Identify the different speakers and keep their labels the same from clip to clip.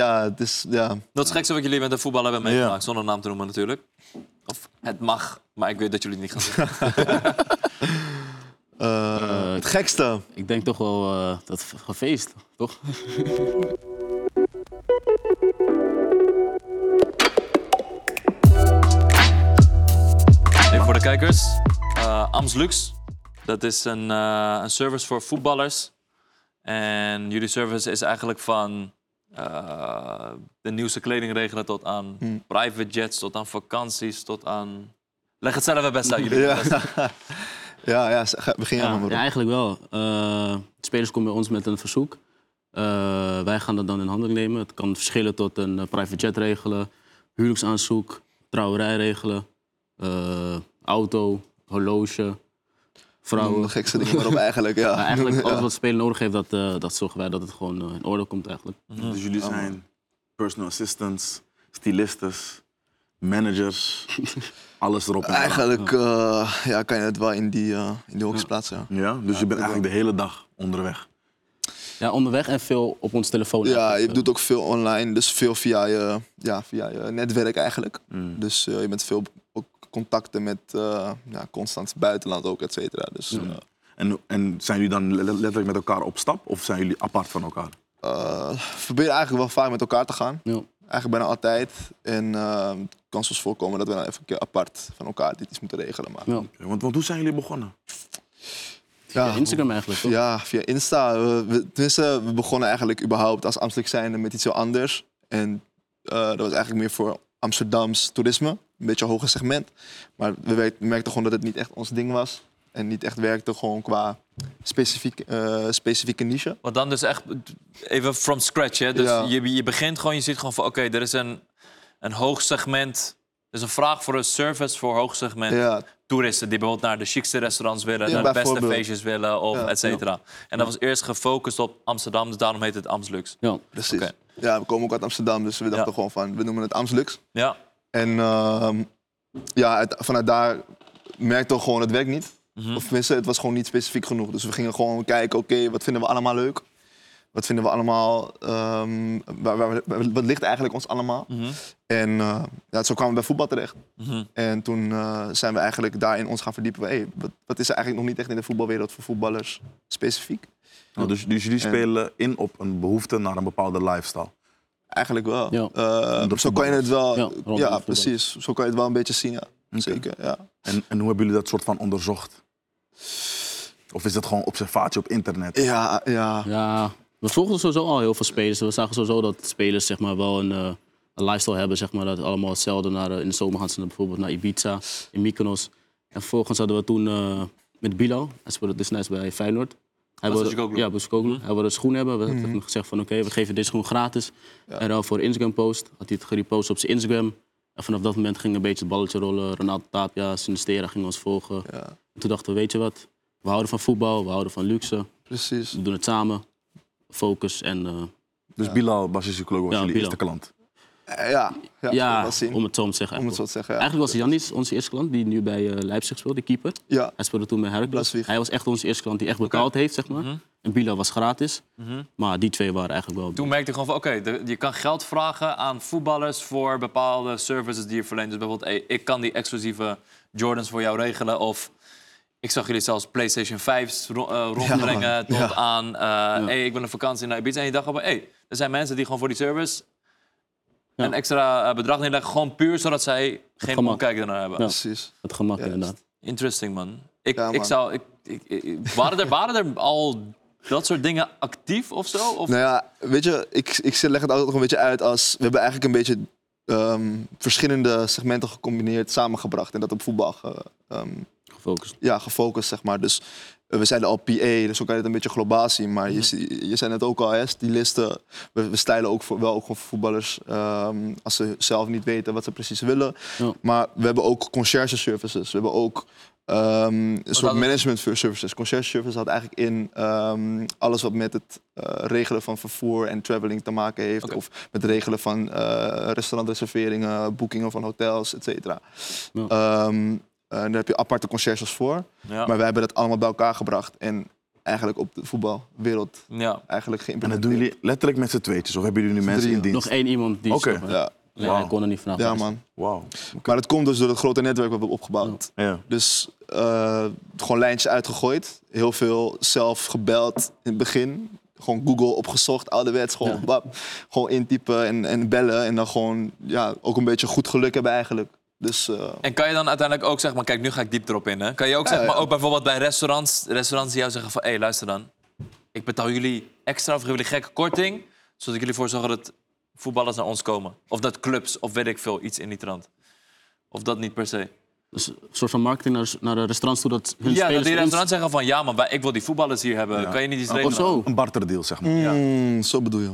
Speaker 1: Ja, het is... Ja.
Speaker 2: Dat is het gekste wat jullie met een voetballer hebben
Speaker 1: Ja.
Speaker 2: meegemaakt. Zonder naam te noemen natuurlijk. Of het mag, maar ik weet dat jullie het niet gaan zeggen.
Speaker 1: Eh, het gekste.
Speaker 3: Ik denk toch wel eh, dat gefeest, toch?
Speaker 2: Even voor de kijkers. eh Amslux. Dat is een, eh, een service voor voetballers. En jullie service is eigenlijk van eh, de nieuwste kledingregelen tot aan
Speaker 1: Hmm.
Speaker 2: private jets, tot aan vakanties, tot aan... Leg het zelf maar best uit jullie.
Speaker 1: Ja. ja, ja, ze- ga- begin jij
Speaker 3: Ja,
Speaker 1: maar.
Speaker 3: ja,
Speaker 1: Rob.
Speaker 3: eigenlijk wel. Eh, de spelers komen bij ons met een verzoek. Eh, wij gaan dat dan in handen nemen. Het kan verschillen tot een eh, private jet regelen, huwelijksaanzoek, trouwerij regelen, eh, auto, horloge, vrouwen.
Speaker 1: De gekste dingen waarop eigenlijk, ja.
Speaker 3: Maar eigenlijk alles
Speaker 1: Mm. Ja.
Speaker 3: wat de speler nodig heeft, dat, eh, dat zorgen wij dat het gewoon eh, in orde komt eigenlijk.
Speaker 4: Dus jullie zijn personal assistants, stylistes, managers, alles erop en eraan.
Speaker 1: Eigenlijk eh, ja, kan je het wel in die, eh, in die hokjes plaatsen, ja.
Speaker 4: Ja, dus je bent eigenlijk de hele dag onderweg.
Speaker 3: Ja, onderweg en veel op ons telefoon.
Speaker 1: Ja, je
Speaker 3: eigenlijk. eh.
Speaker 1: doet ook veel online, dus veel via je, ja, via je netwerk eigenlijk.
Speaker 4: Mm.
Speaker 1: Dus eh, je bent veel ook contacten met eh, ja, constant buitenland ook, et cetera. Dus eh,
Speaker 4: En, en zijn jullie dan le- le- letterlijk met elkaar op stap of zijn jullie apart van elkaar?
Speaker 1: eh, we proberen eigenlijk wel vaak met elkaar te gaan.
Speaker 3: Ja.
Speaker 1: Eigenlijk bijna altijd. En eh, het kan soms voorkomen dat we dan even een keer apart van elkaar dit iets moeten regelen. Maar
Speaker 3: Ja.
Speaker 4: Oké, Want, want hoe zijn jullie begonnen?
Speaker 1: ja,
Speaker 3: Instagram eigenlijk, toch?
Speaker 1: Ja, via Insta. We, we- tenminste, we begonnen eigenlijk überhaupt als Amsterdam zijnde met iets heel anders. En eh, dat was eigenlijk meer voor Amsterdams toerisme. Een beetje een hoger segment. Maar we, werk- we merkten gewoon dat het niet echt ons ding was. En niet echt werkte gewoon qua specifiek, eh, specifieke niche.
Speaker 2: Want dan dus echt even from scratch. Hè? Dus
Speaker 1: Ja.
Speaker 2: je, je begint gewoon, je ziet gewoon van oké, er is een, een hoog segment. Er is een vraag voor een service voor hoog segment.
Speaker 1: Ja,
Speaker 2: toeristen die bijvoorbeeld naar de chicste restaurants willen,
Speaker 1: Ja,
Speaker 2: naar de beste
Speaker 1: bijvoorbeeld.
Speaker 2: feestjes willen, of
Speaker 1: Ja.
Speaker 2: et cetera. En dat was eerst gefocust op Amsterdam, dus daarom heet het Amslux.
Speaker 3: Ja.
Speaker 1: precies.
Speaker 2: Oké.
Speaker 1: Ja, we komen ook uit Amsterdam, dus we dachten
Speaker 2: Ja.
Speaker 1: gewoon van, we noemen het Amstelux.
Speaker 2: Ja,
Speaker 1: En ehm, ja, uit- vanuit daar merkte we gewoon, het werkt niet. Of tenminste, het was gewoon niet specifiek genoeg. Dus we gingen gewoon kijken, oké, wat vinden we allemaal leuk? Wat vinden we allemaal... ehm, waar, waar- waar- wat ligt eigenlijk ons allemaal? En eh, ja, zo kwamen we bij voetbal terecht. En toen eh, zijn we eigenlijk daarin ons gaan verdiepen. van, Hey, wat, wat is er eigenlijk nog niet echt in de voetbalwereld voor voetballers specifiek?
Speaker 4: Nou, dus, dus jullie spelen in op een behoefte naar een bepaalde lifestyle.
Speaker 1: Eigenlijk wel.
Speaker 3: Ja.
Speaker 1: Eh,
Speaker 4: Onder
Speaker 1: zo kan je het wel...
Speaker 3: Ja,
Speaker 1: Ja,
Speaker 3: rondom de voetballers.
Speaker 1: precies. Zo kan je het wel een beetje zien, ja. Zeker, ja.
Speaker 4: En, en hoe hebben jullie dat soort van onderzocht? Of is dat gewoon observatie op internet?
Speaker 1: Ja, ja.
Speaker 3: Ja, we volgden sowieso al heel veel spelers. We zagen sowieso dat spelers zeg maar, wel een, eh, een lifestyle hebben. Zeg maar, dat allemaal hetzelfde. Naar, eh, in de zomer gaan ze naar, bijvoorbeeld naar Ibiza, in Mykonos. En vervolgens hadden we toen eh, met Bilal, hij speelde destijds bij Feyenoord. Hij wilde,
Speaker 2: Bozicoglu.
Speaker 3: ja, Bozicoglu. Hij wilde een schoen hebben. We hebben toen gezegd van oké, we geven deze schoen gratis. En dan voor een Instagram post. Had hij het gerepost op zijn Instagram. En vanaf dat moment ging een beetje het balletje rollen. Renato Tapia, Sinistera gingen ons volgen. En toen dachten we, weet je wat? We houden van voetbal, we houden van luxe.
Speaker 1: Precies.
Speaker 3: We doen het samen. Focus en eh,
Speaker 4: Dus Bilal Basisicolo was
Speaker 3: Ja,
Speaker 4: jullie
Speaker 3: Bilal.
Speaker 4: eerste klant.
Speaker 1: Eh, Ja, ja,
Speaker 3: ja,
Speaker 1: dat zien.
Speaker 3: om het zo te zeggen.
Speaker 1: Om het zo te zeggen, ja.
Speaker 3: Eigenlijk was Janis onze eerste klant, die nu bij eh, Leipzig speelt, de keeper.
Speaker 1: Ja,
Speaker 3: Hij speelde toen bij Heracles.
Speaker 1: Blaswieg.
Speaker 3: Hij was echt onze eerste klant die echt betaald heeft, zeg maar.
Speaker 2: Mhm.
Speaker 3: En Bila was gratis. Maar die twee waren eigenlijk wel...
Speaker 2: toen merkte ik gewoon van oké, de- je kan geld vragen aan voetballers voor bepaalde services die je verleent. Dus bijvoorbeeld, hey, ik kan die exclusieve Jordans voor jou regelen. Of ik zag jullie zelfs PlayStation 5's ro- eh, rondbrengen
Speaker 1: man.
Speaker 2: tot
Speaker 1: Ja.
Speaker 2: aan, eh hey, ik wil een vakantie naar Ibiza. En je dacht gewoon, hey, er zijn mensen die gewoon voor die service
Speaker 3: Ja.
Speaker 2: een extra eh, bedrag neerleggen. Gewoon puur zodat zij geen
Speaker 3: gemak.
Speaker 2: omkijk ernaar hebben.
Speaker 3: Ja.
Speaker 1: precies.
Speaker 3: Het gemak, inderdaad.
Speaker 2: Interesting, man. Ik,
Speaker 1: Ja,
Speaker 2: ik
Speaker 1: man.
Speaker 2: zou... Ik, ik, ik- waren, er, waren er al dat soort dingen actief of zo? Of
Speaker 1: Nou ja, weet je, ik, ik leg het altijd nog een beetje uit als... We hebben eigenlijk een beetje ehm, verschillende segmenten gecombineerd, samengebracht. En dat op voetbal ge- ehm,
Speaker 3: Gefocust.
Speaker 1: ja, gefocust, zeg maar. Dus eh, we zeiden al PA, dus zo kan je het een beetje globaal zien. Maar
Speaker 2: Mhm.
Speaker 1: je, zie- je zei net ook al, hè, stylisten. We, we stylen ook voor, wel ook gewoon voor voetballers ehm, als ze zelf niet weten wat ze precies willen.
Speaker 3: Ja.
Speaker 1: Maar we hebben ook conciërge services. We hebben ook ehm, een soort
Speaker 2: hadden-
Speaker 1: management voor services. Conciërge services had eigenlijk in ehm, alles wat met het eh, regelen van vervoer en traveling te maken heeft.
Speaker 2: Oké.
Speaker 1: Of met het regelen van eh, restaurantreserveringen, boekingen van hotels, et cetera.
Speaker 3: Ja.
Speaker 1: Ehm, eh, daar heb je aparte conciërges voor.
Speaker 2: Ja.
Speaker 1: Maar wij hebben dat allemaal bij elkaar gebracht. En eigenlijk op de voetbalwereld
Speaker 2: Ja.
Speaker 1: eigenlijk
Speaker 4: En dat doen
Speaker 1: geïmplementeerd.
Speaker 4: jullie letterlijk met z'n tweetjes? Of hebben jullie nu mensen in
Speaker 1: drieën.
Speaker 4: dienst?
Speaker 3: Nog één iemand die...
Speaker 4: Oké.
Speaker 3: snapt, hè?
Speaker 1: Ja,
Speaker 3: Nee,
Speaker 4: Wauw.
Speaker 3: hij kon er niet vanaf.
Speaker 1: ja man.
Speaker 4: Wauw.
Speaker 1: Maar dat komt dus door het grote netwerk wat we hebben opgebouwd.
Speaker 4: Ja.
Speaker 1: Dus eh, gewoon lijntjes uitgegooid. Heel veel zelf gebeld in het begin. Gewoon Google opgezocht, ouderwets. Gewoon, bap, gewoon intypen en, en bellen. En dan gewoon ja, ook een beetje goed geluk hebben eigenlijk. Dus eh,
Speaker 2: En kan je dan uiteindelijk ook zeg maar, kijk, nu ga ik diep erop in. Hè? Kan je ook,
Speaker 1: Ja,
Speaker 2: zeg maar,
Speaker 1: ja.
Speaker 2: ook bijvoorbeeld bij restaurants, restaurants die jou zeggen van, hé, hey, luister dan. Ik betaal jullie extra of geef jullie gekke korting, zodat ik jullie voor zorg dat voetballers naar ons komen. Of dat clubs, of weet ik veel, iets in die trant. Of dat niet per se.
Speaker 3: Dus een soort van marketing naar, naar de restaurants toe dat hun
Speaker 2: Ja, dat
Speaker 3: spelers...
Speaker 2: die
Speaker 3: voor ons-
Speaker 2: restaurants zeggen van, ja man, wij- ik wil die voetballers hier hebben. Kan je niet iets regelen?
Speaker 3: Of zo.
Speaker 4: Een barterdeal, zeg maar.
Speaker 1: mm, zo bedoel je.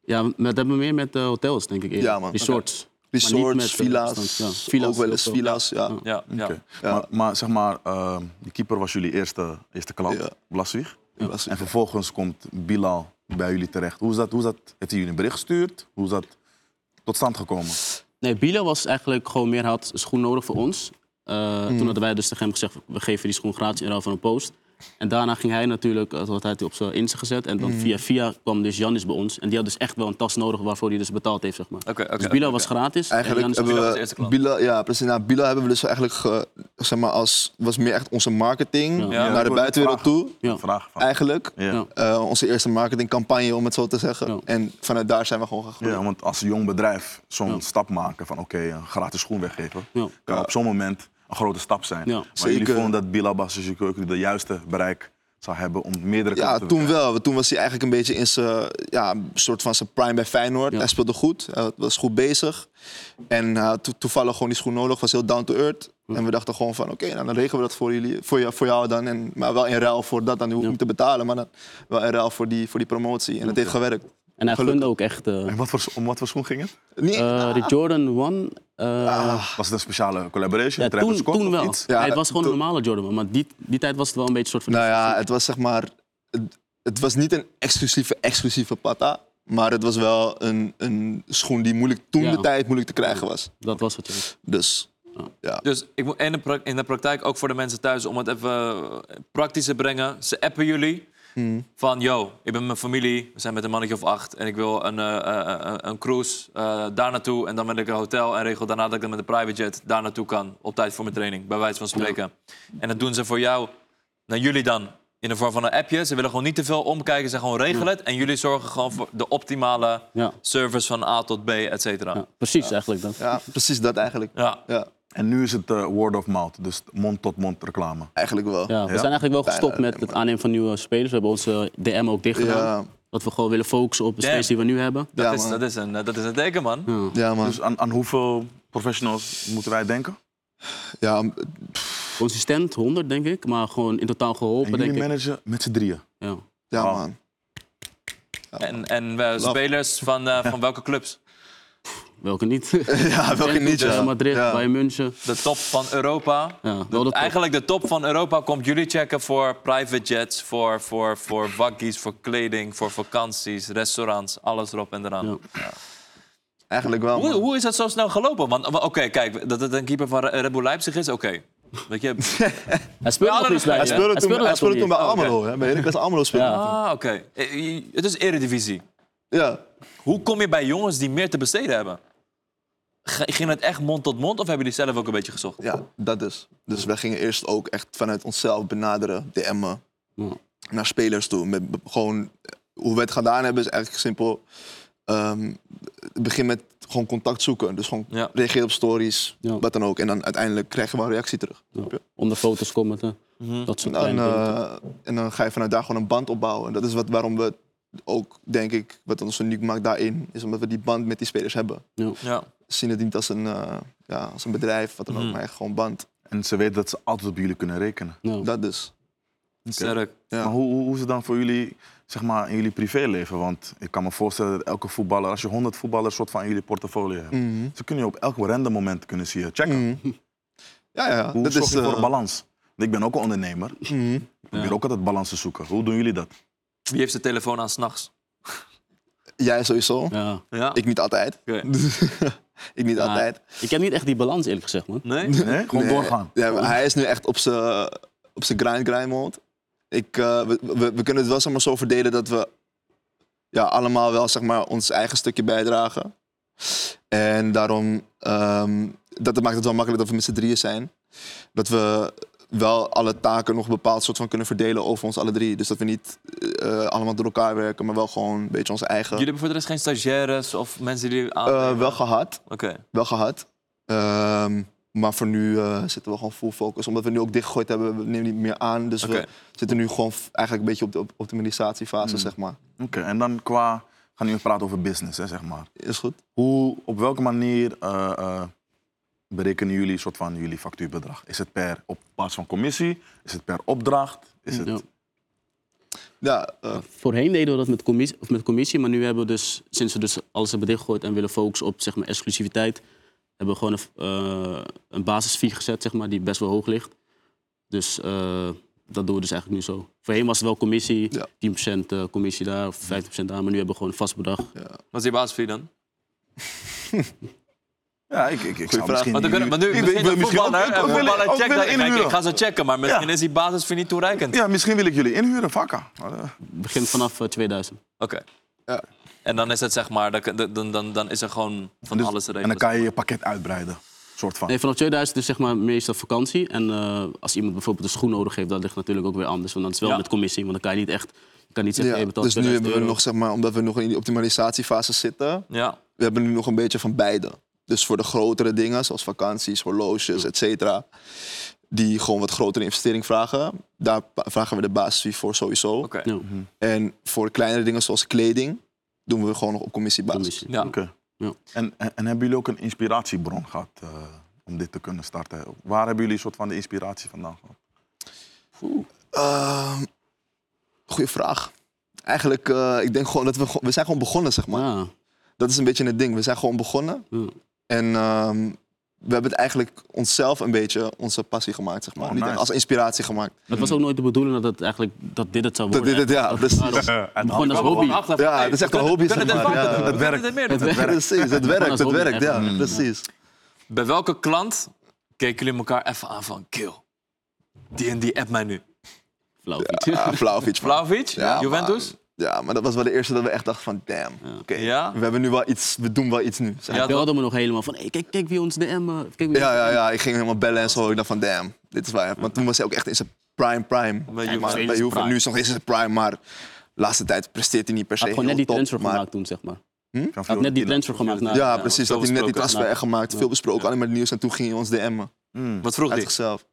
Speaker 3: Ja, maar dat hebben we meer met eh, hotels, denk ik. eerder.
Speaker 1: Ja, man.
Speaker 3: Resorts. Maar niet
Speaker 1: Resorts,
Speaker 3: met, eh,
Speaker 1: villa's,
Speaker 3: restaurants, ja.
Speaker 1: ook wel eens
Speaker 3: heel veel.
Speaker 1: villa's. Ja.
Speaker 2: Ja, ja.
Speaker 4: Oké. Maar, maar zeg maar, ehm die keeper was jullie eerste, eerste klant,
Speaker 1: Ja.
Speaker 4: Blaswig.
Speaker 1: Die was-
Speaker 4: En vervolgens komt Bilal bij jullie terecht. Hoe is dat? Hoe is dat? Heeft hij jullie een bericht gestuurd? Hoe is dat tot stand gekomen?
Speaker 3: Nee, Biele was eigenlijk gewoon meer hij had een schoen nodig voor ons. Eh, Toen hadden wij dus tegen hem gezegd, we geven die schoen gratis in ruil van een post. En daarna ging hij natuurlijk, eh, dat had hij op zijn Insta gezet. En dan via via kwam dus Janis bij ons. En die had dus echt wel een tas nodig waarvoor hij dus betaald heeft, zeg maar.
Speaker 2: Oké, oké,
Speaker 3: dus Biele
Speaker 2: oké,
Speaker 3: was
Speaker 2: oké.
Speaker 3: gratis. en
Speaker 1: Eigenlijk
Speaker 3: Giannis-
Speaker 1: hebben
Speaker 2: Bila was de eerste
Speaker 1: we
Speaker 2: klant.
Speaker 1: Bila, ja, precies. Nou, Bila hebben we dus eigenlijk, ge- zeg maar, als was meer echt onze marketing
Speaker 2: Ja,
Speaker 1: naar de buitenwereld toe.
Speaker 3: Ja.
Speaker 4: Vraag van.
Speaker 1: Eigenlijk
Speaker 4: Ja.
Speaker 3: Ja.
Speaker 1: Eh, onze eerste marketingcampagne, om het zo te zeggen.
Speaker 3: Ja.
Speaker 1: En vanuit daar zijn we gewoon gegroeid.
Speaker 4: Ja, want als een jong bedrijf zo'n
Speaker 3: Ja.
Speaker 4: stap maken van oké, een gratis schoen weggeven,
Speaker 3: Ja.
Speaker 4: kan op zo'n moment een grote stap zijn.
Speaker 3: Ja.
Speaker 4: Maar jullie
Speaker 1: Zeker.
Speaker 4: vonden dat Bilal Basisjuk de juiste bereik zou hebben om meerdere
Speaker 1: Ja,
Speaker 4: kanten te
Speaker 1: toen wel. Toen was hij eigenlijk een beetje in zijn ja, soort van zijn prime bij Feyenoord.
Speaker 3: Ja.
Speaker 1: Hij speelde goed, hij was goed bezig. En hij had to- toevallig gewoon die schoen nodig, was heel down to earth. En we dachten gewoon van, oké, nou, dan regelen we dat voor, jullie, voor, jou, voor jou dan. En, maar wel in ruil voor dat, dan hoef ik niet te betalen. Maar dan wel in ruil voor die, voor die promotie. En dat heeft gewerkt.
Speaker 3: En hij
Speaker 1: Gelukkig.
Speaker 3: gunde ook echt... eh,
Speaker 4: En wat voor, om wat voor schoen ging het?
Speaker 1: Niet,
Speaker 3: eh, de Jordan 1...
Speaker 4: Was het een speciale collaboration?
Speaker 3: ja,
Speaker 4: Travis
Speaker 3: toen,
Speaker 4: Scott
Speaker 3: toen
Speaker 4: of
Speaker 3: wel.
Speaker 4: iets?
Speaker 1: Ja,
Speaker 3: Nee, het was gewoon een
Speaker 1: toen-
Speaker 3: normale Jordan, maar die, die tijd was het wel een beetje een soort van...
Speaker 1: Nou ja, het was zeg maar. Het, het was niet een exclusieve, exclusieve pata. Maar het was wel een, een schoen die moeilijk, toen
Speaker 3: Ja.
Speaker 1: de tijd moeilijk te krijgen was.
Speaker 3: Dat was het, ja.
Speaker 1: Dus
Speaker 2: Dus ik moet in de, pra- in de praktijk ook voor de mensen thuis, om het even eh, praktisch te brengen. Ze appen jullie
Speaker 1: Hmm.
Speaker 2: van, yo, ik ben met mijn familie, we zijn met een mannetje of acht... en ik wil een, eh, eh, eh, een cruise eh, daar naartoe en dan wil ik een hotel... en regel daarna dat ik dan met een private jet daar naartoe kan... op tijd voor mijn training, bij wijze van spreken. En dat doen ze voor jou, naar jullie dan, in de vorm van een appje. Ze willen gewoon niet te veel omkijken, ze gewoon regelen het... en jullie zorgen gewoon voor de optimale
Speaker 3: Ja.
Speaker 2: service van A tot B, et cetera.
Speaker 3: ja precies, eigenlijk dat.
Speaker 1: ja, precies dat eigenlijk.
Speaker 2: Ja.
Speaker 1: Ja,
Speaker 4: En nu is het eh, word of mouth, dus mond-tot-mond reclame.
Speaker 1: eigenlijk wel.
Speaker 3: Ja, we
Speaker 4: Ja?
Speaker 3: zijn eigenlijk wel gestopt
Speaker 1: Bijna,
Speaker 3: met het aannemen van nieuwe spelers. We hebben onze DM ook dicht gedaan.
Speaker 1: eh, Ja,
Speaker 3: Dat we gewoon willen focussen op de
Speaker 2: Damn.
Speaker 3: spelers die we nu hebben.
Speaker 1: ja,
Speaker 2: Dat, is,
Speaker 1: man.
Speaker 2: dat, is een, eh, dat is een teken, man.
Speaker 1: ja, man.
Speaker 4: Dus aan, aan hoeveel professionals moeten wij denken?
Speaker 1: Ja, m-
Speaker 3: Consistent 100, denk ik. Maar gewoon in totaal
Speaker 4: En
Speaker 3: geholpen,
Speaker 4: jullie
Speaker 3: denk ik.
Speaker 4: managen met z'n drieën.
Speaker 3: Ja.
Speaker 1: ja
Speaker 4: Wow.
Speaker 1: man.
Speaker 2: En, en eh, spelers van, eh, van welke clubs?
Speaker 3: Welke niet?
Speaker 1: Ja, welke niet,
Speaker 3: Real
Speaker 1: ja.
Speaker 3: Madrid,
Speaker 1: Ja.
Speaker 3: Bayern München.
Speaker 2: De top van Europa.
Speaker 3: Ja, wel de top.
Speaker 2: Eigenlijk de top van Europa komt jullie checken voor private jets, voor, voor, voor wakkies, voor kleding, voor vakanties, restaurants, alles erop en eraan.
Speaker 3: Ja.
Speaker 1: Eigenlijk wel,
Speaker 2: Hoe,
Speaker 1: man.
Speaker 2: hoe is dat zo snel gelopen? Want wa- oké, kijk, dat het een keeper van Red Bull Leipzig is, oké. Weet je?
Speaker 3: Hij speelde
Speaker 2: Ja,
Speaker 3: nog
Speaker 2: dat
Speaker 3: niet
Speaker 2: is-
Speaker 3: bij
Speaker 1: Hij
Speaker 3: je.
Speaker 1: speelde toen, hij
Speaker 3: daar
Speaker 1: speelde toen bij
Speaker 2: Oh, oké.
Speaker 1: Amelo, hè. Bij Heracles Amelo speelde hij.
Speaker 3: Ja.
Speaker 2: Ah, oké. Eh, eh, Het is eredivisie.
Speaker 1: Ja.
Speaker 2: Hoe kom je bij jongens die meer te besteden hebben? G- Ging het echt mond tot mond of hebben jullie zelf ook een beetje gezocht?
Speaker 1: Ja, dat dus. Dus wij gingen eerst ook echt vanuit onszelf benaderen, DM'en,
Speaker 3: Ja.
Speaker 1: naar spelers toe. Met be- gewoon, hoe we het gedaan hebben is eigenlijk simpel. Ehm, begin met gewoon contact zoeken. Dus gewoon
Speaker 2: Ja.
Speaker 1: reageer op stories,
Speaker 3: Ja.
Speaker 1: wat dan ook. En dan uiteindelijk krijg je wel een reactie terug. snap je?
Speaker 3: Om de foto's commenten. Dat soort
Speaker 1: En,
Speaker 3: kleine
Speaker 1: dan,
Speaker 3: dingen.
Speaker 1: eh, en dan ga je vanuit daar gewoon een band opbouwen. Dat is wat, waarom we ook, denk ik, wat ons uniek maakt daarin, is omdat we die band met die spelers hebben.
Speaker 2: Ja.
Speaker 1: We zien het niet als een, eh, ja, als een bedrijf, wat dan
Speaker 3: Mhm.
Speaker 1: ook, maar echt gewoon band.
Speaker 4: En ze weten dat ze altijd op jullie kunnen rekenen.
Speaker 3: Ja.
Speaker 1: Dat dus.
Speaker 2: Sterk.
Speaker 1: Ja.
Speaker 4: Maar hoe, hoe, hoe is het dan voor jullie, zeg maar, in jullie privéleven? Want ik kan me voorstellen dat elke voetballer, als je 100 voetballers soort van in jullie portfolio
Speaker 1: Mm.
Speaker 4: hebt, ze kunnen je op elk random moment kunnen zien. Checken.
Speaker 1: Mhm. Ja, ja.
Speaker 4: Hoe
Speaker 1: Mm. dat
Speaker 4: zorg
Speaker 1: is,
Speaker 4: je voor
Speaker 1: eh, mhm.
Speaker 4: een balans? Want Ik ben ook een ondernemer. Ik probeer ook altijd balans te zoeken. Hoe doen jullie dat?
Speaker 2: Wie heeft zijn telefoon aan s'nachts?
Speaker 1: Jij sowieso.
Speaker 3: Ja.
Speaker 2: Ja.
Speaker 1: Ik niet altijd.
Speaker 2: Oké.
Speaker 1: ik niet
Speaker 3: Ja,
Speaker 1: altijd.
Speaker 3: Ik heb niet echt die balans, eerlijk gezegd, man.
Speaker 2: Nee?
Speaker 4: Nee? Gewoon
Speaker 1: Nee.
Speaker 4: doorgaan.
Speaker 1: Ja, maar hij is nu echt op zijn op zijn grind grind mode. ik, eh, we, we, we kunnen het wel zeg maar, zo verdelen dat we ja, allemaal wel zeg maar, ons eigen stukje bijdragen. En daarom, ehm, dat maakt het wel makkelijk dat we met z'n drieën zijn. Dat we wel alle taken nog een bepaald soort van kunnen verdelen over ons alle drie. Dus dat we niet eh, allemaal door elkaar werken, maar wel gewoon een beetje onze eigen.
Speaker 2: Jullie hebben voor de rest geen stagiaires of mensen die... aan-
Speaker 1: Eh, wel gehad,
Speaker 2: Oké.
Speaker 1: wel gehad. Ehm, maar voor nu eh, zitten we gewoon full focus. Omdat we nu ook dichtgegooid hebben, we nemen niet meer aan. Dus
Speaker 2: Oké.
Speaker 1: we zitten nu gewoon f- eigenlijk een beetje op de op- optimalisatiefase, zeg maar.
Speaker 4: Oké, en dan qua... We gaan nu even praten over business, hè, zeg maar.
Speaker 1: Is goed.
Speaker 4: Hoe, op welke manier eh, eh, berekenen jullie een soort van jullie factuurbedrag? Is het per op basis van commissie? Is het per opdracht? Is het...
Speaker 3: Ja.
Speaker 1: Ja, eh,
Speaker 3: Voorheen deden we dat met commissie, of met commissie, maar nu hebben we dus, sinds we dus alles hebben dichtgegooid en willen focussen op zeg maar, exclusiviteit, hebben we gewoon een, f- eh, een basisfee gezet, zeg maar, die best wel hoog ligt. Dus eh, dat doen we dus eigenlijk nu zo. Voorheen was het wel commissie,
Speaker 1: Ja.
Speaker 3: 10% eh, commissie daar of 15% daar, maar nu hebben we gewoon een vast bedrag.
Speaker 2: Wat is je basisfee dan?
Speaker 4: Ja, ik, ik, ik zou
Speaker 1: vraag.
Speaker 4: misschien...
Speaker 2: Want, dan kunnen, want nu
Speaker 4: Ik- ik
Speaker 2: misschien
Speaker 4: wil
Speaker 2: een
Speaker 4: misschien ook-
Speaker 2: voetballer,
Speaker 4: ook
Speaker 2: een
Speaker 4: willen-
Speaker 2: voetballer
Speaker 4: ook
Speaker 2: checkt
Speaker 4: willen
Speaker 2: dat en denkt,
Speaker 4: inhuren.
Speaker 2: ik ga ze checken, maar misschien is die basisfee niet toereikend.
Speaker 4: Ja, misschien wil ik jullie inhuren, vakka. eh,
Speaker 3: Het begint vanaf eh, 2000.
Speaker 2: Oké.
Speaker 1: ja.
Speaker 2: En dan is het zeg maar, dan, dan, dan, dan is er gewoon van
Speaker 1: Dus
Speaker 2: alles te
Speaker 4: dus- en dan
Speaker 2: regelen.
Speaker 4: kan je je pakket uitbreiden, soort van.
Speaker 3: Nee, vanaf 2000 is zeg maar meestal vakantie. En eh, als iemand bijvoorbeeld een schoen nodig heeft, dat ligt natuurlijk ook weer anders. Want dan is het wel
Speaker 2: Ja.
Speaker 3: met commissie, want dan kan je niet echt, je kan niet zeggen,
Speaker 1: ja.
Speaker 3: hey, betaal
Speaker 1: Dus nu
Speaker 3: 2000
Speaker 1: hebben we
Speaker 3: euro.
Speaker 1: nog, zeg maar, omdat we nog in die optimalisatiefase zitten,
Speaker 2: Ja,
Speaker 1: we hebben nu nog een beetje van beide. Dus voor de grotere dingen, zoals vakanties, horloges, et cetera, die gewoon wat grotere investering vragen, daar pa- vragen we de basisfee voor sowieso.
Speaker 2: oké.
Speaker 3: Ja,
Speaker 1: En voor kleinere dingen zoals kleding, doen we gewoon nog op commissiebasis.
Speaker 3: commissie.
Speaker 2: Ja.
Speaker 4: Oké.
Speaker 3: Ja.
Speaker 4: En, en, en hebben jullie ook een inspiratiebron gehad eh, om dit te kunnen starten? Waar hebben jullie een soort van de inspiratie vandaan gehad?
Speaker 1: Ehm goeie vraag. Eigenlijk, eh, ik denk gewoon dat we, gewoon- we zijn gewoon begonnen, zeg maar.
Speaker 3: Ja.
Speaker 1: Dat is een beetje het ding. We zijn gewoon begonnen.
Speaker 3: Ja.
Speaker 1: En ehm, we hebben het eigenlijk onszelf een beetje onze passie gemaakt, zeg maar.
Speaker 4: Oh,
Speaker 1: Niet echt
Speaker 4: nice.
Speaker 1: als inspiratie gemaakt.
Speaker 3: Het was ook nooit de bedoeling dat, het eigenlijk, dat dit het zou
Speaker 1: Hmm. Dat
Speaker 3: worden.
Speaker 1: dit het, ja, precies.
Speaker 3: Gewoon Eh, als hobby.
Speaker 1: Ja, dat is echt een hobby, zeg maar. Ja, het
Speaker 2: het werkt. Het meer doen.
Speaker 1: Ja, precies, het werkt,
Speaker 3: als
Speaker 1: het
Speaker 3: hobby
Speaker 1: werkt, ja,
Speaker 3: eigenlijk.
Speaker 1: precies.
Speaker 2: Bij welke klant keken jullie elkaar even aan van, kill, die en die app mij nu.
Speaker 3: Flauw niet.
Speaker 1: Ja, Vlaovic, man.
Speaker 2: Vlaovic,
Speaker 1: Ja,
Speaker 2: Juventus?
Speaker 1: maar- ja, maar dat was wel de eerste dat we echt dachten van, damn. oké,
Speaker 2: Ja.
Speaker 1: We, hebben nu wel iets, we doen wel iets nu. zeg
Speaker 2: Ja,
Speaker 3: Hij belde me nog helemaal van, hey, kijk, kijk wie ons DM... eh, Kijk wie
Speaker 1: Ja, ja, ja. Ik ging helemaal bellen en zo. Ik dacht van, damn, dit is waar. Want toen was hij ook echt in zijn prime, prime.
Speaker 2: Bij Juve.
Speaker 1: Maar
Speaker 3: Steeds
Speaker 1: bij Juve,
Speaker 3: prime.
Speaker 1: nu is hij nog in zijn prime, maar de laatste tijd presteert hij niet per se
Speaker 3: Hij had gewoon net
Speaker 1: heel
Speaker 3: die
Speaker 1: top,
Speaker 3: transfer
Speaker 1: maar-
Speaker 3: gemaakt toen, zeg maar.
Speaker 4: Van
Speaker 3: Hij had net die
Speaker 4: Fiorentina.
Speaker 3: transfer gemaakt. na-
Speaker 1: Ja,
Speaker 2: Ja,
Speaker 1: precies.
Speaker 2: veel
Speaker 1: Dat hij net die
Speaker 2: besproken.
Speaker 1: transfer echt gemaakt. Veel besproken, alleen maar het nieuws. En toen ging hij ons DM'en.
Speaker 4: Mm.
Speaker 2: Wat vroeg
Speaker 1: Uit
Speaker 2: die?
Speaker 1: zichzelf.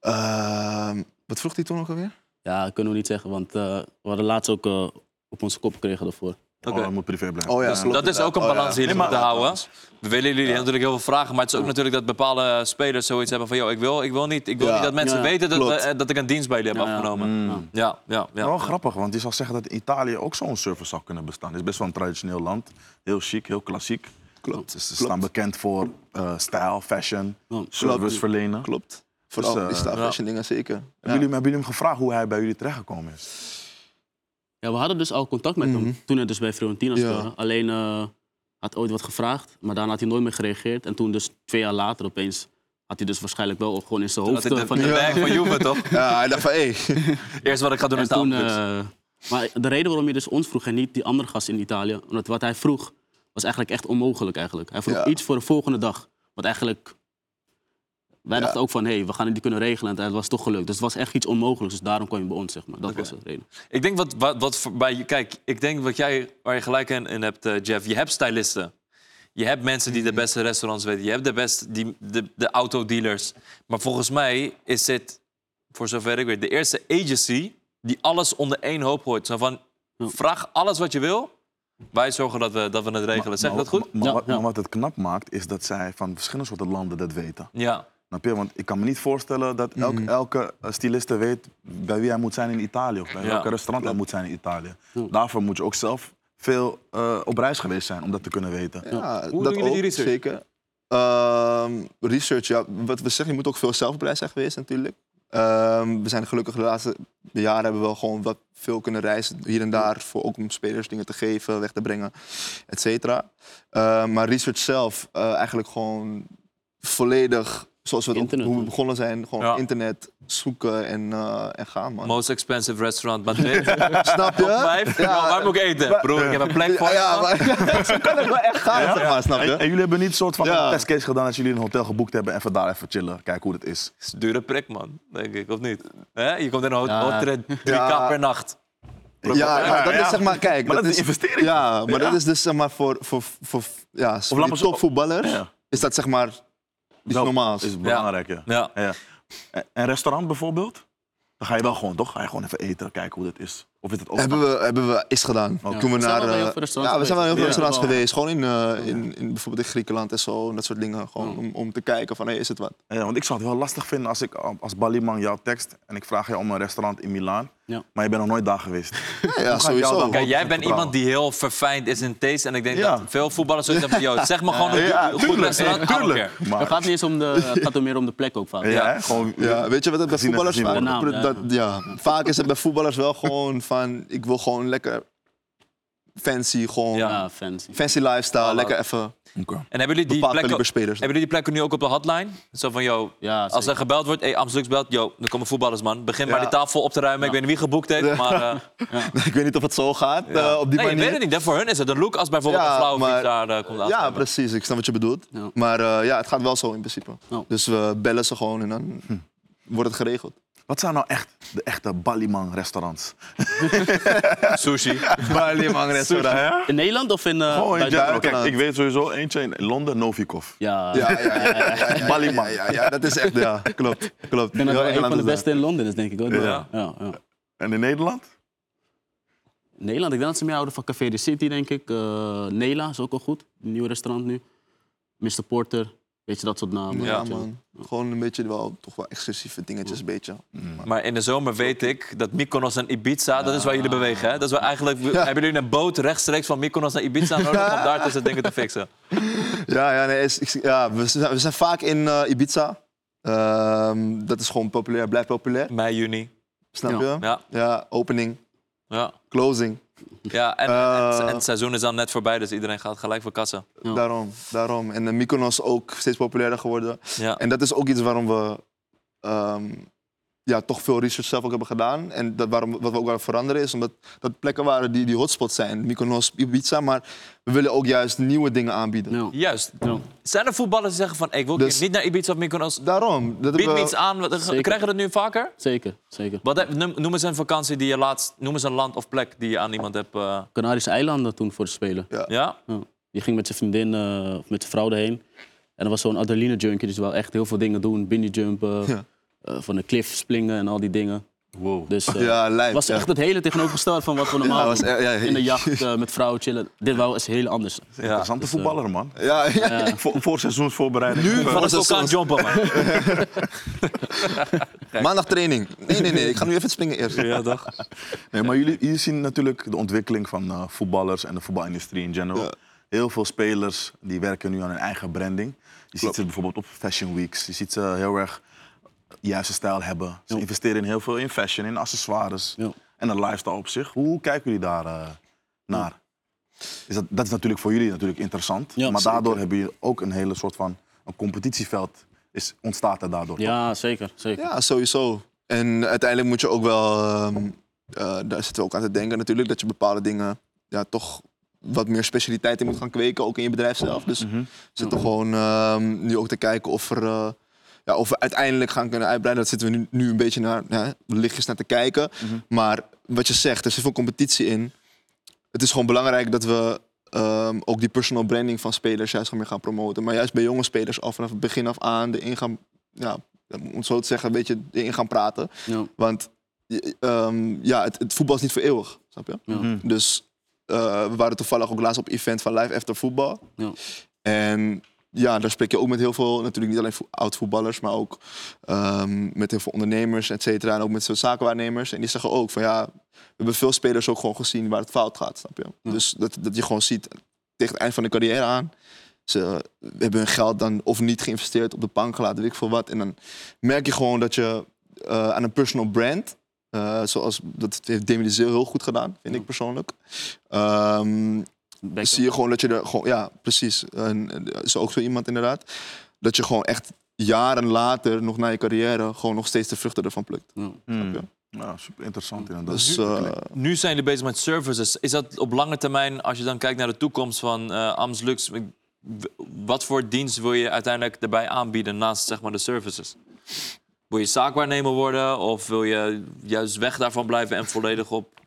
Speaker 1: Ehm, wat vroeg hij toen ook alweer?
Speaker 3: Ja, dat kunnen we niet zeggen, want eh, we hadden laatst ook eh, op onze kop gekregen daarvoor.
Speaker 4: Oh, dat moet privé blijven.
Speaker 1: Oh ja,
Speaker 4: Dus-
Speaker 1: klopt.
Speaker 2: Dat is ook een balans die
Speaker 1: in
Speaker 2: je moet houden. We willen jullie natuurlijk heel veel vragen, maar het is ook natuurlijk dat bepaalde spelers zoiets hebben van, yo, ik wil, ik wil niet, ik wil
Speaker 1: Ja.
Speaker 2: niet dat mensen
Speaker 3: Ja,
Speaker 2: weten dat,
Speaker 1: klopt.
Speaker 2: we- eh, dat ik een dienst bij jullie heb
Speaker 3: Ja, Mm. Oh, ja.
Speaker 2: afgenomen. Ja, ja, Mm. ja.
Speaker 4: Mm. Wel grappig, want je zou zeggen dat in Italië ook zo'n service zou kunnen bestaan. Het is best wel een traditioneel land. Heel chic, heel klassiek.
Speaker 1: Klopt.
Speaker 4: Dus ze
Speaker 1: Klopt.
Speaker 4: staan bekend voor eh, stijl, fashion,
Speaker 3: Klopt.
Speaker 4: service verlenen.
Speaker 1: Klopt. Vooral
Speaker 4: eh,
Speaker 1: die staat
Speaker 2: ja.
Speaker 1: fashion dingen, zeker. Ja.
Speaker 4: Hebben, jullie, hebben jullie hem gevraagd hoe hij bij jullie terechtgekomen is?
Speaker 3: Ja, we hadden dus al contact met
Speaker 1: Mhm.
Speaker 3: hem toen hij dus bij Fiorentina
Speaker 1: Ja.
Speaker 3: speelde. Alleen eh had ooit wat gevraagd, maar daarna had hij nooit meer gereageerd. En toen dus twee jaar later opeens had hij dus waarschijnlijk wel gewoon in zijn
Speaker 2: Dat
Speaker 3: hoofd...
Speaker 2: is
Speaker 3: eh,
Speaker 2: de,
Speaker 3: van,
Speaker 2: de bag van Juve, toch?
Speaker 1: Ja, hij dacht van, hé.
Speaker 2: Eerst wat ik ga doen
Speaker 3: En
Speaker 2: is
Speaker 3: toen,
Speaker 2: de
Speaker 3: eh, maar de reden waarom je dus ons vroeg en niet die andere gast in Italië, omdat wat hij vroeg was eigenlijk echt onmogelijk eigenlijk. Hij vroeg
Speaker 1: Ja.
Speaker 3: iets voor de volgende dag, wat eigenlijk wij
Speaker 1: Ja.
Speaker 3: dachten ook van, hé, hey, we gaan die kunnen regelen en het was toch gelukt. Dus het was echt iets onmogelijks, dus daarom kwam je bij ons zeg maar. Dat was de reden.
Speaker 2: Ik denk wat, wat, wat voor- bij je- kijk, ik denk wat jij, waar je gelijk in, in hebt, eh, Jeff. Je hebt stylisten. Je hebt mensen die de beste restaurants weten. Je hebt de beste, die, de, de autodealers. Maar volgens mij is dit, voor zover ik weet, de eerste agency die alles onder één hoop hoort. Zo van, vraag alles wat je wil. Wij zorgen dat we, dat we het regelen. Zeg ik
Speaker 4: Maar-
Speaker 2: dat goed?
Speaker 4: Maar, maar
Speaker 3: Ja,
Speaker 4: wat,
Speaker 3: ja.
Speaker 4: maar wat het knap maakt, is dat zij van verschillende soorten landen dat weten.
Speaker 2: Ja.
Speaker 4: Snap je? Want ik kan me niet voorstellen dat elk,
Speaker 1: Mhm.
Speaker 4: elke eh, styliste weet bij wie hij moet zijn in Italië. Of bij
Speaker 2: Ja.
Speaker 4: welke restaurant hij moet zijn in Italië. Daarvoor moet je ook zelf veel eh, op reis geweest zijn om dat te kunnen weten.
Speaker 1: Ja,
Speaker 2: Hoe
Speaker 1: dat
Speaker 2: doen jullie die
Speaker 1: ook,
Speaker 2: research?
Speaker 1: Zeker. Ehm, research, ja. Wat we zeggen, je moet ook veel zelf op reis zijn geweest natuurlijk. Ehm, we zijn gelukkig de laatste jaren hebben we wel gewoon wat veel kunnen reizen hier en daar. Voor, ook om spelers dingen te geven, weg te brengen, et cetera. Ehm, maar research zelf, eh, eigenlijk gewoon volledig Zoals we het ook-
Speaker 3: Internet,
Speaker 1: hoe we
Speaker 3: man.
Speaker 1: begonnen zijn, gewoon
Speaker 2: Ja.
Speaker 1: internet zoeken en, eh, en gaan, man.
Speaker 2: Most expensive restaurant, maar nee.
Speaker 1: Snap je?
Speaker 2: Top vijf? Ja, waar moet ik eten?
Speaker 1: Maar-
Speaker 2: Broer, ik heb een plek voor
Speaker 1: Ja,
Speaker 2: je.
Speaker 1: ja, maar zo kan het wel echt gaan, zeg maar, snap
Speaker 4: En, en
Speaker 1: je?
Speaker 4: jullie hebben niet een soort van
Speaker 1: Ja.
Speaker 4: een testcase gedaan dat jullie een hotel geboekt hebben en van daar even chillen, kijken hoe het is.
Speaker 2: is een dure prik, man, denk ik, of niet? Hè? Je komt in een hotel,
Speaker 3: Ja.
Speaker 2: hotel drie
Speaker 1: Ja.
Speaker 2: k per nacht.
Speaker 1: Ja, ja, dat is zeg maar, kijk.
Speaker 4: Maar dat is een investering.
Speaker 1: Ja, maar dat
Speaker 4: Ja.
Speaker 1: is dus zeg maar voor, voor, voor, ja, voor
Speaker 4: laat
Speaker 1: die
Speaker 4: maar zo-
Speaker 1: topvoetballers
Speaker 4: Ja.
Speaker 1: is dat zeg maar iets
Speaker 4: Wel,
Speaker 1: normaals.
Speaker 4: is belangrijk, ja.
Speaker 2: Ja.
Speaker 4: Ja. En en restaurant bijvoorbeeld? Dan ga je wel gewoon, toch? Ga je gewoon even eten, kijken hoe dat is. Of is het ook...
Speaker 1: Hebben we, hebben we is gedaan.
Speaker 4: Oké.
Speaker 1: Toen we
Speaker 3: We zijn
Speaker 1: naar,
Speaker 3: wel bij heel
Speaker 1: eh,
Speaker 3: veel restaurants
Speaker 1: ja, we zijn wel heel veel restaurants
Speaker 4: geweest.
Speaker 3: Ja.
Speaker 1: geweest. Gewoon in, eh, in, in bijvoorbeeld in Griekenland en zo en dat soort dingen. Gewoon om, om te kijken van, hey, is het wat?
Speaker 4: Ja, Eh, want ik zou het wel lastig vinden als ik eh, als Baliman jou tekst en ik vraag je om een restaurant in Milaan,
Speaker 3: Ja.
Speaker 4: maar je bent nog nooit daar geweest.
Speaker 1: Ja, ja,
Speaker 4: ga ik jou
Speaker 1: sowieso.
Speaker 4: dan-
Speaker 2: Kijk, jij bent
Speaker 4: Goed vertrouwen.
Speaker 2: iemand die heel verfijnd is in taste. En ik denk
Speaker 4: Ja.
Speaker 2: dat veel voetballers zoiets hebben van, "Yo, zeg me gewoon een
Speaker 4: Ja,
Speaker 2: goed
Speaker 4: tuurlijk,
Speaker 2: restaurant.
Speaker 4: eh,
Speaker 2: I don't
Speaker 4: tuurlijk.
Speaker 2: care."
Speaker 4: Maar,
Speaker 3: Het gaat niet eens om de, het gaat er meer om de plek ook vaak.
Speaker 4: ja, hè, gewoon,
Speaker 1: Ja, weet je wat het bij
Speaker 4: Gezien en
Speaker 1: voetballers vaak
Speaker 4: gezien
Speaker 3: worden.
Speaker 1: dat- dat, ja, Vaak is het bij voetballers wel gewoon van, ik wil gewoon lekker fancy, gewoon
Speaker 2: Ja.
Speaker 3: Ja, fancy.
Speaker 1: fancy lifestyle,
Speaker 2: Voilà.
Speaker 1: lekker even
Speaker 4: Oké.
Speaker 2: En hebben jullie
Speaker 1: bepaalde
Speaker 2: die plekken,
Speaker 1: kaliber spelers.
Speaker 2: hebben jullie die plekken nu ook op de hotline? Zo van, yo,
Speaker 3: Ja,
Speaker 2: als er
Speaker 3: zeker.
Speaker 2: gebeld wordt, hey, Amstelux belt, yo, dan komen voetballers, man. Begin maar
Speaker 1: Ja.
Speaker 2: die tafel op te ruimen. Ik weet niet wie geboekt heeft, maar... eh,
Speaker 1: Ik weet niet of het zo gaat eh, op die
Speaker 2: nee, ik
Speaker 1: manier.
Speaker 2: weet het niet. hè. Voor hun is het een look als bijvoorbeeld
Speaker 1: Ja,
Speaker 2: een flauwe
Speaker 1: maar-
Speaker 2: vriend daar eh, komt
Speaker 1: Ja,
Speaker 2: aanschuiven.
Speaker 1: precies. Ik snap wat je bedoelt.
Speaker 3: Ja.
Speaker 1: Maar eh, ja, het gaat wel zo in principe.
Speaker 3: Ja.
Speaker 1: Dus we bellen ze gewoon en dan wordt het geregeld.
Speaker 4: Wat zijn nou echt de echte Baliman restaurants?
Speaker 2: Sushi.
Speaker 1: Baliman restaurant.
Speaker 4: Ja,
Speaker 3: In Nederland of in... eh,
Speaker 4: Gewoon eentje.
Speaker 3: buitenland?
Speaker 4: Ja, kijk, ik weet sowieso eentje in Londen, Novikov.
Speaker 3: Ja,
Speaker 1: Ja, ja,
Speaker 3: ik
Speaker 1: ja, ja, ja, ja,
Speaker 4: Baliman.
Speaker 1: Ja, ja, ja, dat is echt, ja, klopt. klopt.
Speaker 3: denk dat
Speaker 1: Heel
Speaker 3: dat een
Speaker 1: Engeland
Speaker 3: van de
Speaker 1: is
Speaker 3: beste in Londen is, denk ik ook. wel.
Speaker 2: Ja.
Speaker 3: Ja. Ja,
Speaker 4: En in Nederland?
Speaker 3: Nederland, ik denk dat ze meer houden van Café de City, denk ik. Eh, Nela is ook wel goed. Een nieuw restaurant nu. Mr. Porter. Weet je, dat soort
Speaker 1: daar.
Speaker 3: namen.
Speaker 1: Ja,
Speaker 3: weet je wel.
Speaker 1: man. Gewoon een beetje wel, toch wel exclusieve dingetjes, een beetje.
Speaker 2: Maar in de zomer weet ik dat Mykonos en Ibiza, dat is waar jullie bewegen. Hè? Dat is waar eigenlijk, Hebben jullie een boot rechtstreeks van Mykonos naar Ibiza nodig om daar tussen dingen te fixen?
Speaker 1: Ja, ja, nee, is- ik- ja we, zijn, we zijn vaak in eh, Ibiza. Ehm, dat is gewoon populair, blijft populair.
Speaker 2: Mei, juni.
Speaker 1: Snap
Speaker 3: Ja.
Speaker 1: je?
Speaker 2: Ja,
Speaker 1: Ja, opening,
Speaker 2: ja.
Speaker 1: closing.
Speaker 2: ja en,
Speaker 1: Eh.
Speaker 2: en, en het seizoen is dan net voorbij, dus iedereen gaat gelijk voor kassen.
Speaker 3: Ja.
Speaker 1: Daarom, daarom. En de Mykonos ook steeds populairder geworden.
Speaker 2: Ja.
Speaker 1: En dat is ook iets waarom we ehm, ja, toch veel research zelf ook hebben gedaan. En dat waarom, wat we ook aan het veranderen is, omdat dat plekken waren die, die hotspots zijn. Mykonos, Ibiza, maar we willen ook juist nieuwe dingen aanbieden.
Speaker 3: Ja.
Speaker 2: Juist.
Speaker 3: Ja.
Speaker 2: Zijn er voetballers die zeggen van, ik wil
Speaker 1: Dus-
Speaker 2: niet naar Ibiza of Mykonos?
Speaker 1: Daarom. Dat
Speaker 2: Bied
Speaker 1: hebben
Speaker 2: me
Speaker 1: we-
Speaker 2: iets aan. Wat-
Speaker 3: Zeker.
Speaker 2: Krijgen we dat nu vaker?
Speaker 3: Zeker, zeker.
Speaker 2: Wat, heb- noem, noem eens een vakantie die je laatst... Noem eens een land of plek die je aan iemand hebt... eh,
Speaker 3: Canarische eilanden toen voor de Spelen.
Speaker 2: ja?
Speaker 3: Ja. Die ging met zijn vriendin eh, of met zijn vrouw erheen. En er was zo'n adrenaline junkie, dus wel echt heel veel dingen doen. Bungee jumpen,
Speaker 1: Ja.
Speaker 3: eh, van de cliff springen en al die dingen.
Speaker 4: Wow.
Speaker 3: Dus eh,
Speaker 1: Ja, lijp.
Speaker 3: het was
Speaker 1: ja.
Speaker 3: echt het hele tegenovergestelde van wat we normaal
Speaker 1: Ja, was
Speaker 3: doen.
Speaker 1: echt- ja,
Speaker 3: In de jacht, eh, met vrouwen chillen. Dit wel is heel anders.
Speaker 4: Interessante voetballer, man.
Speaker 1: Ja, ja.
Speaker 4: Voor, voor seizoensvoorbereiding.
Speaker 1: Nu?
Speaker 2: Van
Speaker 1: Wat
Speaker 2: een
Speaker 1: is dat
Speaker 2: vulkaan
Speaker 1: soms?
Speaker 2: jumpen, man.
Speaker 1: Maandag training. Nee, nee, nee. Ik ga nu even springen eerst.
Speaker 2: Ja, toch?
Speaker 4: Nee, maar jullie, jullie zien natuurlijk de ontwikkeling van eh, voetballers en de voetbalindustrie in general.
Speaker 1: Ja.
Speaker 4: Heel veel spelers die werken nu aan hun eigen branding. Je ziet
Speaker 1: Klopt.
Speaker 4: ze bijvoorbeeld op fashion weeks. Je ziet ze heel erg de juiste stijl hebben. Ze
Speaker 3: Ja.
Speaker 4: investeren in heel veel in fashion, in accessoires
Speaker 3: Ja.
Speaker 4: en een lifestyle op zich. Hoe kijken jullie daar eh, naar? Is dat, dat is natuurlijk voor jullie natuurlijk interessant.
Speaker 3: Ja,
Speaker 4: maar
Speaker 3: zeker.
Speaker 4: daardoor hebben jullie ook een hele soort van een competitieveld is, ontstaat er daardoor. toch?
Speaker 3: Ja, zeker, zeker.
Speaker 1: Ja, sowieso. En uiteindelijk moet je ook wel, ehm, eh, daar zitten we ook aan te denken natuurlijk, dat je bepaalde dingen ja, toch wat meer specialiteit in moet gaan kweken, ook in je bedrijf zelf. Dus we zitten gewoon ehm, nu ook te kijken of, er, eh, ja, of we uiteindelijk gaan kunnen uitbreiden. Dat zitten we nu, nu een beetje naar, hè, lichtjes naar te kijken. Maar wat je zegt, er zit veel competitie in. Het is gewoon belangrijk dat we ehm, ook die personal branding van spelers juist gewoon meer gaan promoten. Maar juist bij jonge spelers al vanaf het begin af aan de ingaan, ja, om het zo te zeggen, een beetje in gaan praten.
Speaker 3: Ja.
Speaker 1: Want je- ehm, ja, het, het voetbal is niet voor eeuwig, snap je?
Speaker 3: Ja.
Speaker 4: Mhm.
Speaker 1: Dus eh, we waren toevallig ook laatst op event van Live After Voetbal.
Speaker 3: Ja.
Speaker 1: En ja, daar spreek je ook met heel veel, natuurlijk niet alleen vo- oud-voetballers, maar ook ehm, met heel veel ondernemers, et cetera. En ook met zo'n zakenwaarnemers. En die zeggen ook van ja, we hebben veel spelers ook gewoon gezien waar het fout gaat, snap je? Dus dat, dat je gewoon ziet tegen het eind van de carrière aan. Ze hebben hun geld dan of niet geïnvesteerd op de bank gelaten, weet ik veel wat. En dan merk je gewoon dat je eh, aan een personal brand, eh, zoals dat heeft Demi de Zeeuw heel goed gedaan, vind ik persoonlijk. Ehm,
Speaker 3: Beckham.
Speaker 1: zie je gewoon dat je er gewoon, ja, precies. En, en, is ook zo iemand inderdaad. Dat je gewoon echt jaren later, nog na je carrière, gewoon nog steeds de vruchten ervan plukt.
Speaker 4: Hmm.
Speaker 1: Snap
Speaker 4: Ja, super interessant inderdaad.
Speaker 1: Dus
Speaker 2: nu-
Speaker 1: eh,
Speaker 2: Nu zijn jullie bezig met services. Is dat op lange termijn, als je dan kijkt naar de toekomst van eh Amslux, w- wat voor dienst wil je uiteindelijk erbij aanbieden naast zeg maar, de services? Wil je zaakwaarnemer worden of wil je juist weg daarvan blijven en volledig op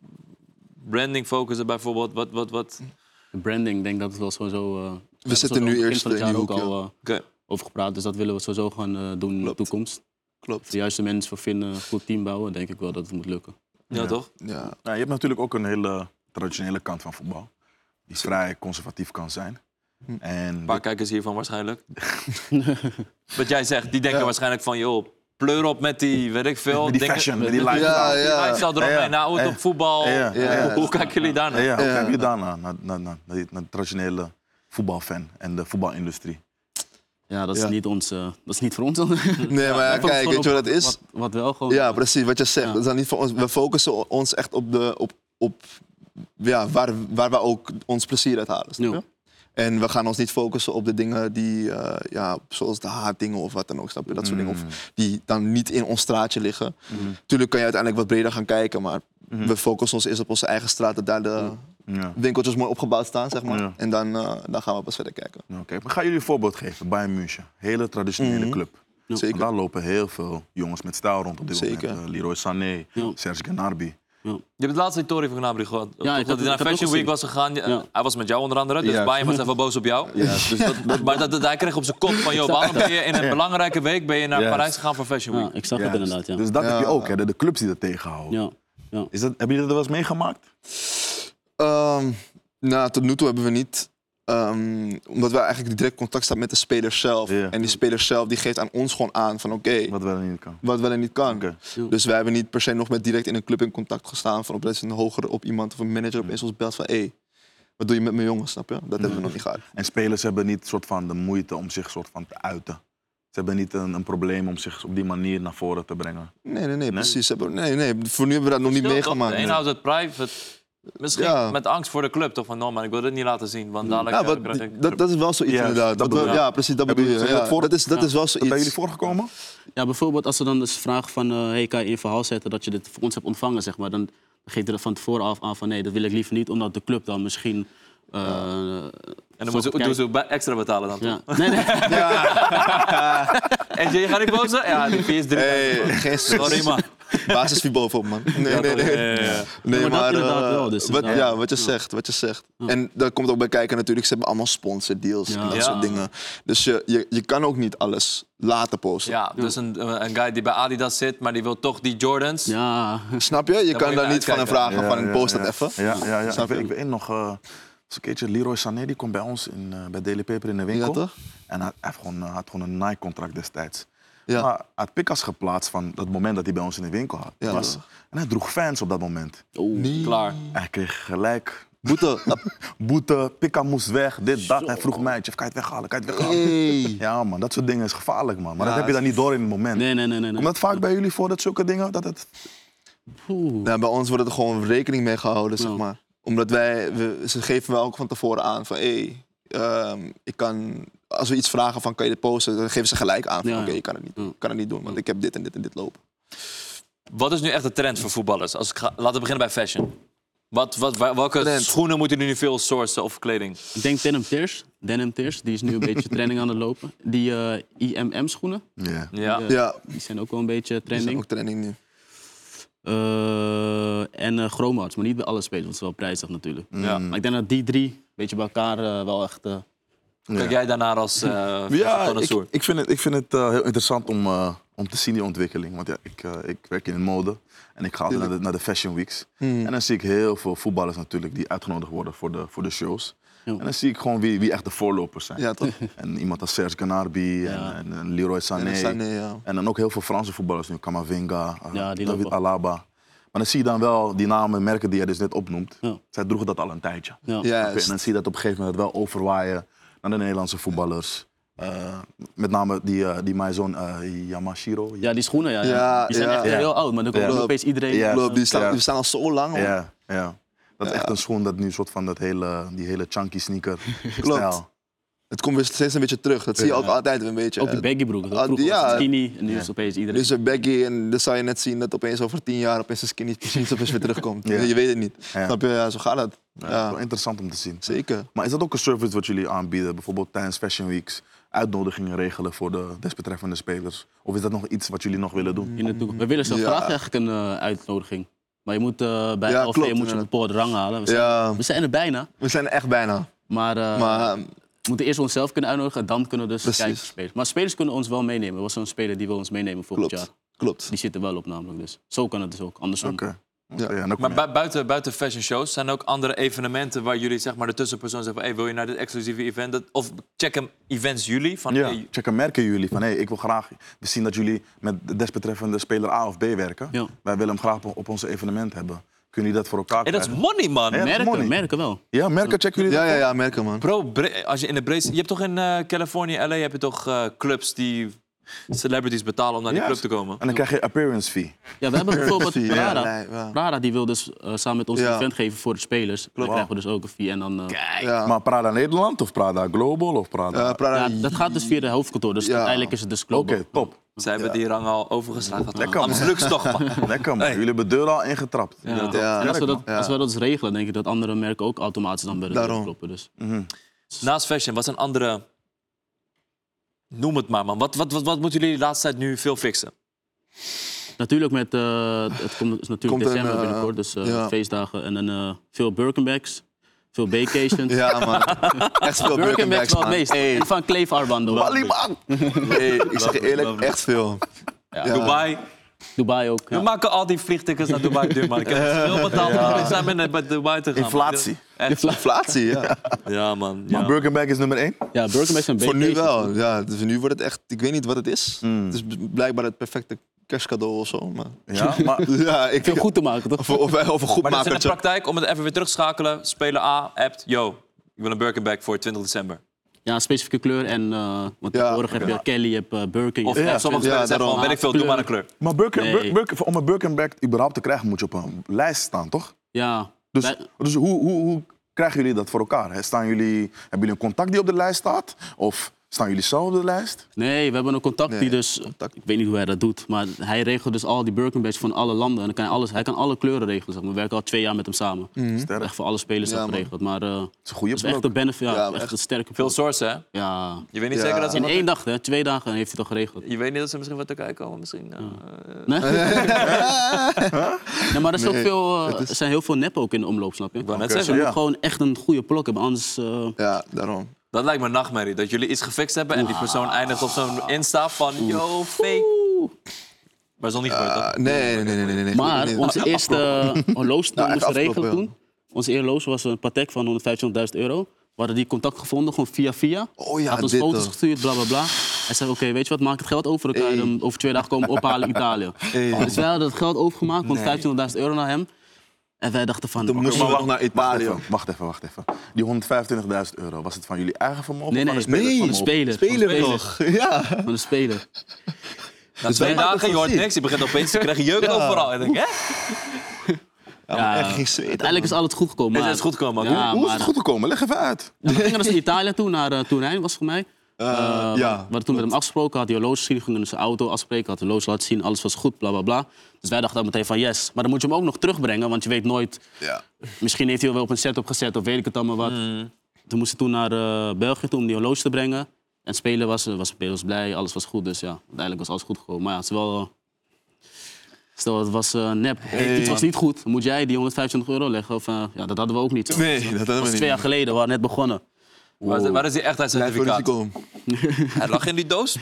Speaker 2: branding focussen bijvoorbeeld? Wat, wat, wat?
Speaker 3: De branding, ik denk dat het wel sowieso... eh, we
Speaker 1: zitten
Speaker 3: hebben
Speaker 1: nu
Speaker 3: sowieso aan het begin
Speaker 1: eerst
Speaker 3: van het
Speaker 1: in die
Speaker 3: jaar ook
Speaker 1: hoek,
Speaker 3: al eh,
Speaker 2: Oké.
Speaker 3: over gepraat. Dus dat willen we sowieso gaan eh, doen in de
Speaker 1: Klopt.
Speaker 3: toekomst.
Speaker 1: klopt.
Speaker 3: De juiste mensen voor vinden, een goed team bouwen, denk ik wel dat het moet lukken.
Speaker 2: Ja,
Speaker 4: Ja.
Speaker 2: toch?
Speaker 1: Ja.
Speaker 4: Ja, je hebt natuurlijk ook een hele traditionele kant van voetbal. Die vrij conservatief kan zijn. En
Speaker 2: Een paar kijkers hiervan waarschijnlijk. wat jij zegt, die denken waarschijnlijk van, joh, pleur op met die, weet ik veel.
Speaker 4: met die
Speaker 2: Denk-
Speaker 4: fashion, met
Speaker 2: met
Speaker 4: die
Speaker 2: die-
Speaker 4: lifestyle.
Speaker 1: Ja,
Speaker 4: Ja,
Speaker 2: die
Speaker 1: ja.
Speaker 2: lifestyle erop
Speaker 4: Ja, ja.
Speaker 2: mee. Nou, het
Speaker 4: Ja.
Speaker 2: op voetbal.
Speaker 4: Ja, ja.
Speaker 2: Hoe, hoe kijken jullie daarnaar?
Speaker 4: ja, hoe
Speaker 1: Ja.
Speaker 4: kijk je daarna, naar, naar, naar, naar, die- naar de traditionele voetbalfan en de voetbalindustrie?
Speaker 3: Ja, dat is,
Speaker 1: Ja.
Speaker 3: Niet, ons, eh, dat is niet voor ons. nee,
Speaker 1: Nee, maar ja, kijk, weet je wat dat is?
Speaker 3: Wat, wat wel gewoon...
Speaker 1: Ja, precies, wat je zegt.
Speaker 3: Ja.
Speaker 1: Dat is dan niet voor ons. We focussen o- ons echt op, de, op, op ja, waar, waar we ook ons plezier uit halen. snap je?
Speaker 3: Ja.
Speaker 1: En we gaan ons niet focussen op de dingen die, eh, ja, zoals de haatdingen of wat dan ook, snap je? Dat soort dingen. Of die dan niet in ons straatje liggen. Tuurlijk kan je uiteindelijk wat breder gaan kijken, maar we focussen ons eerst op onze eigen straat, dat daar de
Speaker 4: Ja.
Speaker 1: winkeltjes mooi opgebouwd staan, zeg maar.
Speaker 4: Ja.
Speaker 1: En dan, eh, dan gaan we pas verder kijken.
Speaker 4: Ja, Nou, Oké, maar ga jullie een voorbeeld geven. Bayern München, hele traditionele club.
Speaker 1: Mhm. Zeker.
Speaker 4: Want daar lopen heel veel jongens met stijl rond op dit
Speaker 1: Zeker.
Speaker 4: moment. Eh, Leroy Sané,
Speaker 3: Ja.
Speaker 4: Serge Gnabry.
Speaker 2: Je hebt het laatste Tory van Gnabry gehad.
Speaker 3: ik
Speaker 2: Ja,
Speaker 3: heb-
Speaker 2: dat
Speaker 3: ik
Speaker 2: hij naar
Speaker 3: heb
Speaker 2: Fashion
Speaker 3: ook
Speaker 2: Week
Speaker 3: gezien.
Speaker 2: was gegaan. Ja,
Speaker 3: Ja.
Speaker 2: Hij was met jou onder andere, dus
Speaker 4: Ja.
Speaker 2: Bayern was even boos op jou.
Speaker 4: dus dat,
Speaker 2: Maar dat, dat- hij kreeg op zijn kop van, joh, waarom ben je in een belangrijke week ben je naar
Speaker 4: Ja.
Speaker 2: Parijs gegaan voor Fashion
Speaker 3: Ja,
Speaker 2: Week?
Speaker 3: ik zag het
Speaker 4: Juist.
Speaker 3: inderdaad, ja.
Speaker 4: Dus dat heb je
Speaker 1: Ja.
Speaker 4: ook, hè? de- de clubs die dat tegenhouden.
Speaker 3: ja. ja.
Speaker 4: Is dat, hebben jullie dat wel eens meegemaakt?
Speaker 1: Ehm, nou, tot nu toe hebben we niet. ehm, omdat wij eigenlijk direct contact staan met de speler zelf.
Speaker 4: Ja.
Speaker 1: En die speler zelf die geeft aan ons gewoon aan van oké,
Speaker 4: Wat wel niet kan.
Speaker 1: wat wel en niet kan.
Speaker 4: Oké.
Speaker 1: Dus wij hebben niet per se nog met direct in een club in contact gestaan. Van op dat is een hoger op iemand of een manager opeens ons belt van hé, hey, wat doe je met mijn jongens, snap je? Dat hebben we nog niet gehad.
Speaker 4: En spelers hebben niet soort van de moeite om zich soort van te uiten. Ze hebben niet een, een probleem om zich op die manier naar voren te brengen.
Speaker 1: Nee, nee, nee, precies. Hebben we- Nee, nee, voor nu hebben we dat nog niet
Speaker 2: Stil, toch?
Speaker 1: meegemaakt.
Speaker 2: De een
Speaker 1: Nee.
Speaker 2: houdt het private. Misschien
Speaker 1: Ja.
Speaker 2: met angst voor de club, toch? Van, no man, ik wil dit niet laten zien, want dadelijk
Speaker 1: Ja,
Speaker 2: eh,
Speaker 1: wat-
Speaker 2: krijg ik...
Speaker 1: dat, dat is wel zoiets
Speaker 4: Ja,
Speaker 1: inderdaad.
Speaker 4: dat
Speaker 1: Dat we-
Speaker 4: bedoel ik.
Speaker 1: ja, precies, dat
Speaker 4: Hebben
Speaker 1: bedoel je.
Speaker 4: jullie het
Speaker 1: Ja,
Speaker 4: voor-
Speaker 1: dat is, dat is wel
Speaker 4: Is dat bij jullie
Speaker 1: zoiets.
Speaker 4: voorgekomen?
Speaker 3: Ja, bijvoorbeeld als ze dan eens vragen van, eh, hey, kan je in je verhaal zetten dat je dit voor ons hebt ontvangen, zeg maar. Dan geef je er van tevoren af aan van, nee, dat wil ik liever niet, omdat de club dan misschien... eh,
Speaker 2: En dan moeten ze,
Speaker 3: Kijk.
Speaker 2: doen ze ook bij- extra betalen dan, toch?
Speaker 3: ja. Nee, nee.
Speaker 2: En je gaat niet boos zijn? Ja, die PS3.
Speaker 1: Hey, geen
Speaker 2: Sorry, man.
Speaker 1: Basis bovenop, man. Nee,
Speaker 2: Ja,
Speaker 1: nee,
Speaker 2: toch?
Speaker 1: nee.
Speaker 2: Ja, ja, ja.
Speaker 1: Nee,
Speaker 3: Ja, maar dat
Speaker 1: maar,
Speaker 3: inderdaad
Speaker 1: eh,
Speaker 3: wel, dus
Speaker 1: wat,
Speaker 3: inderdaad.
Speaker 1: ja, wat je zegt, wat je zegt. En daar komt ook bij kijken natuurlijk, ze hebben allemaal sponsordeals
Speaker 3: Ja.
Speaker 1: en dat
Speaker 2: Ja.
Speaker 1: soort dingen. Dus je, je, je kan ook niet alles laten posten.
Speaker 2: Ja, dus een, een guy die bij Adidas zit, maar die wil toch die Jordans.
Speaker 3: Ja,
Speaker 1: Snap je? Je kan
Speaker 2: moet je
Speaker 1: daar
Speaker 2: naar
Speaker 1: niet van hem
Speaker 2: uitkijken.
Speaker 1: vragen van post dat even.
Speaker 4: Ja, ja, ja.
Speaker 1: Snap
Speaker 4: Ik,
Speaker 1: je?
Speaker 4: weet- ik weet nog, eh, was een keertje Leroy Sané, die komt bij ons in, eh, bij Daily Paper in de winkel.
Speaker 1: Ja, toch?
Speaker 4: En hij hij heeft gewoon, eh, had gewoon een Nike-contract destijds.
Speaker 1: Ja.
Speaker 4: Maar hij had Picasso geplaatst van het moment dat hij bij ons in de winkel had,
Speaker 1: Ja,
Speaker 4: was.
Speaker 1: toch?
Speaker 4: En hij droeg fans op dat moment.
Speaker 3: Oeh, klaar.
Speaker 4: En hij kreeg gelijk
Speaker 1: Boete. Ap.
Speaker 4: boete, Pika moest weg, dit, dat. Hij vroeg mij, "Jeff, kan je het weghalen, kan je het weghalen?
Speaker 1: Hey.
Speaker 4: Ja man, dat soort dingen is gevaarlijk man. Maar dat heb je dan niet door in het moment.
Speaker 3: Nee, nee, nee, nee. nee.
Speaker 4: Komt dat vaak bij jullie voor, dat zulke dingen? Dat het...
Speaker 3: Oeh.
Speaker 1: Nou, bij ons wordt er gewoon rekening mee gehouden, zeg maar. Omdat wij, we, ze geven wel ook van tevoren aan van, hé, ehm, ik kan, als we iets vragen van, kan je dit posten? Dan geven ze gelijk aan van,
Speaker 3: Ja, ja.
Speaker 1: oké, ik kan het niet, doen.
Speaker 3: Ja.
Speaker 1: Ik kan het niet doen, want ik heb dit en dit en dit lopen.
Speaker 2: Wat is nu echt de trend voor voetballers? Als ik ga, laten we beginnen bij fashion. Wat, wat, wa- welke
Speaker 1: Trend.
Speaker 2: schoenen moeten jullie nu veel sourcen of kleding?
Speaker 3: Ik denk Denim Tears. Denim Tears, die is nu een beetje trending aan het lopen. Die eh, IMM-schoenen,
Speaker 4: Ja.
Speaker 2: Ja.
Speaker 3: Ja.
Speaker 1: Ja,
Speaker 3: die zijn ook wel een beetje
Speaker 1: dat is
Speaker 3: trending.
Speaker 1: ook trending nu.
Speaker 3: Eh, en eh Chromarts, maar niet bij alle spelers, want het is wel prijzig natuurlijk.
Speaker 1: Mm.
Speaker 2: Ja.
Speaker 3: Maar ik denk dat die drie, een beetje bij elkaar, eh, wel echt... eh,
Speaker 2: Kijk jij daarnaar als eh fashion
Speaker 4: Ja, ik,
Speaker 2: connoisseur?
Speaker 4: ik vind het, ik vind het eh, heel interessant om, eh, om te zien die ontwikkeling. Want ja, ik, eh, ik werk in de mode en ik ga altijd naar de, naar de fashion weeks. En dan zie ik heel veel voetballers natuurlijk die uitgenodigd worden voor de, voor de shows. En dan zie ik gewoon wie, wie echt de voorlopers zijn.
Speaker 1: Ja, toch?
Speaker 4: En iemand als Serge Gnabry en, en, en Leroy Sané.
Speaker 1: En dan staan, nee, ja.
Speaker 4: En dan ook heel veel Franse voetballers nu. Kamavinga, eh,
Speaker 3: Ja, die
Speaker 4: David
Speaker 3: lopen.
Speaker 4: Alaba. Maar dan zie je dan wel die namen, merken die jij dus net opnoemt.
Speaker 3: Ja.
Speaker 4: Zij droegen dat al een tijdje.
Speaker 3: ja.
Speaker 4: Oké, En
Speaker 1: Juist.
Speaker 4: dan zie je dat op een gegeven moment wel overwaaien naar de Nederlandse voetballers. Eh, met name die, eh, die mijn zoon eh, Yamashiro.
Speaker 3: Ja, die schoenen, ja. ja.
Speaker 1: Ja,
Speaker 3: die zijn
Speaker 1: ja.
Speaker 3: echt
Speaker 1: Ja.
Speaker 3: heel oud, maar dan komt
Speaker 4: Ja.
Speaker 3: opeens iedereen.
Speaker 4: Ja.
Speaker 1: Klopt, die staan,
Speaker 4: Ja.
Speaker 1: die staan al zo lang. man.
Speaker 4: ja, ja. Dat is echt een schoen dat nu soort van dat hele, die hele chunky sneaker
Speaker 1: Klopt.
Speaker 4: stijl.
Speaker 1: Het komt weer steeds een beetje terug. Dat zie je ook altijd een beetje.
Speaker 3: Ook die baggy
Speaker 1: Ah,
Speaker 3: dat Vroeger
Speaker 1: ja.
Speaker 3: was het skinny en nu is het opeens iedereen.
Speaker 1: Dus een baggy en dan zou je net zien dat opeens over tien jaar opeens een skinny precies opeens weer terugkomt.
Speaker 4: Ja.
Speaker 1: Je weet het niet.
Speaker 4: Ja.
Speaker 1: Snap je? Ja, zo gaat dat. Ja,
Speaker 4: Ja, wel interessant om te zien.
Speaker 1: zeker.
Speaker 4: Maar is dat ook een service wat jullie aanbieden? Bijvoorbeeld tijdens Fashion Weeks uitnodigingen regelen voor de desbetreffende spelers? Of is dat nog iets wat jullie nog willen doen?
Speaker 3: In de toekomst. We willen zo
Speaker 1: Ja.
Speaker 3: graag eigenlijk een eh, uitnodiging. Maar je moet eh, bij
Speaker 1: Ja,
Speaker 3: LV
Speaker 1: klopt,
Speaker 3: moet je een
Speaker 1: inderdaad.
Speaker 3: bepaalde rang halen. We zijn,
Speaker 1: Ja,
Speaker 3: we zijn er bijna.
Speaker 1: we zijn er echt bijna.
Speaker 3: Maar, eh,
Speaker 1: Maar ehm,
Speaker 3: we moeten eerst onszelf kunnen uitnodigen. en Dan kunnen we dus
Speaker 1: Precies.
Speaker 3: kijken voor spelers. Maar spelers kunnen ons wel meenemen. Er was zo'n speler die wil ons meenemen volgend
Speaker 1: klopt,
Speaker 3: jaar.
Speaker 1: klopt.
Speaker 3: Die zit er wel op namelijk. Dus zo kan het dus ook. Andersom.
Speaker 4: Oké. Oké,
Speaker 1: Ja.
Speaker 4: ja, dan kom
Speaker 2: Maar
Speaker 4: je-
Speaker 2: bui- buiten, buiten fashion shows zijn er ook andere evenementen waar jullie zeg maar de tussenpersoon zeggen: van, hey, wil je naar dit exclusieve event? Dat, of check hem events jullie van
Speaker 4: Ja,
Speaker 2: hey,
Speaker 4: checken merken jullie van hé, ik wil graag we zien dat jullie met de desbetreffende speler A of B werken.
Speaker 3: Ja.
Speaker 4: Wij willen hem graag op- op ons evenement hebben. Kunnen jullie dat voor elkaar
Speaker 2: hey, dat is
Speaker 4: krijgen?
Speaker 2: money man.
Speaker 4: Ja.
Speaker 3: Merken,
Speaker 4: money.
Speaker 3: merken wel.
Speaker 4: Ja, merken checken jullie
Speaker 1: Ja,
Speaker 4: dat?
Speaker 1: ja, ja, merken man.
Speaker 2: Bro, bre- als je in de breedste, je hebt toch in eh, Californië, LA, heb je toch eh, clubs die celebrities betalen om naar die
Speaker 4: Ja.
Speaker 2: club te komen?
Speaker 4: En dan krijg je appearance fee.
Speaker 3: Ja, we hebben bijvoorbeeld
Speaker 1: Ja,
Speaker 3: Prada.
Speaker 1: nee, ja.
Speaker 3: Prada die wil dus eh, samen met ons een
Speaker 1: Ja.
Speaker 3: event geven voor de spelers. Dan krijgen we dus ook een fee. En dan, eh,
Speaker 1: Ja.
Speaker 4: Maar Prada Nederland of Prada Global of Prada...
Speaker 1: Eh, Prada-
Speaker 3: ja, dat gaat dus via de hoofdkantoor. Dus
Speaker 1: Ja.
Speaker 3: uiteindelijk is het dus
Speaker 4: Oké,
Speaker 3: global.
Speaker 4: top.
Speaker 2: Zij hebben die rang al overgeslagen.
Speaker 4: Lekker, man.
Speaker 2: Amst lukt toch man.
Speaker 4: Lekker man. Jullie hebben de deur al ingetrapt.
Speaker 3: Ja.
Speaker 1: Ja, ja.
Speaker 3: En als, we dat,
Speaker 1: Ja.
Speaker 3: als we dat dus regelen, denk ik dat andere merken ook automatisch dan bij de deur
Speaker 1: Daarom.
Speaker 3: kloppen. Dus.
Speaker 2: Naast fashion, wat zijn andere. Noem het maar, man. Wat, wat, wat, wat moeten jullie de laatste tijd nu veel fixen?
Speaker 3: Natuurlijk met, eh, het komt is natuurlijk
Speaker 1: Komt een,
Speaker 3: december
Speaker 1: eh,
Speaker 3: binnenkort, dus eh,
Speaker 1: ja.
Speaker 3: feestdagen. En dan eh, veel Birkenbacks, veel Baycations.
Speaker 1: Ja, man. Echt veel
Speaker 3: Birkenbacks
Speaker 1: Birkenbacks,
Speaker 3: wel
Speaker 1: man.
Speaker 3: het meest.
Speaker 1: Hey,
Speaker 3: En van Kleef armbanden. ook.
Speaker 1: Bali, man. Hey, ik zeg je eerlijk, echt veel. Ja.
Speaker 2: Dubai.
Speaker 3: Dubai ook.
Speaker 2: We
Speaker 3: Ja.
Speaker 2: maken al die vliegtickets naar Dubai duur, man. Ik heb veel betaald om met examen naar bij Dubai te gaan.
Speaker 4: Inflatie.
Speaker 2: Echt.
Speaker 1: Inflatie, ja.
Speaker 2: Ja, man.
Speaker 4: Maar
Speaker 2: Ja.
Speaker 4: Birkenberg is nummer één.
Speaker 3: ja, Birkenbacks en
Speaker 1: Voor
Speaker 3: Baycations.
Speaker 1: nu wel. Ja, dus nu wordt het echt, ik weet niet wat het is. Het is b- blijkbaar het perfecte kerstcadeau of zo. Maar...
Speaker 4: Ja, maar
Speaker 1: Ja, ik
Speaker 3: Veel goed te maken, toch?
Speaker 1: Of, of, of een goed
Speaker 2: Maar dat is in de
Speaker 1: makertje.
Speaker 2: praktijk, om het even weer terug te schakelen. Speler A appt, yo, ik wil een Birkenbag voor 20 december.
Speaker 3: Ja, een specifieke kleur. En, eh want
Speaker 1: Ja.
Speaker 3: tegenwoordig heb je Kelly, je hebt eh, Birken. je
Speaker 2: Of
Speaker 3: hebt-
Speaker 2: eh, sommige
Speaker 1: Ja,
Speaker 2: spelers zeggen
Speaker 1: daarom.
Speaker 2: gewoon, weet ik veel, doe maar een kleur.
Speaker 4: Maar Birken,
Speaker 3: Nee.
Speaker 4: Birken- Birken- om een Birkenberg überhaupt te krijgen, moet je op een lijst staan, toch?
Speaker 3: ja.
Speaker 4: Dus,
Speaker 3: Wij-
Speaker 4: dus hoe, hoe, hoe krijgen jullie dat voor elkaar? hè? Staan jullie, hebben jullie een contact die op de lijst staat? Of staan jullie zelf op de lijst?
Speaker 3: Nee, we hebben een contact die
Speaker 1: Nee,
Speaker 3: dus... Ik weet niet hoe hij dat doet, maar hij regelt dus al die Birkenbacks van alle landen. En dan kan hij, alles, hij kan alle kleuren regelen. Zeg maar. We werken al twee jaar met hem samen.
Speaker 1: Mm.
Speaker 4: Sterk.
Speaker 3: Echt voor alle spelers
Speaker 1: Ja,
Speaker 3: dat
Speaker 1: man.
Speaker 3: geregeld. Maar eh dat
Speaker 4: is een goede
Speaker 3: is echt
Speaker 4: blok.
Speaker 3: een benefit. Ja,
Speaker 1: Ja,
Speaker 3: echt,
Speaker 1: echt.
Speaker 3: een
Speaker 2: Veel
Speaker 3: sterke blok.
Speaker 2: sources, hè?
Speaker 3: Ja.
Speaker 2: Je weet niet
Speaker 1: Ja.
Speaker 2: zeker dat ze...
Speaker 3: In één dag, hè? twee dagen heeft hij toch geregeld.
Speaker 2: Je weet niet dat ze misschien wat te kijken komen, misschien.
Speaker 1: Hmm.
Speaker 2: eh,
Speaker 3: Nee? nee, maar er, is ook
Speaker 1: Nee,
Speaker 3: veel, eh, er zijn heel veel nep ook in de omloop, snap je?
Speaker 2: wou net
Speaker 4: Oké,
Speaker 2: zeggen.
Speaker 3: Je moet
Speaker 4: Ja.
Speaker 3: gewoon echt een goede plok hebben, anders... eh,
Speaker 1: Ja, daarom.
Speaker 2: Dat lijkt me een nachtmerrie. Dat jullie iets gefixt hebben en die persoon eindigt op zo'n Insta van... Yo, fake. Maar dat is nog niet gebeurd,
Speaker 1: Ah,
Speaker 2: toch?
Speaker 1: nee, nee, nee, nee, nee, nee.
Speaker 3: Maar
Speaker 1: nee.
Speaker 3: onze eerste eh, horloge die
Speaker 1: Nou, echt
Speaker 3: we moesten regelen
Speaker 1: afgelopen, ja.
Speaker 3: toen. Onze eerste horloge was een Patek van 125.000 euro. We hadden die contact gevonden, gewoon via via.
Speaker 1: Oh ja,
Speaker 3: Had ons
Speaker 1: dit
Speaker 3: foto's
Speaker 1: toch.
Speaker 3: gestuurd, bla bla bla. Hij zei, oké, weet je wat, maak het geld over elkaar.
Speaker 1: Hey.
Speaker 3: dan Over twee dagen komen we ophalen Italië.
Speaker 1: Hey.
Speaker 3: Dus wij hadden het geld overgemaakt, 125.000 euro naar hem. En wij dachten van,
Speaker 1: Toen
Speaker 3: oké,
Speaker 1: moesten we nog naar
Speaker 4: Wacht
Speaker 1: Italië.
Speaker 4: even, wacht even, wacht even. Die 125.000 euro, was het van jullie eigen vermogen?
Speaker 3: Nee,
Speaker 4: of van
Speaker 3: nee,
Speaker 4: de spelers
Speaker 3: van de
Speaker 4: vermogen?
Speaker 3: speler. van de
Speaker 1: Spelen
Speaker 3: speler,
Speaker 1: nog. Ja.
Speaker 3: Van de speler.
Speaker 4: Eh,
Speaker 2: Na
Speaker 4: dus
Speaker 2: twee
Speaker 1: maken
Speaker 2: dagen,
Speaker 1: het
Speaker 2: nou, je hoort
Speaker 1: gewoon
Speaker 2: niks. Je begint opeens te krijgen jeuk overal. En ik denk, hè?
Speaker 1: Ja, echt geen zweet.
Speaker 3: Uiteindelijk is alles goed gekomen.
Speaker 2: Is
Speaker 3: maar-
Speaker 2: het goed gekomen, ook?
Speaker 3: Ja,
Speaker 4: Hoe is
Speaker 3: maar-
Speaker 4: het goed gekomen? Leg even uit.
Speaker 3: Ja, we gingen dus naar Italië toe, naar eh, Turijn was het voor mij. Eh, we
Speaker 1: ja,
Speaker 3: hadden toen met hem afgesproken, had hij horloge gezien, gingen in zijn auto afspreken, had de horloge laten zien, alles was goed, bla bla bla. Dus wij dachten ook meteen van yes, maar dan moet je hem ook nog terugbrengen, want je weet nooit,
Speaker 1: Ja.
Speaker 3: misschien heeft hij wel op een setup gezet of weet ik het allemaal wat.
Speaker 1: Hmm.
Speaker 3: Toen moesten we toen naar eh, België toe om die horloge te brengen. En spelen was, was spelers blij, alles was goed, dus ja, uiteindelijk was alles goed gekomen. Maar ja, het is wel... eh, Stel, het was eh, nep. het was niet goed. Dan moet jij die 125 euro leggen? Of, eh, ja, dat hadden we ook niet.
Speaker 1: Nee, dat hebben
Speaker 3: Dat
Speaker 1: we
Speaker 3: was
Speaker 1: niet.
Speaker 3: twee jaar geleden, we waren net begonnen.
Speaker 2: Waar is- Waar is die
Speaker 1: Blijf voor
Speaker 2: echtheidscertificaat?
Speaker 1: risico.
Speaker 2: Hij lag in die doos.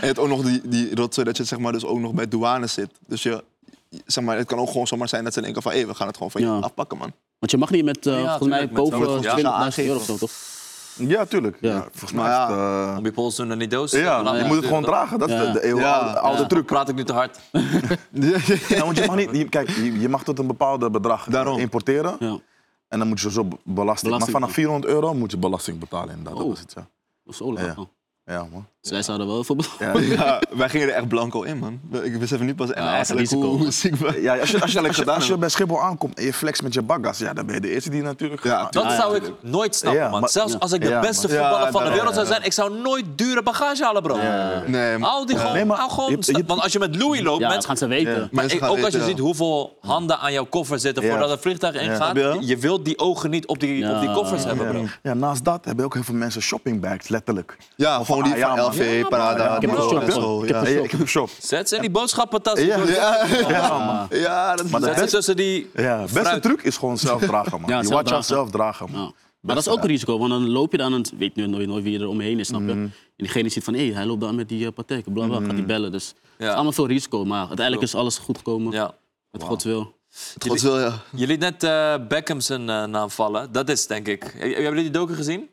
Speaker 1: En het ook nog die, die rotzooi dat je zeg maar, dus ook nog bij douane zit. Dus je, zeg maar, het kan ook gewoon zomaar zijn dat ze denken van... hé, we gaan het gewoon van
Speaker 3: Ja.
Speaker 1: je afpakken, man.
Speaker 3: Want je mag niet met, eh, volgens mij,
Speaker 2: tuurlijk, met zo'n-
Speaker 3: boven
Speaker 1: ja.
Speaker 3: 20.000 euro of zo, toch?
Speaker 4: Ja, tuurlijk. Ja. volgens mij is het,
Speaker 2: Om je pols doen en die doos.
Speaker 4: eh, ja,
Speaker 2: Laat
Speaker 4: je
Speaker 2: me
Speaker 4: moet het gewoon
Speaker 2: doen.
Speaker 4: dragen. Dat is
Speaker 3: Ja.
Speaker 4: de, de eeuwenoude-
Speaker 1: Ja.
Speaker 4: oude truc.
Speaker 2: Praat ik nu te hard?
Speaker 4: Ja, Nou, want je mag niet, je- kijk, je, je mag tot een bepaald bedrag eh,
Speaker 1: Daarom.
Speaker 4: importeren.
Speaker 3: Ja.
Speaker 4: En dan moet je zo belasting.
Speaker 3: Belasting.
Speaker 4: Maar vanaf 400 euro moet je belasting betalen. Inderdaad. Dat was het, ja.
Speaker 3: Of zo laag.
Speaker 4: Ja.
Speaker 3: oh.
Speaker 4: Ja, man.
Speaker 3: Zij zouden wel voor
Speaker 4: Ja,
Speaker 1: Ja, wij gingen er echt blanco in, man. Ik besef nu pas en
Speaker 3: Ja,
Speaker 1: eigenlijk
Speaker 3: risico,
Speaker 1: hoe,
Speaker 3: man.
Speaker 1: hoe ziek we...
Speaker 4: Ja, als je, als, je, als,
Speaker 1: Als
Speaker 4: je,
Speaker 1: je-
Speaker 4: als je bij Schiphol aankomt en je flex met je baggas, ja, dan ben je de eerste die natuurlijk
Speaker 1: Ja,
Speaker 4: gaat.
Speaker 2: Dat
Speaker 3: ja,
Speaker 2: zou ik nooit snappen,
Speaker 4: Ja,
Speaker 2: man.
Speaker 4: maar-
Speaker 2: Zelfs
Speaker 3: ja.
Speaker 2: als ik de
Speaker 4: Ja,
Speaker 2: beste
Speaker 1: man.
Speaker 2: voetballer
Speaker 1: Ja,
Speaker 2: van de
Speaker 1: dat-
Speaker 2: wereld zou
Speaker 1: ja.
Speaker 2: zijn, ik zou nooit dure bagage halen, bro.
Speaker 1: Nee, man.
Speaker 2: Hou die gewoon,
Speaker 4: Nee, maar
Speaker 2: hou gewoon
Speaker 4: je hebt- je
Speaker 2: sta-
Speaker 4: hebt-
Speaker 2: Want als je met Louis loopt,
Speaker 3: Ja, dat
Speaker 2: mensen-
Speaker 3: gaan ze weten.
Speaker 4: Ja.
Speaker 2: maar
Speaker 1: Mensen
Speaker 2: ik-
Speaker 1: gaan
Speaker 2: ook als je
Speaker 1: weten,
Speaker 2: ziet
Speaker 1: ja.
Speaker 2: hoeveel handen aan jouw koffer zitten
Speaker 4: Ja.
Speaker 2: voordat het vliegtuig ingaat,
Speaker 1: Ja.
Speaker 2: je wilt die ogen niet op die, op die
Speaker 3: Ja.
Speaker 2: koffers hebben,
Speaker 4: Ja.
Speaker 2: bro.
Speaker 4: Ja, naast dat hebben ook heel veel mensen shoppingbags, letterlijk.
Speaker 1: Ja, gewoon die
Speaker 4: ah, ja,
Speaker 1: van
Speaker 4: man.
Speaker 1: LV,
Speaker 4: Ja,
Speaker 1: Parada,
Speaker 3: Ik heb een
Speaker 1: Dior
Speaker 3: shop,
Speaker 1: en
Speaker 3: man.
Speaker 1: zo,
Speaker 3: Ik
Speaker 1: ja.
Speaker 3: heb een
Speaker 4: Ja,
Speaker 3: shop.
Speaker 4: ik heb een shop.
Speaker 2: Zet ze in die boodschappentas.
Speaker 4: Ja.
Speaker 2: door-
Speaker 1: Ja,
Speaker 4: Ja, man.
Speaker 1: ja, dat is
Speaker 4: Maar dat
Speaker 2: Zet ze
Speaker 4: best-
Speaker 2: tussen die...
Speaker 4: Ja, beste
Speaker 2: fruit.
Speaker 4: truc is gewoon zelf dragen, man.
Speaker 3: Ja,
Speaker 4: je
Speaker 3: zelf
Speaker 4: watch out,
Speaker 3: dragen.
Speaker 4: zelf dragen, man.
Speaker 3: Ja. Maar dat is ook een risico, want dan loop je dan en weet nu nooit, nooit wie er omheen is, snap je? En diegene ziet van, hé, hij loopt daar met die uh, bla bla, gaat die bellen. Dus het is allemaal veel risico, maar uiteindelijk is alles goed gekomen,
Speaker 2: Ja.
Speaker 3: met Gods wil.
Speaker 1: God wil, ja.
Speaker 2: Je liet net eh, Beckham zijn eh, naam vallen. Dat is denk ik. Heb- Hebben jullie die docu gezien?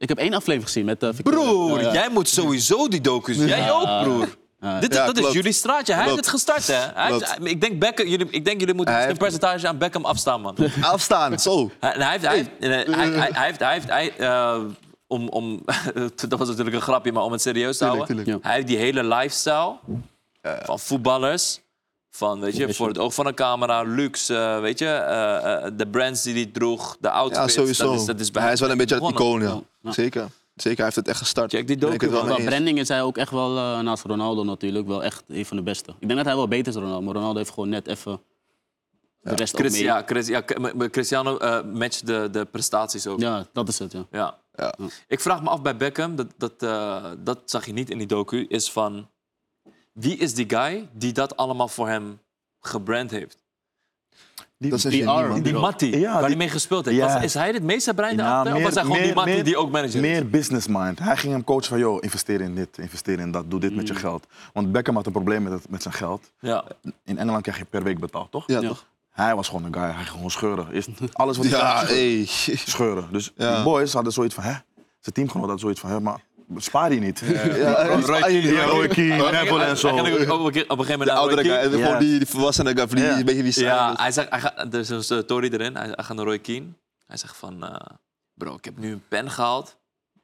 Speaker 3: Ik heb één aflevering gezien met eh Victoria.
Speaker 2: Broer, jij moet sowieso die docu zien. Jij ook, broer. Dit,
Speaker 1: Ja,
Speaker 2: dat is
Speaker 1: klopt.
Speaker 2: jullie straatje. Hij heeft
Speaker 1: Klopt.
Speaker 2: het gestart, hè? Hij heeft- ik, denk Beckham, jullie, ik denk jullie moeten
Speaker 1: Hij
Speaker 2: een
Speaker 1: heeft-
Speaker 2: percentage aan Beckham afstaan, man. hij,
Speaker 1: Afstaan, zo.
Speaker 2: en hij heeft... Hij, heeft- nee, nee, hij, hij, hij heeft... Hij heeft hij, eh, om, om, dat was natuurlijk een grapje, maar om het serieus te houden.
Speaker 1: tuurlijk.
Speaker 3: Ja.
Speaker 2: Hij heeft die hele lifestyle van voetballers. Van, weet je, voor het oog van een camera, luxe, eh, weet je. eh, eh, de brands die hij droeg, de outfits.
Speaker 1: Ja, sowieso.
Speaker 2: Dat is, dat is bij
Speaker 1: hij is wel een beetje het
Speaker 2: begonnen.
Speaker 1: icoon, ja.
Speaker 3: Ja.
Speaker 1: Zeker. Zeker, hij heeft het echt gestart.
Speaker 2: Check die
Speaker 1: Ben ik het
Speaker 2: docu,
Speaker 1: wel
Speaker 2: man.
Speaker 1: mee
Speaker 3: Qua
Speaker 1: eens.
Speaker 3: branding is hij ook echt wel, eh, naast Ronaldo natuurlijk, wel echt een van de beste. Ik denk dat hij wel beter is dan Ronaldo, maar Ronaldo heeft gewoon net even de rest ook
Speaker 2: Chris-
Speaker 3: mee.
Speaker 2: ja, Chris- ja, K- maar- maar Cristiano eh matcht de, de prestaties ook.
Speaker 3: Ja, dat is het, ja.
Speaker 2: Ja.
Speaker 1: Ja.
Speaker 2: Ik vraag me af bij Beckham, dat, dat, eh, dat zag je niet in die docu, is van wie is die guy die dat allemaal voor hem gebrand heeft?
Speaker 1: Dat zeg je
Speaker 3: PR.
Speaker 1: niet, man.
Speaker 2: Die
Speaker 3: Ja.
Speaker 2: Matty,
Speaker 4: Ja,
Speaker 2: waar hij
Speaker 4: die-
Speaker 2: mee gespeeld heeft.
Speaker 4: Ja.
Speaker 2: Was- is hij het meeste breinde
Speaker 4: Ja,
Speaker 2: achter? of was hij gewoon die Matty
Speaker 4: meer-
Speaker 2: die ook manager is?
Speaker 4: Meer business mind. Hij ging hem coachen van, joh, investeer in dit, investeer in dat, doe dit met je geld. Want Beckham had een probleem met, het- met zijn geld.
Speaker 2: Ja.
Speaker 4: In Engeland krijg je per week betaald, toch?
Speaker 1: Ja,
Speaker 3: Ja.
Speaker 1: toch?
Speaker 4: Hij was gewoon een guy, hij ging gewoon scheuren. Eerst alles wat hij
Speaker 1: Ja,
Speaker 4: had,
Speaker 1: hey.
Speaker 4: scheuren. Dus
Speaker 1: Ja.
Speaker 4: die boys hadden zoiets van, hè? Zijn teamgenoot had zoiets van, hè, maar spaar die niet.
Speaker 1: Ja,
Speaker 4: Ja, Roy Keane, Neville en zo.
Speaker 2: Eigenlijk ook op een keer- op een gegeven moment
Speaker 1: De
Speaker 2: naar
Speaker 1: oudere
Speaker 2: Roy Keane.
Speaker 1: guy,
Speaker 4: Ja.
Speaker 1: gewoon die, die volwassene guy, van die,
Speaker 4: Ja. dus-
Speaker 1: een beetje die saai
Speaker 2: Ja,
Speaker 1: is.
Speaker 2: hij zegt, hij gaat, er is een story erin. Hij, hij gaat naar Roy Keane. Hij zegt van, eh, bro, ik heb nu een pen gehaald.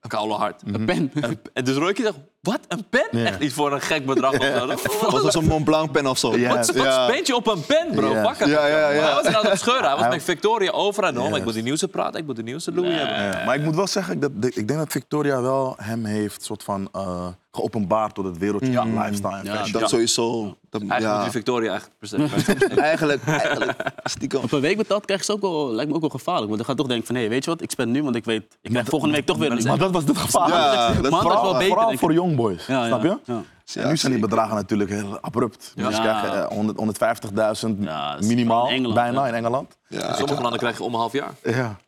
Speaker 2: Koude hard.
Speaker 3: Een pen.
Speaker 2: En dus Roy Keane zegt, wat, een pen? Echt niet voor een gek bedrag of zo. Wat-
Speaker 1: Was dat dus. zo'n Mont Blanc pen of zo?
Speaker 4: Ja.
Speaker 2: Wat, wat
Speaker 1: Ja.
Speaker 2: spend je op een pen, bro?
Speaker 4: Ja.
Speaker 2: Pak het.
Speaker 1: Ja, ja, ja.
Speaker 2: Maar Hij was aan het scheuren. Hij was
Speaker 4: Hij-
Speaker 2: met Victoria over en om.
Speaker 4: Yes.
Speaker 2: Ik moet die nieuwste praten, ik moet de nieuwste Louis hebben.
Speaker 4: Ja, maar ik moet wel zeggen, dat, dat- ik denk dat Victoria wel hem heeft soort van eh, geopenbaard door het wereldje van lifestyle en
Speaker 3: Mm. Ja,
Speaker 4: fashion.
Speaker 1: Ah, Dat sowieso. Dat,
Speaker 2: Eigenlijk moet
Speaker 1: ja.
Speaker 2: die Victoria eigenlijk per se.
Speaker 1: eigenlijk, eigenlijk, stiekem.
Speaker 3: Op een week betaald krijg je ook wel, lijkt me ook wel gevaarlijk. Want dan ga je toch denken van, hé, weet je wat, ik spend nu, want ik weet, ik krijg volgende week toch weer een...
Speaker 4: Maar dat was het gevaar.
Speaker 1: Ja, dat
Speaker 3: Maar dat is
Speaker 4: vooral,
Speaker 3: wel beter,
Speaker 4: vooral
Speaker 3: denk ik.
Speaker 4: voor jongboys,
Speaker 3: Ja, ja,
Speaker 4: snap je?
Speaker 3: ja.
Speaker 4: En nu zijn die bedragen natuurlijk heel abrupt. Dus je krijgt eh, 100 150.000
Speaker 3: Ja, dat is
Speaker 4: minimaal,
Speaker 3: in Engeland,
Speaker 4: bijna
Speaker 3: hè?
Speaker 4: in Engeland.
Speaker 2: In
Speaker 1: Ja,
Speaker 2: sommige landen krijg je om een half jaar. Volgens
Speaker 4: Ja.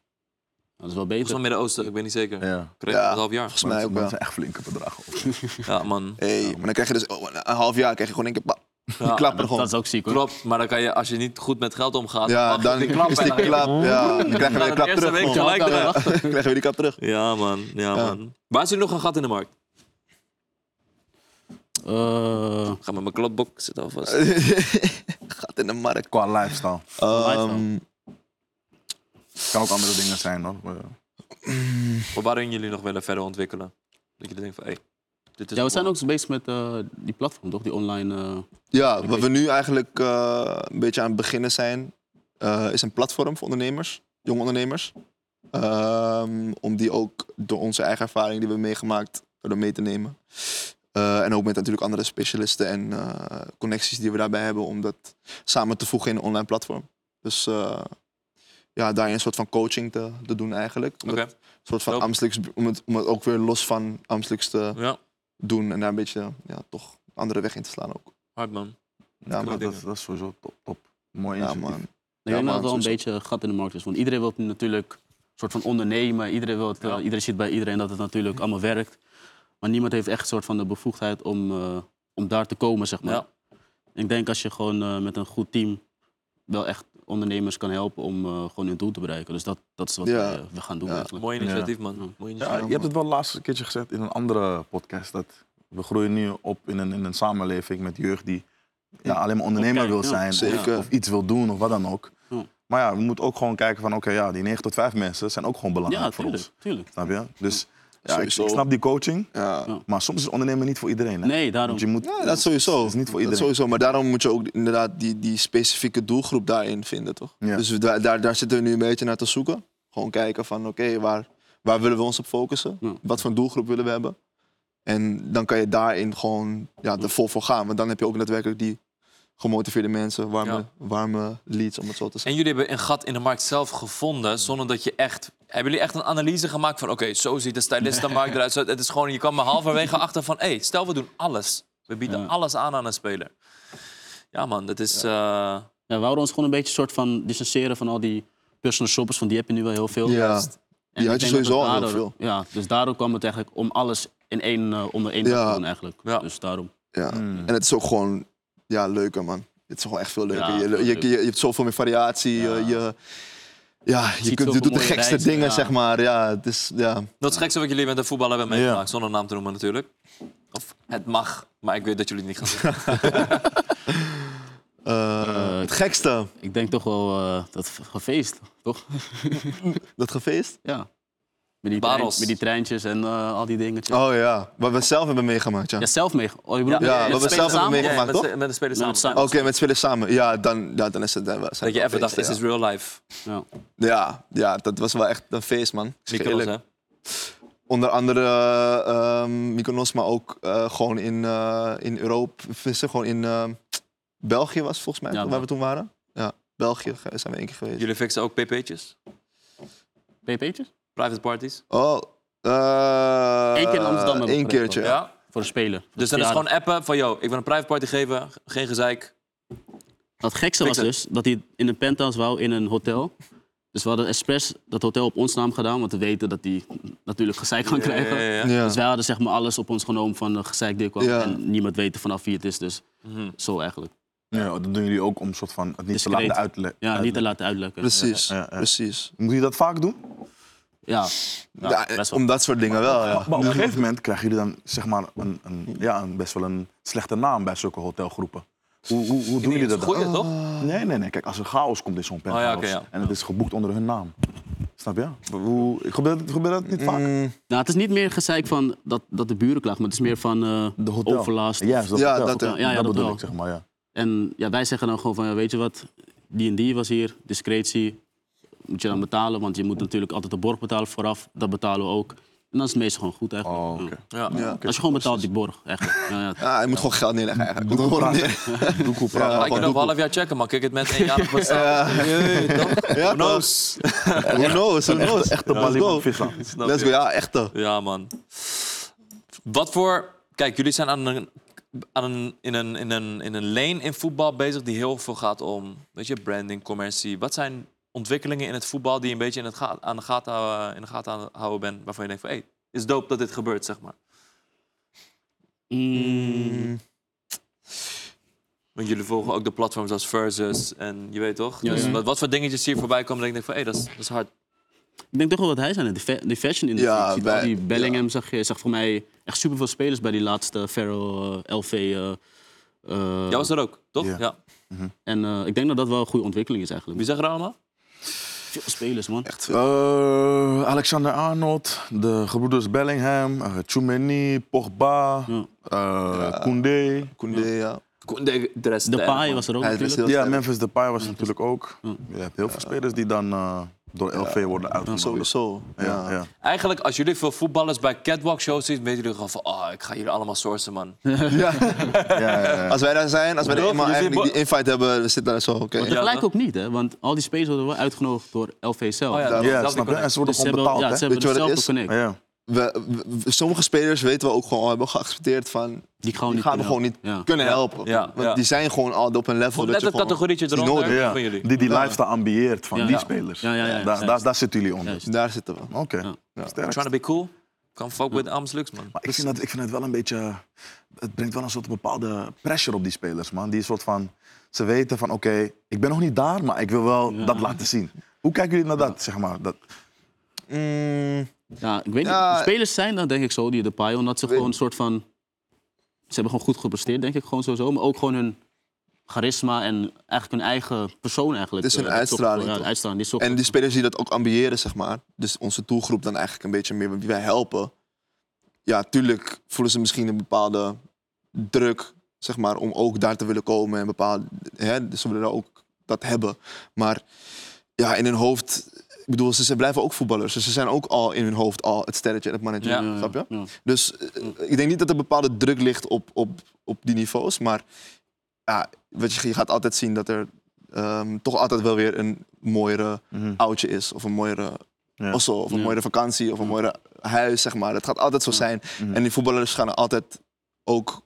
Speaker 3: Dat is wel beter.
Speaker 2: mij Midden-Oosten, ik weet niet zeker.
Speaker 4: Ja.
Speaker 2: Kreeg je
Speaker 1: Ja.
Speaker 2: om een half jaar.
Speaker 1: volgens mij ook
Speaker 4: Maar
Speaker 1: wel.
Speaker 4: dat zijn echt flinke bedragen.
Speaker 2: Ja, man.
Speaker 1: Hey, maar dan krijg je dus oh, een half jaar krijg je gewoon één keer... Bah, die klappen er
Speaker 3: Dat, dat
Speaker 1: gewoon.
Speaker 3: is ook ziek, hoor.
Speaker 2: Klopt, maar dan kan je, als je niet goed met geld omgaat,
Speaker 1: Ja,
Speaker 2: mag je
Speaker 1: dan
Speaker 2: die klap
Speaker 1: is die
Speaker 2: en dan-
Speaker 1: klap. Ja, dan krijg je weer
Speaker 2: Dan
Speaker 1: een klap
Speaker 2: de eerste
Speaker 1: terug.
Speaker 2: week
Speaker 1: gewoon.
Speaker 2: gelijk
Speaker 1: Ja,
Speaker 2: eruit.
Speaker 1: Dan krijg je weer die klap terug.
Speaker 2: Ja, man. Ja, man. Waar is er nog een gat in de markt?
Speaker 3: Eh,
Speaker 2: Ik ga met mijn klapbok zitten alvast.
Speaker 1: Gaat in de markt.
Speaker 4: Qua lifestyle.
Speaker 1: Ehm,
Speaker 4: kan ook andere dingen zijn hoor. Maar, eh, ja.
Speaker 2: Maar waarin jullie nog willen verder ontwikkelen? Dat jullie denken van, hé, dit is...
Speaker 3: ja, we zijn ook bezig met eh, die platform, toch? Die online... eh,
Speaker 1: Ja, wat we nu eigenlijk eh, een beetje aan het beginnen zijn, eh, is een platform voor ondernemers, jonge ondernemers. Ehm, om die ook door onze eigen ervaring die we hebben meegemaakt, door dat mee te nemen. Eh, en ook met natuurlijk andere specialisten en eh, connecties die we daarbij hebben, om dat samen te voegen in een online platform. Dus eh, ja, daarin een soort van coaching te, te doen eigenlijk. Om,
Speaker 2: Oké,
Speaker 1: het, soort van
Speaker 2: Dope.
Speaker 1: Amstelix, om, het, om het ook weer los van Amstelix te
Speaker 2: ja.
Speaker 1: doen en daar een beetje ja, toch een andere weg in te slaan ook.
Speaker 2: Hard, man.
Speaker 1: Ja,
Speaker 4: dat,
Speaker 1: maar-
Speaker 4: dat, dat is sowieso top. top. Mooi
Speaker 1: ja,
Speaker 4: initiatief.
Speaker 1: man.
Speaker 3: Ik denk
Speaker 1: Ja,
Speaker 3: dat het
Speaker 1: man,
Speaker 3: wel een
Speaker 1: sowieso.
Speaker 3: beetje een gat in de markt is. Want iedereen wil nu natuurlijk een soort van ondernemen. Iedereen, wil het, eh,
Speaker 2: Ja.
Speaker 3: iedereen ziet bij iedereen dat het natuurlijk allemaal werkt. Maar niemand heeft echt een soort van de bevoegdheid om, eh, om daar te komen, zeg maar.
Speaker 2: Ja.
Speaker 3: Ik denk als je gewoon eh, met een goed team wel echt ondernemers kan helpen om eh, gewoon hun doel te bereiken. Dus dat, dat is wat
Speaker 1: Ja.
Speaker 3: wij, eh, we gaan doen
Speaker 1: Ja.
Speaker 3: eigenlijk.
Speaker 2: Mooi initiatief, man. Mooi
Speaker 4: Ja,
Speaker 2: initiatief.
Speaker 4: je hebt het wel laatst een keertje gezegd in een andere podcast. Dat we groeien nu op in een, in een samenleving met jeugd die ja, alleen maar ondernemer
Speaker 3: Oké,
Speaker 4: wil
Speaker 3: ja,
Speaker 4: zijn.
Speaker 1: zeker.
Speaker 4: Of, of iets wil doen of wat dan ook.
Speaker 3: Ja.
Speaker 4: Maar ja, we moeten ook gewoon kijken van oké, ja, die 9 tot 5 mensen zijn ook gewoon belangrijk
Speaker 3: Ja,
Speaker 4: voor
Speaker 3: tuurlijk,
Speaker 4: ons.
Speaker 3: tuurlijk.
Speaker 4: Snap je? Dus
Speaker 1: Ja,
Speaker 4: ik,
Speaker 1: sowieso.
Speaker 4: ik snap die coaching,
Speaker 1: Ja.
Speaker 4: maar soms is ondernemen niet voor iedereen. Hè?
Speaker 3: Nee, daarom.
Speaker 4: Want je moet,
Speaker 1: Ja, dat sowieso.
Speaker 4: is niet voor
Speaker 1: Dat
Speaker 4: iedereen.
Speaker 1: sowieso. Maar daarom moet je ook inderdaad die, die specifieke doelgroep daarin vinden, toch?
Speaker 4: Ja.
Speaker 1: Dus we- daar, daar, daar zitten we nu een beetje naar te zoeken. Gewoon kijken van, oké, waar, waar willen we ons op focussen?
Speaker 3: Ja.
Speaker 1: Wat voor een doelgroep willen we hebben? En dan kan je daarin gewoon ja, er vol voor gaan. Want dan heb je ook daadwerkelijk die gemotiveerde mensen, warme,
Speaker 2: Ja.
Speaker 1: warme leads, om het zo te zeggen.
Speaker 2: En jullie hebben een gat in de markt zelf gevonden, zonder dat je echt... Hebben jullie echt een analyse gemaakt van, oké, zo ziet de stylistenmarkt eruit. Zo- Het is gewoon, je kan maar halverwege achter van, hé, hey, stel we doen alles. We bieden
Speaker 3: Ja.
Speaker 2: alles aan aan een speler. Ja man, dat is... eh,
Speaker 3: Ja, we houden ons gewoon een beetje soort van distancieren van al die personal shoppers, want die heb je nu wel heel veel.
Speaker 1: Ja, die
Speaker 3: En ik
Speaker 1: had je
Speaker 3: denk dat
Speaker 1: sowieso
Speaker 3: het
Speaker 1: al heel
Speaker 3: daardoor-
Speaker 1: veel.
Speaker 3: Ja, dus daardoor kwam het eigenlijk om alles in één, eh, onder één dak
Speaker 1: Ja.
Speaker 3: te doen eigenlijk.
Speaker 2: Ja.
Speaker 3: Dus daarom.
Speaker 1: Ja.
Speaker 4: Mm.
Speaker 1: En het is ook gewoon ja, leuker, man. Het is gewoon echt veel leuker.
Speaker 3: Ja,
Speaker 1: je,
Speaker 3: veel
Speaker 1: je,
Speaker 3: leuker.
Speaker 1: je, je hebt zoveel meer variatie.
Speaker 3: Ja.
Speaker 1: Je, je, ja, je,
Speaker 3: ziet
Speaker 1: kunt, je
Speaker 3: zoveel
Speaker 1: doet de
Speaker 3: mooie
Speaker 1: gekste
Speaker 3: reizen,
Speaker 1: dingen,
Speaker 3: ja.
Speaker 1: zeg maar. Ja, het is, ja.
Speaker 2: Dat is het gekste wat jullie met de voetbal hebben
Speaker 4: Ja.
Speaker 2: meegemaakt, zonder naam te noemen natuurlijk. Of het mag, maar ik weet dat jullie het niet gaan zeggen.
Speaker 1: Eh,
Speaker 3: Eh,
Speaker 1: het gekste,
Speaker 3: Ik denk toch wel eh, dat gefeest, toch?
Speaker 1: dat gefeest.
Speaker 3: Ja. Met die,
Speaker 2: Barrels.
Speaker 3: trein- met die treintjes en eh, al die dingetjes.
Speaker 1: Oh ja, wat we zelf hebben meegemaakt, ja.
Speaker 3: Ja, zelf mee. Oh, je bedoelt,
Speaker 1: Ja,
Speaker 3: met
Speaker 1: wat we zelf
Speaker 3: spelers
Speaker 1: Oh. hebben
Speaker 3: samen?
Speaker 1: meegemaakt.
Speaker 2: met,
Speaker 1: toch?
Speaker 2: de- met de spelers
Speaker 3: Met
Speaker 2: samen.
Speaker 3: het
Speaker 1: Oké, met spelen samen. Ja, dan, ja, dan is het... Dan,
Speaker 2: Dat je even dacht, dit is real life.
Speaker 3: Ja.
Speaker 1: Ja, ja, dat was wel echt een feest, man.
Speaker 2: Mykonos, hè?
Speaker 1: Onder andere eh, ehm Mykonos, maar ook eh, gewoon in, eh, in Europa. Vissen, gewoon in ehm, België was volgens mij,
Speaker 3: Ja,
Speaker 1: waar
Speaker 3: Bel-
Speaker 1: we toen waren. Ja, België ge- zijn we één keer geweest.
Speaker 2: Jullie fixen ook pp'tjes?
Speaker 3: PP'tjes?
Speaker 2: Private parties?
Speaker 1: Oh, eh,
Speaker 3: Eén keer in Amsterdam hebben we
Speaker 1: Eén
Speaker 3: geregeld.
Speaker 1: keertje.
Speaker 2: Ja.
Speaker 1: Ja.
Speaker 3: Voor de speler. Voor
Speaker 2: Dus
Speaker 3: de
Speaker 2: dan is
Speaker 3: verjaardag.
Speaker 2: gewoon appen van, yo, ik wil een private party geven, geen gezeik.
Speaker 3: Het gekste was
Speaker 2: Fix
Speaker 3: dus dat hij in een penthouse wou in een hotel. Dus we hadden expres dat hotel op ons naam gedaan, want we weten dat hij natuurlijk gezeik kan krijgen.
Speaker 2: Ja, ja, ja.
Speaker 1: Ja.
Speaker 3: Dus wij hadden zeg maar alles op ons genomen van eh, gezeik dit kwam.
Speaker 1: Ja.
Speaker 3: En niemand weet vanaf wie het is, dus
Speaker 2: Mhm.
Speaker 3: zo eigenlijk.
Speaker 4: Ja, dat doen jullie ook om soort van het niet te
Speaker 3: Discreet.
Speaker 4: laten uitleggen.
Speaker 3: Ja, niet te laten uitlekken.
Speaker 1: Precies,
Speaker 4: Ja, ja, ja.
Speaker 1: precies.
Speaker 4: Moet je dat vaak doen?
Speaker 3: Ja, ja,
Speaker 1: Ja,
Speaker 3: best wel.
Speaker 1: om dat soort dingen wel, ja.
Speaker 4: Maar Dus op een gegeven moment krijgen jullie dan zeg maar een, een, ja, een best wel een slechte naam bij zulke hotelgroepen. Hoe, hoe, hoe doen jullie dat dan? Oh,
Speaker 2: Goeie, toch?
Speaker 4: Nee, nee, nee. Kijk, als er chaos komt in zo'n penthouse
Speaker 2: oké, Oh, ja.
Speaker 4: en het is geboekt onder hun naam. Snap je? Hoe, gebeurt, dat- gebeurt dat niet vaak?
Speaker 1: Mm,
Speaker 3: Nou, het is niet meer gezeik van dat, dat de buren klagen, maar het is meer van eh,
Speaker 4: De hotel.
Speaker 3: overlast.
Speaker 4: Juist, dat
Speaker 1: Ja,
Speaker 4: hotel.
Speaker 1: dat, ja,
Speaker 3: ja, dat
Speaker 4: bedoel
Speaker 3: wel.
Speaker 4: ik, zeg maar. Ja.
Speaker 3: En ja, wij zeggen dan gewoon van, ja, weet je wat, die en die was hier, discretie moet je dan betalen, want je moet natuurlijk altijd de borg betalen vooraf. Dat betalen we ook. En dan is het meestal gewoon goed eigenlijk.
Speaker 4: Oh, oké.
Speaker 3: Ja.
Speaker 2: Ja. Ah,
Speaker 1: ja.
Speaker 3: Als je gewoon betaalt die borg, echt. Ja, ja.
Speaker 1: Ah, je moet gewoon geld neerleggen eigenlijk. Je moet gewoon neer-
Speaker 4: Doekoe praat.
Speaker 1: Ja.
Speaker 2: Maar ik kan
Speaker 1: Doe-
Speaker 2: over een half jaar checken, man. Kijk, het met een jaar
Speaker 1: Ja,
Speaker 2: bestaan. Who
Speaker 1: ja, toch?
Speaker 2: knows?
Speaker 1: Who knows, who knows.
Speaker 4: Echte
Speaker 1: Let's go.
Speaker 4: Bali vissen.
Speaker 2: Snap
Speaker 1: Let's
Speaker 2: je?
Speaker 1: go, ja, eh. echte.
Speaker 2: Ja, man. Wat voor. Kijk, jullie zijn aan een, aan een, in, een, in, een, in een lane in voetbal bezig die heel veel gaat om weet je, branding, commercie. Wat zijn ontwikkelingen in het voetbal die je een beetje in, het ga, aan de gaten, houden- in de gaten aan- houden bent, waarvan je denkt van hé, hey, is dope dat dit gebeurt, zeg maar.
Speaker 3: Mm,
Speaker 2: Want jullie volgen ook de platforms als Versus en je weet toch?
Speaker 3: Ja,
Speaker 2: dus
Speaker 3: ja.
Speaker 2: Wat, wat voor dingetjes hier voorbij komen dat ik denk van hé, hey, dat, is- dat is hard.
Speaker 3: ik denk toch wel wat hij zei, de, fa- de fashion industrie.
Speaker 1: Ja,
Speaker 3: Ik zie
Speaker 1: bij-
Speaker 3: al die Bellingham zag je, zag voor mij echt superveel spelers bij die laatste Ferro eh, LV. eh, eh,
Speaker 2: Jij was er ook, toch?
Speaker 4: Ja.
Speaker 2: Ja.
Speaker 3: En eh, ik denk dat dat wel een goede ontwikkeling is eigenlijk.
Speaker 2: Wie zegt er allemaal?
Speaker 3: Veel spelers, man.
Speaker 1: Echt veel.
Speaker 4: Eh, Alexander Arnold, de gebroeders Bellingham, eh Tchouameni, Pogba, eh
Speaker 3: Ja.
Speaker 4: Koundé.
Speaker 1: Koundé, ja.
Speaker 2: De, de rest. eh,
Speaker 3: De Pai was er ook
Speaker 1: Hij is
Speaker 3: natuurlijk.
Speaker 1: heel
Speaker 4: Ja,
Speaker 1: sterk.
Speaker 4: Memphis Depay was natuurlijk ook. Je hebt heel veel spelers die dan eh, door LV worden uitgenodigd.
Speaker 1: Sowieso,
Speaker 4: Ja,
Speaker 1: ja.
Speaker 4: ja.
Speaker 2: Eigenlijk, als jullie veel voetballers bij catwalk shows zien, weten jullie gewoon van, oh, ik ga jullie allemaal sourcen, man.
Speaker 4: Ja, ja, ja.
Speaker 1: Als wij daar zijn, als wij er
Speaker 2: Nee,
Speaker 1: eenmaal
Speaker 2: dus die
Speaker 1: eigenlijk
Speaker 2: bo-
Speaker 1: die invite hebben, we zitten daar zo, oké.
Speaker 3: Maar
Speaker 2: Ja,
Speaker 3: tegelijk
Speaker 2: toch?
Speaker 3: ook niet, hè? Want al die spelers worden wel uitgenodigd door LV zelf.
Speaker 2: Oh ja, dat-
Speaker 4: Ja,
Speaker 2: dat
Speaker 4: snap je?
Speaker 2: die
Speaker 4: En ze worden
Speaker 3: Dus ze hebben,
Speaker 4: gewoon betaald,
Speaker 3: ja,
Speaker 4: hè?
Speaker 3: ze hebben
Speaker 1: Weet je wat het
Speaker 3: dezelfde
Speaker 1: is?
Speaker 3: connect.
Speaker 4: Ja.
Speaker 1: We, we- sommige spelers weten we ook gewoon, al, hebben we geaccepteerd van,
Speaker 3: Die gaan, we
Speaker 1: die
Speaker 3: niet
Speaker 1: gaan we
Speaker 3: kunnen
Speaker 1: gewoon niet
Speaker 3: helpen. Ja.
Speaker 1: kunnen helpen.
Speaker 2: Ja,
Speaker 1: Want
Speaker 2: ja.
Speaker 1: die zijn gewoon al op een level dat
Speaker 2: Net
Speaker 1: je
Speaker 2: het
Speaker 1: gewoon...
Speaker 2: categorietje
Speaker 1: is
Speaker 2: eronder
Speaker 1: nodig.
Speaker 4: Ja,
Speaker 2: van jullie.
Speaker 4: Die die lifestyle ambieert van
Speaker 3: Ja.
Speaker 4: die
Speaker 3: Ja.
Speaker 4: spelers.
Speaker 3: Ja, ja, ja,
Speaker 4: daar,
Speaker 3: juist.
Speaker 4: daar, daar zitten jullie onder.
Speaker 3: Juist.
Speaker 1: Daar zitten we.
Speaker 4: Oké.
Speaker 3: Ja.
Speaker 4: Ja.
Speaker 2: I'm
Speaker 4: Sterk.
Speaker 2: trying to be cool. Kan fuck with Arms Lux, man.
Speaker 4: Maar ik vind, dat, ik vind het wel een beetje. Het brengt wel een soort bepaalde pressure op die spelers, man. Die soort van. Ze weten van: oké, ik ben nog niet daar, maar ik wil wel dat laten zien. Hoe kijken jullie naar dat, zeg maar? Dat,
Speaker 1: Mm,
Speaker 3: Ja, ik weet
Speaker 1: Ja.
Speaker 3: niet. De spelers zijn dan denk ik zo, die de Pai, omdat ze
Speaker 1: Weet-
Speaker 3: gewoon een soort van... Ze hebben gewoon goed gepresteerd, denk ik, gewoon sowieso. Maar ook gewoon hun charisma en eigenlijk hun eigen persoon eigenlijk.
Speaker 1: Het is
Speaker 3: eh,
Speaker 1: hun
Speaker 3: dat
Speaker 1: uitstraling,
Speaker 3: zorgt- Ja,
Speaker 1: toch?
Speaker 3: uitstraling. Die zorgt-
Speaker 1: en die spelers die dat ook ambiëren, zeg maar. Dus onze doelgroep dan eigenlijk een beetje meer, wie wij helpen. ja, tuurlijk voelen ze misschien een bepaalde druk, zeg maar, om ook daar te willen komen en bepaalde, hè, dus ze willen ook dat hebben. Maar ja, in hun hoofd, ik bedoel, ze, ze blijven ook voetballers, dus ze zijn ook al in hun hoofd al het sterretje en het mannetje,
Speaker 2: Ja.
Speaker 1: snap je?
Speaker 3: Ja.
Speaker 1: Dus eh, ik denk niet dat er bepaalde druk ligt op, op, op die niveaus. Maar ja, wat je, je gaat altijd zien dat er ehm, toch altijd wel weer een mooiere oudje is. Of een mooiere
Speaker 4: Ja.
Speaker 1: osso, of een
Speaker 3: Ja.
Speaker 1: mooiere vakantie, of een mooiere huis, zeg maar. Het gaat altijd zo zijn.
Speaker 4: Mhm.
Speaker 1: En die voetballers gaan er altijd ook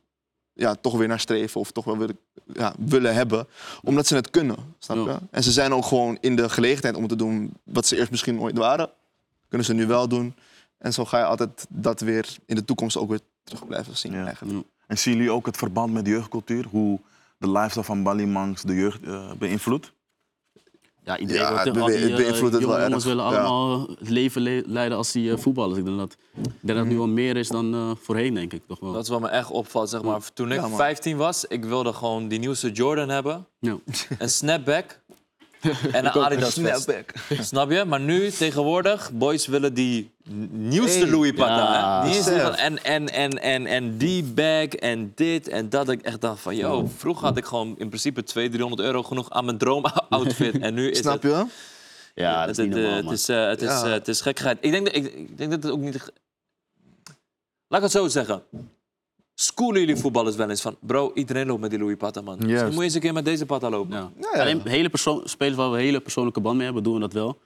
Speaker 1: ja, toch weer naar streven. Of toch wel willen, ja, willen hebben. Omdat ze het kunnen, snap je?
Speaker 3: Ja.
Speaker 1: En ze zijn ook gewoon in de gelegenheid om te doen wat ze eerst misschien ooit waren. Kunnen ze nu wel doen. En zo ga je altijd dat weer in de toekomst ook weer terug blijven zien.
Speaker 4: Ja.
Speaker 1: Eigenlijk.
Speaker 4: En zien jullie ook het verband met jeugdcultuur? Hoe de lifestyle van Balimangs de jeugd eh, beïnvloedt?
Speaker 3: Ja, iedereen
Speaker 1: Ja,
Speaker 3: wil
Speaker 1: het
Speaker 3: tegen- al
Speaker 1: bewe-
Speaker 3: die,
Speaker 1: het
Speaker 3: eh,
Speaker 1: beïnvloedt het
Speaker 3: jonge
Speaker 1: wel
Speaker 3: jongens
Speaker 1: erg,
Speaker 3: willen
Speaker 1: ja.
Speaker 3: allemaal het leven le- leiden als die eh, voetballers. Ik denk dat, ik denk dat het
Speaker 1: Mhm.
Speaker 3: nu wel meer is dan eh, voorheen, denk ik. Toch wel.
Speaker 2: Dat is wat me echt opvalt, zeg maar. Toen ik
Speaker 1: Ja, man.
Speaker 2: 15 was, ik wilde gewoon die nieuwste Jordan hebben.
Speaker 3: Ja.
Speaker 2: Een snapback. en een Adidas vest. Snap je? Maar nu, tegenwoordig, boys willen die n- nieuwste
Speaker 1: Hey.
Speaker 2: Louis Pata.
Speaker 3: Ja,
Speaker 2: hè? Niet eens die
Speaker 1: Sef.
Speaker 2: van- en, en, en, en, en die bag en dit en dat. Ik echt dacht van, yo, vroeger had ik gewoon in principe 200, 300 euro genoeg aan mijn droomoutfit. En nu is
Speaker 1: Snap
Speaker 2: het...
Speaker 1: je?
Speaker 3: Ja,
Speaker 2: Het, het, eh, het is, eh, het, is,
Speaker 1: Ja.
Speaker 2: eh, het is gekkigheid. Ik denk, dat- ik, ik denk dat het ook niet... Laat ik het zo zeggen. Schoolen jullie voetballers wel eens van... Bro, iedereen loopt met die Louis Pata, man. Misschien moet je eens een keer met deze Pata lopen.
Speaker 3: Ja.
Speaker 1: Ja, ja.
Speaker 3: Alleen hele perso- spelers waar we een hele persoonlijke band mee hebben, doen we dat wel.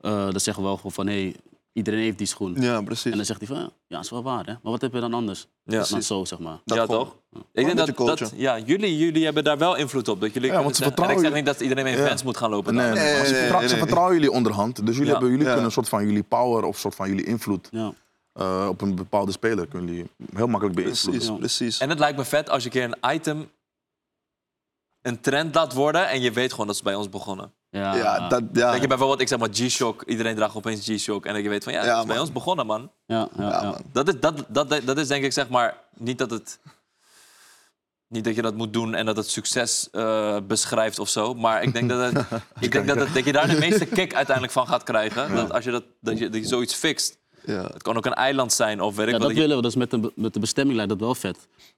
Speaker 3: Eh dan zeggen we wel gewoon van, hé, hey, iedereen heeft die schoen.
Speaker 1: Ja,
Speaker 3: En
Speaker 1: precies.
Speaker 3: dan zegt hij van, ja, ja, is wel waar, hè. Maar wat heb je dan anders?
Speaker 2: Ja.
Speaker 3: Dat is dan zo, zeg maar.
Speaker 1: Dat
Speaker 2: ja,
Speaker 1: gewoon.
Speaker 2: toch? Ik
Speaker 1: een
Speaker 2: denk
Speaker 1: beetje
Speaker 2: dat, dat
Speaker 1: culture.
Speaker 2: ja, jullie, jullie hebben daar wel invloed op. Dat jullie
Speaker 4: Ja, want
Speaker 2: kunnen
Speaker 4: ze
Speaker 2: zeggen- en ik zeg
Speaker 4: vertrouwen
Speaker 2: niet dat iedereen met
Speaker 4: Ja.
Speaker 2: fans moet gaan lopen.
Speaker 4: Nee,
Speaker 2: dan.
Speaker 4: nee,
Speaker 1: Nee,
Speaker 4: maar ze,
Speaker 1: nee,
Speaker 4: vertrouw-
Speaker 1: nee,
Speaker 4: ze
Speaker 1: nee.
Speaker 4: vertrouwen jullie onderhand. Dus jullie,
Speaker 2: Ja.
Speaker 4: hebben, jullie
Speaker 1: Ja.
Speaker 4: kunnen een soort van jullie power of soort van jullie invloed
Speaker 3: Ja.
Speaker 4: eh, op een bepaalde speler kunnen jullie heel makkelijk beïnvloeden.
Speaker 1: Precies,
Speaker 3: Ja.
Speaker 1: precies.
Speaker 2: En het lijkt me vet als je een keer een item... een trend laat worden en je weet gewoon dat ze bij ons begonnen.
Speaker 3: Ja,
Speaker 1: Ja, dat, ja.
Speaker 2: Dat je bijvoorbeeld, ik zeg maar G-Shock, iedereen draagt opeens G-Shock. En dat je weet van, ja,
Speaker 1: Ja,
Speaker 2: dat is bij
Speaker 1: man.
Speaker 2: ons begonnen, man.
Speaker 3: ja, ja,
Speaker 1: ja,
Speaker 3: ja.
Speaker 1: man.
Speaker 2: Dat is, dat, dat, dat is denk ik zeg maar niet dat het. Niet dat je dat moet doen en dat het succes eh, beschrijft of zo. Maar ik denk dat, het, ik denk dat, het, dat je daar de meeste kick uiteindelijk van gaat krijgen. Dat als je, dat, dat je, dat je zoiets fixt.
Speaker 1: Ja.
Speaker 2: Het kan ook een eiland zijn of weet ik
Speaker 3: Ja,
Speaker 2: wat.
Speaker 3: dat
Speaker 2: dat je-
Speaker 3: willen we. Dat is met de, be- met de bestemming lijkt dat wel vet.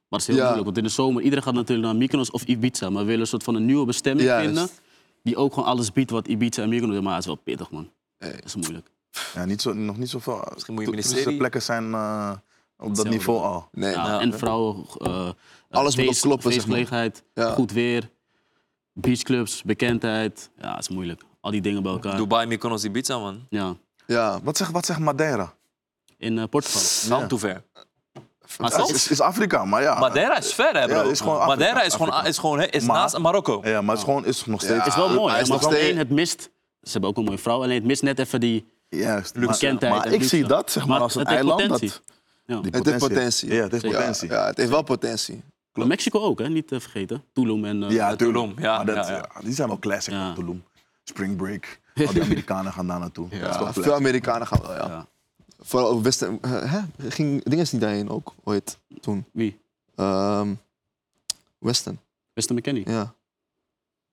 Speaker 3: Maar het is heel
Speaker 1: Ja.
Speaker 3: moeilijk, want in de zomer, iedereen gaat natuurlijk naar Mykonos of Ibiza. Maar we willen een soort van een nieuwe bestemming
Speaker 1: Juist.
Speaker 3: vinden. Die ook gewoon alles biedt wat Ibiza en Mykonos Maar het is wel pittig, man.
Speaker 1: Hey.
Speaker 3: Dat is moeilijk.
Speaker 4: Ja, niet zo, nog niet zoveel
Speaker 2: Misschien moet je
Speaker 4: to-
Speaker 2: ministerie-
Speaker 4: toeristische plekken zijn eh, op dat
Speaker 3: Hetzelfde.
Speaker 4: niveau al.
Speaker 1: Nee,
Speaker 3: Ja,
Speaker 2: nou,
Speaker 3: en vrouwen. eh, eh,
Speaker 1: Alles moet ook kloppen, zeg maar.
Speaker 3: feestgelegenheid,
Speaker 1: Ja.
Speaker 3: goed weer, beachclubs, bekendheid. Ja, het is moeilijk. Al die dingen bij elkaar.
Speaker 2: Dubai, Mykonos, Ibiza, man.
Speaker 3: Ja.
Speaker 1: ja.
Speaker 4: Wat zegt, wat zegt Madeira?
Speaker 3: In eh, Portugal.
Speaker 2: Zand toe ver. Maar
Speaker 4: Het
Speaker 2: zelfs-
Speaker 4: is, is Afrika, maar ja.
Speaker 2: Madeira is ver, hè, bro.
Speaker 4: Ah, Ja, het is gewoon
Speaker 2: Madeira
Speaker 4: Afrika,
Speaker 2: is gewoon,
Speaker 4: Afrika.
Speaker 2: is gewoon hè, is
Speaker 4: Maar-
Speaker 2: naast Marokko.
Speaker 4: Ja, maar het is gewoon is nog
Speaker 1: Ja.
Speaker 4: steeds.
Speaker 3: Het is wel mooi,
Speaker 1: Ah, hij
Speaker 3: hè,
Speaker 1: is
Speaker 3: maar
Speaker 1: nog
Speaker 3: gewoon
Speaker 1: steeds-
Speaker 3: één, het mist. Ze hebben ook een mooie vrouw, alleen het mist net even die...
Speaker 4: Juist. Maar,
Speaker 3: Bekendheid
Speaker 4: maar
Speaker 3: en
Speaker 4: ik zie
Speaker 3: liefde.
Speaker 4: dat zeg maar,
Speaker 3: Maar
Speaker 4: als een
Speaker 3: het heeft
Speaker 4: eiland.
Speaker 3: potentie.
Speaker 4: Dat,
Speaker 3: Ja.
Speaker 4: die
Speaker 1: Het heeft potentie.
Speaker 4: Ja, het heeft
Speaker 1: Ja,
Speaker 4: potentie.
Speaker 1: ja, het heeft wel potentie.
Speaker 3: Maar Mexico ook, hè? niet te vergeten. Tulum en... eh,
Speaker 4: Ja,
Speaker 2: Tulum, ja,
Speaker 4: Maar dat-
Speaker 2: ja, ja.
Speaker 4: ja, die zijn wel classic,
Speaker 3: Ja.
Speaker 4: Tulum. Spring Break. Al die Amerikanen gaan daar naartoe. Dat is
Speaker 1: Ja,
Speaker 4: wel
Speaker 1: veel
Speaker 4: classic.
Speaker 1: Amerikanen gaan wel, ja.
Speaker 3: Ja.
Speaker 1: Vooral ook Westen... eh, Hè? Ging Dinges niet daarheen ook ooit toen?
Speaker 3: Wie?
Speaker 1: Ehm Weston,
Speaker 3: Weston McKinney.
Speaker 1: ja.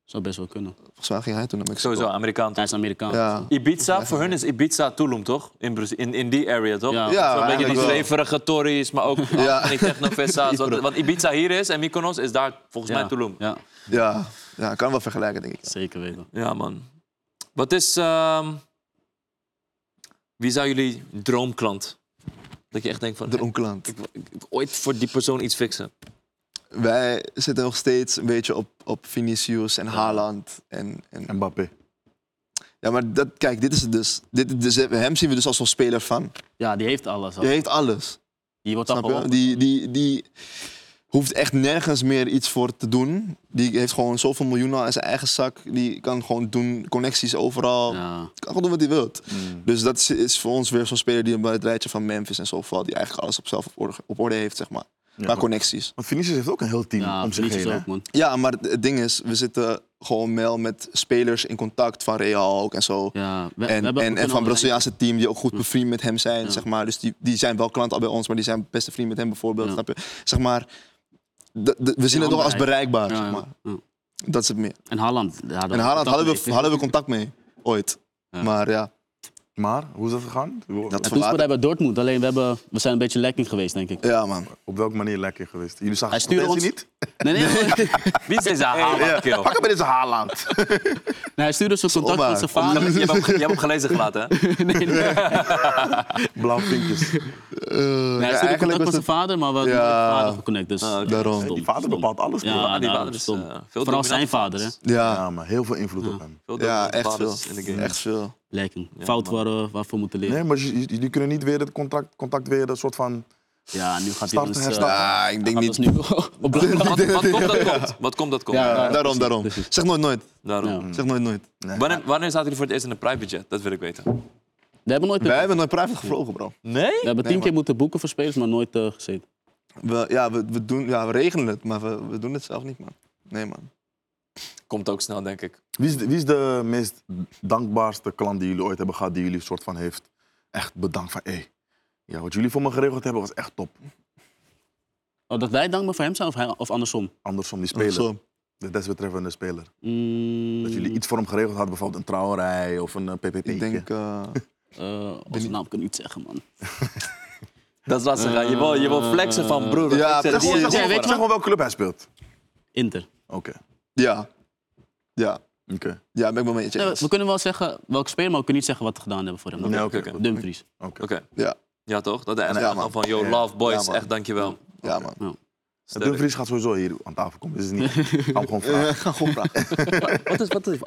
Speaker 3: Zou best wel kunnen.
Speaker 1: Volgens mij ging hij toen naar Mexico.
Speaker 2: Sowieso, Amerikaan.
Speaker 3: Hij
Speaker 2: toch?
Speaker 3: is Amerikaan.
Speaker 1: Ja.
Speaker 2: Ibiza, voor hun is Ibiza Tulum, toch? In, Brazil- in, in die area, toch?
Speaker 1: Ja,
Speaker 3: Ja.
Speaker 2: Zo'n beetje die
Speaker 1: eigenlijk wel.
Speaker 2: zweverige Tories, maar ook
Speaker 1: Ja.
Speaker 2: van die technofesta's. Wat, wat Ibiza hier is en Mykonos is daar volgens mij Tulum.
Speaker 3: Ja,
Speaker 1: Ja, ja, kan wel vergelijken, denk ik.
Speaker 3: zeker weten.
Speaker 2: Ja, man. Wat is... ehm, wie zou jullie droomklant? Dat je echt denkt van...
Speaker 1: De
Speaker 2: ik,
Speaker 1: Onkland.
Speaker 2: ik wil ooit voor die persoon iets fixen.
Speaker 1: Wij zitten nog steeds een beetje op, op Vinicius en Haaland. En, en,
Speaker 4: Mbappé.
Speaker 1: ja, maar dat, kijk, dit is het dus. Dit, dus. Hem zien we dus als zo'n speler van.
Speaker 3: Ja, die heeft alles. al.
Speaker 1: Die heeft alles.
Speaker 3: Die wordt
Speaker 1: Snap je?
Speaker 3: afgelopen.
Speaker 1: Die, die, die hoeft echt nergens meer iets voor te doen. Die heeft gewoon zoveel miljoenen al in zijn eigen zak. Die kan gewoon doen, connecties overal.
Speaker 3: Ja.
Speaker 1: Kan gewoon doen wat hij wilt. Dus dat is, is voor ons weer zo'n speler die bij het rijtje van Memphis en zo valt. Die eigenlijk alles op zelf op orde, op orde heeft, zeg maar. maar connecties.
Speaker 4: Want Vinicius heeft ook een heel team
Speaker 3: Ja,
Speaker 4: om zich
Speaker 3: Vinicius
Speaker 4: heen. hè.
Speaker 3: ook, man.
Speaker 1: Ja, maar het ding is, we zitten gewoon wel met spelers in contact van Real ook en zo.
Speaker 3: Ja, we- we
Speaker 1: En,
Speaker 3: hebben- we
Speaker 1: en, en
Speaker 3: kunnen
Speaker 1: van
Speaker 3: wel-
Speaker 1: Braziliaanse team die ook goed bevriend met hem zijn, zeg maar. Dus die, die zijn wel klant al bij ons, maar die zijn beste vriend met hem bijvoorbeeld,
Speaker 3: Ja.
Speaker 1: snap je? Zeg maar, de- de- we zien het toch als bereikbaar,
Speaker 3: Ja,
Speaker 1: zeg
Speaker 3: ja.
Speaker 1: maar.
Speaker 3: Ja.
Speaker 1: Dat is het meer.
Speaker 3: En Haaland. daar hadden
Speaker 1: En
Speaker 3: we
Speaker 1: Haaland
Speaker 3: contact
Speaker 1: hadden we,
Speaker 3: mee.
Speaker 1: hadden we contact mee, ooit.
Speaker 3: Ja.
Speaker 1: Maar ja,
Speaker 4: Maar, hoe is dat gegaan? Hoe-
Speaker 1: Dat-
Speaker 3: Toen speelde hij bij Dortmund, alleen we, hebben, we zijn een beetje lekking geweest, denk ik.
Speaker 1: Ja, man.
Speaker 4: Op welke manier lekker geweest? Jullie zagen
Speaker 3: Hij stuurde
Speaker 4: Messi
Speaker 3: ons-
Speaker 4: niet?
Speaker 3: Nee, nee, nee,
Speaker 2: Wie is deze
Speaker 4: Ja.
Speaker 2: Haaland,
Speaker 4: Pak
Speaker 2: kill?
Speaker 4: hem bij deze Haaland.
Speaker 3: hij stuurde zo'n contact
Speaker 1: Zomaar.
Speaker 3: met zijn
Speaker 2: Je hebt,
Speaker 3: vader.
Speaker 2: hem, ge- je hebt hem gelezen gelaten, hè?
Speaker 3: nee, nee.
Speaker 4: Blauw vinkjes.
Speaker 1: Eh,
Speaker 3: Nee, hij
Speaker 1: ja,
Speaker 3: stuurde
Speaker 1: eigenlijk
Speaker 3: contact met
Speaker 1: was
Speaker 3: zijn
Speaker 1: het
Speaker 3: vader, maar we hadden
Speaker 1: Ja.
Speaker 3: met vader geconnect. Dus
Speaker 2: Ah, oké.
Speaker 1: daarom.
Speaker 4: Die vader bepaalt alles.
Speaker 3: Ja,
Speaker 4: broer.
Speaker 2: Ah, die
Speaker 3: daarom
Speaker 2: vader is
Speaker 3: stom.
Speaker 2: eh, veel
Speaker 3: Vooral
Speaker 2: dominanter
Speaker 3: zijn vader, hè?
Speaker 2: vaders.
Speaker 1: Ja,
Speaker 4: Ja, maar heel veel invloed op hem.
Speaker 2: Veel
Speaker 1: ja
Speaker 2: dominanter
Speaker 1: echt
Speaker 2: vaders
Speaker 1: veel.
Speaker 2: in de game.
Speaker 1: Echt veel.
Speaker 3: lekking. Fout waar we waarvoor moeten leren.
Speaker 4: Nee, maar j- j- jullie kunnen niet weer het contact, contact weer een soort van...
Speaker 3: Ja, nu gaat hij
Speaker 4: Starten,
Speaker 3: ons... eh,
Speaker 4: herstarten.
Speaker 1: Ja, ik denk
Speaker 3: gaat ons
Speaker 1: niet.
Speaker 3: nu op blauw.
Speaker 2: Wat, wat komt, dat komt. Wat komt, dat komt.
Speaker 3: Ja,
Speaker 1: Ja, daarom, daarom.
Speaker 3: precies.
Speaker 1: Zeg nooit nooit.
Speaker 2: Daarom.
Speaker 3: Ja.
Speaker 1: Zeg nooit nooit.
Speaker 2: Wanneer, wanneer zaten jullie voor het eerst in een private jet? Dat wil ik weten.
Speaker 3: We hebben nooit...
Speaker 1: Wij hebben nooit private gevlogen, bro.
Speaker 2: Nee?
Speaker 3: We hebben tien keer moeten boeken voor spelers, maar nooit eh, gezeten.
Speaker 1: We, ja, we, we doen, ja, we regelen het, maar we, we doen het zelf niet, man. Nee, man.
Speaker 2: Komt ook snel, denk ik.
Speaker 4: Wie is, de, wie is de meest dankbaarste klant die jullie ooit hebben gehad, die jullie soort van heeft echt bedankt van... Hey, ja, wat jullie voor me geregeld hebben was echt top.
Speaker 3: Oh, dat wij dankbaar voor hem zijn of, hij- of andersom?
Speaker 4: Andersom, die speler.
Speaker 1: Zo.
Speaker 4: De desbetreffende speler.
Speaker 3: Mm,
Speaker 4: Dat jullie iets voor hem geregeld hadden, bijvoorbeeld een trouwerij of een ppp
Speaker 1: Ik denk... eh,
Speaker 3: eh, onze naam kan ik niet zeggen, man.
Speaker 2: Dat is lastig. hè? Je, wil, je wil flexen van broer.
Speaker 1: Ja,
Speaker 2: ik zeg,
Speaker 1: precies.
Speaker 2: die-
Speaker 1: Ja,
Speaker 4: Zeg
Speaker 3: weet je
Speaker 4: gewoon
Speaker 3: wat?
Speaker 4: zeg gewoon welke club hij speelt.
Speaker 3: Inter.
Speaker 4: Oké,
Speaker 1: ja. Ja.
Speaker 4: oké.
Speaker 1: Ja, ben ik wel mee eens.
Speaker 3: Nee, we, we kunnen wel zeggen welke speler, maar we kunnen niet zeggen wat we gedaan hebben voor hem.
Speaker 1: Nou,
Speaker 4: Nee, oké,
Speaker 2: oké.
Speaker 4: goed.
Speaker 3: Dumfries.
Speaker 4: Oké.
Speaker 2: Oké.
Speaker 1: Ja,
Speaker 2: Ja, toch? Dat hij echt
Speaker 1: Ja,
Speaker 2: aan
Speaker 1: man.
Speaker 2: van, yo,
Speaker 4: Ja.
Speaker 2: love boys,
Speaker 1: Ja, man.
Speaker 2: echt dankjewel.
Speaker 1: ja, man.
Speaker 4: De Dumfries gaat sowieso hier aan tafel komen. Dus het is niet. Ik ga hem gewoon vragen.
Speaker 1: Ga gewoon vragen.
Speaker 2: Wat is,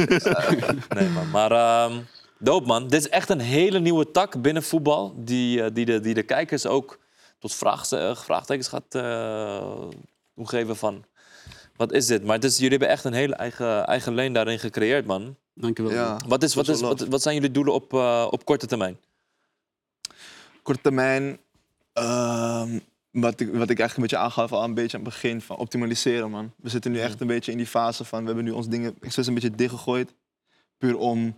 Speaker 2: wat is Nee, man. Maar ehm dope, man. Dit is echt een hele nieuwe tak binnen voetbal. Die, eh, die, de, die de kijkers ook tot vraag, eh, vraagtekens gaat eh toegeven van... Wat is dit? Maar het is, jullie hebben echt een hele eigen, eigen lane daarin gecreëerd, man.
Speaker 3: Dankjewel.
Speaker 1: Ja.
Speaker 2: Wat, is, wat,
Speaker 1: Dat
Speaker 2: is,
Speaker 1: is wel
Speaker 2: wat, wat zijn jullie doelen op, eh, op korte termijn?
Speaker 1: Korte termijn... ehm, wat ik, wat ik eigenlijk een beetje aangaf al een beetje aan het begin van optimaliseren, man. We zitten nu echt een beetje in die fase van... We hebben nu ons dingen expres een beetje dichtgegooid. Puur om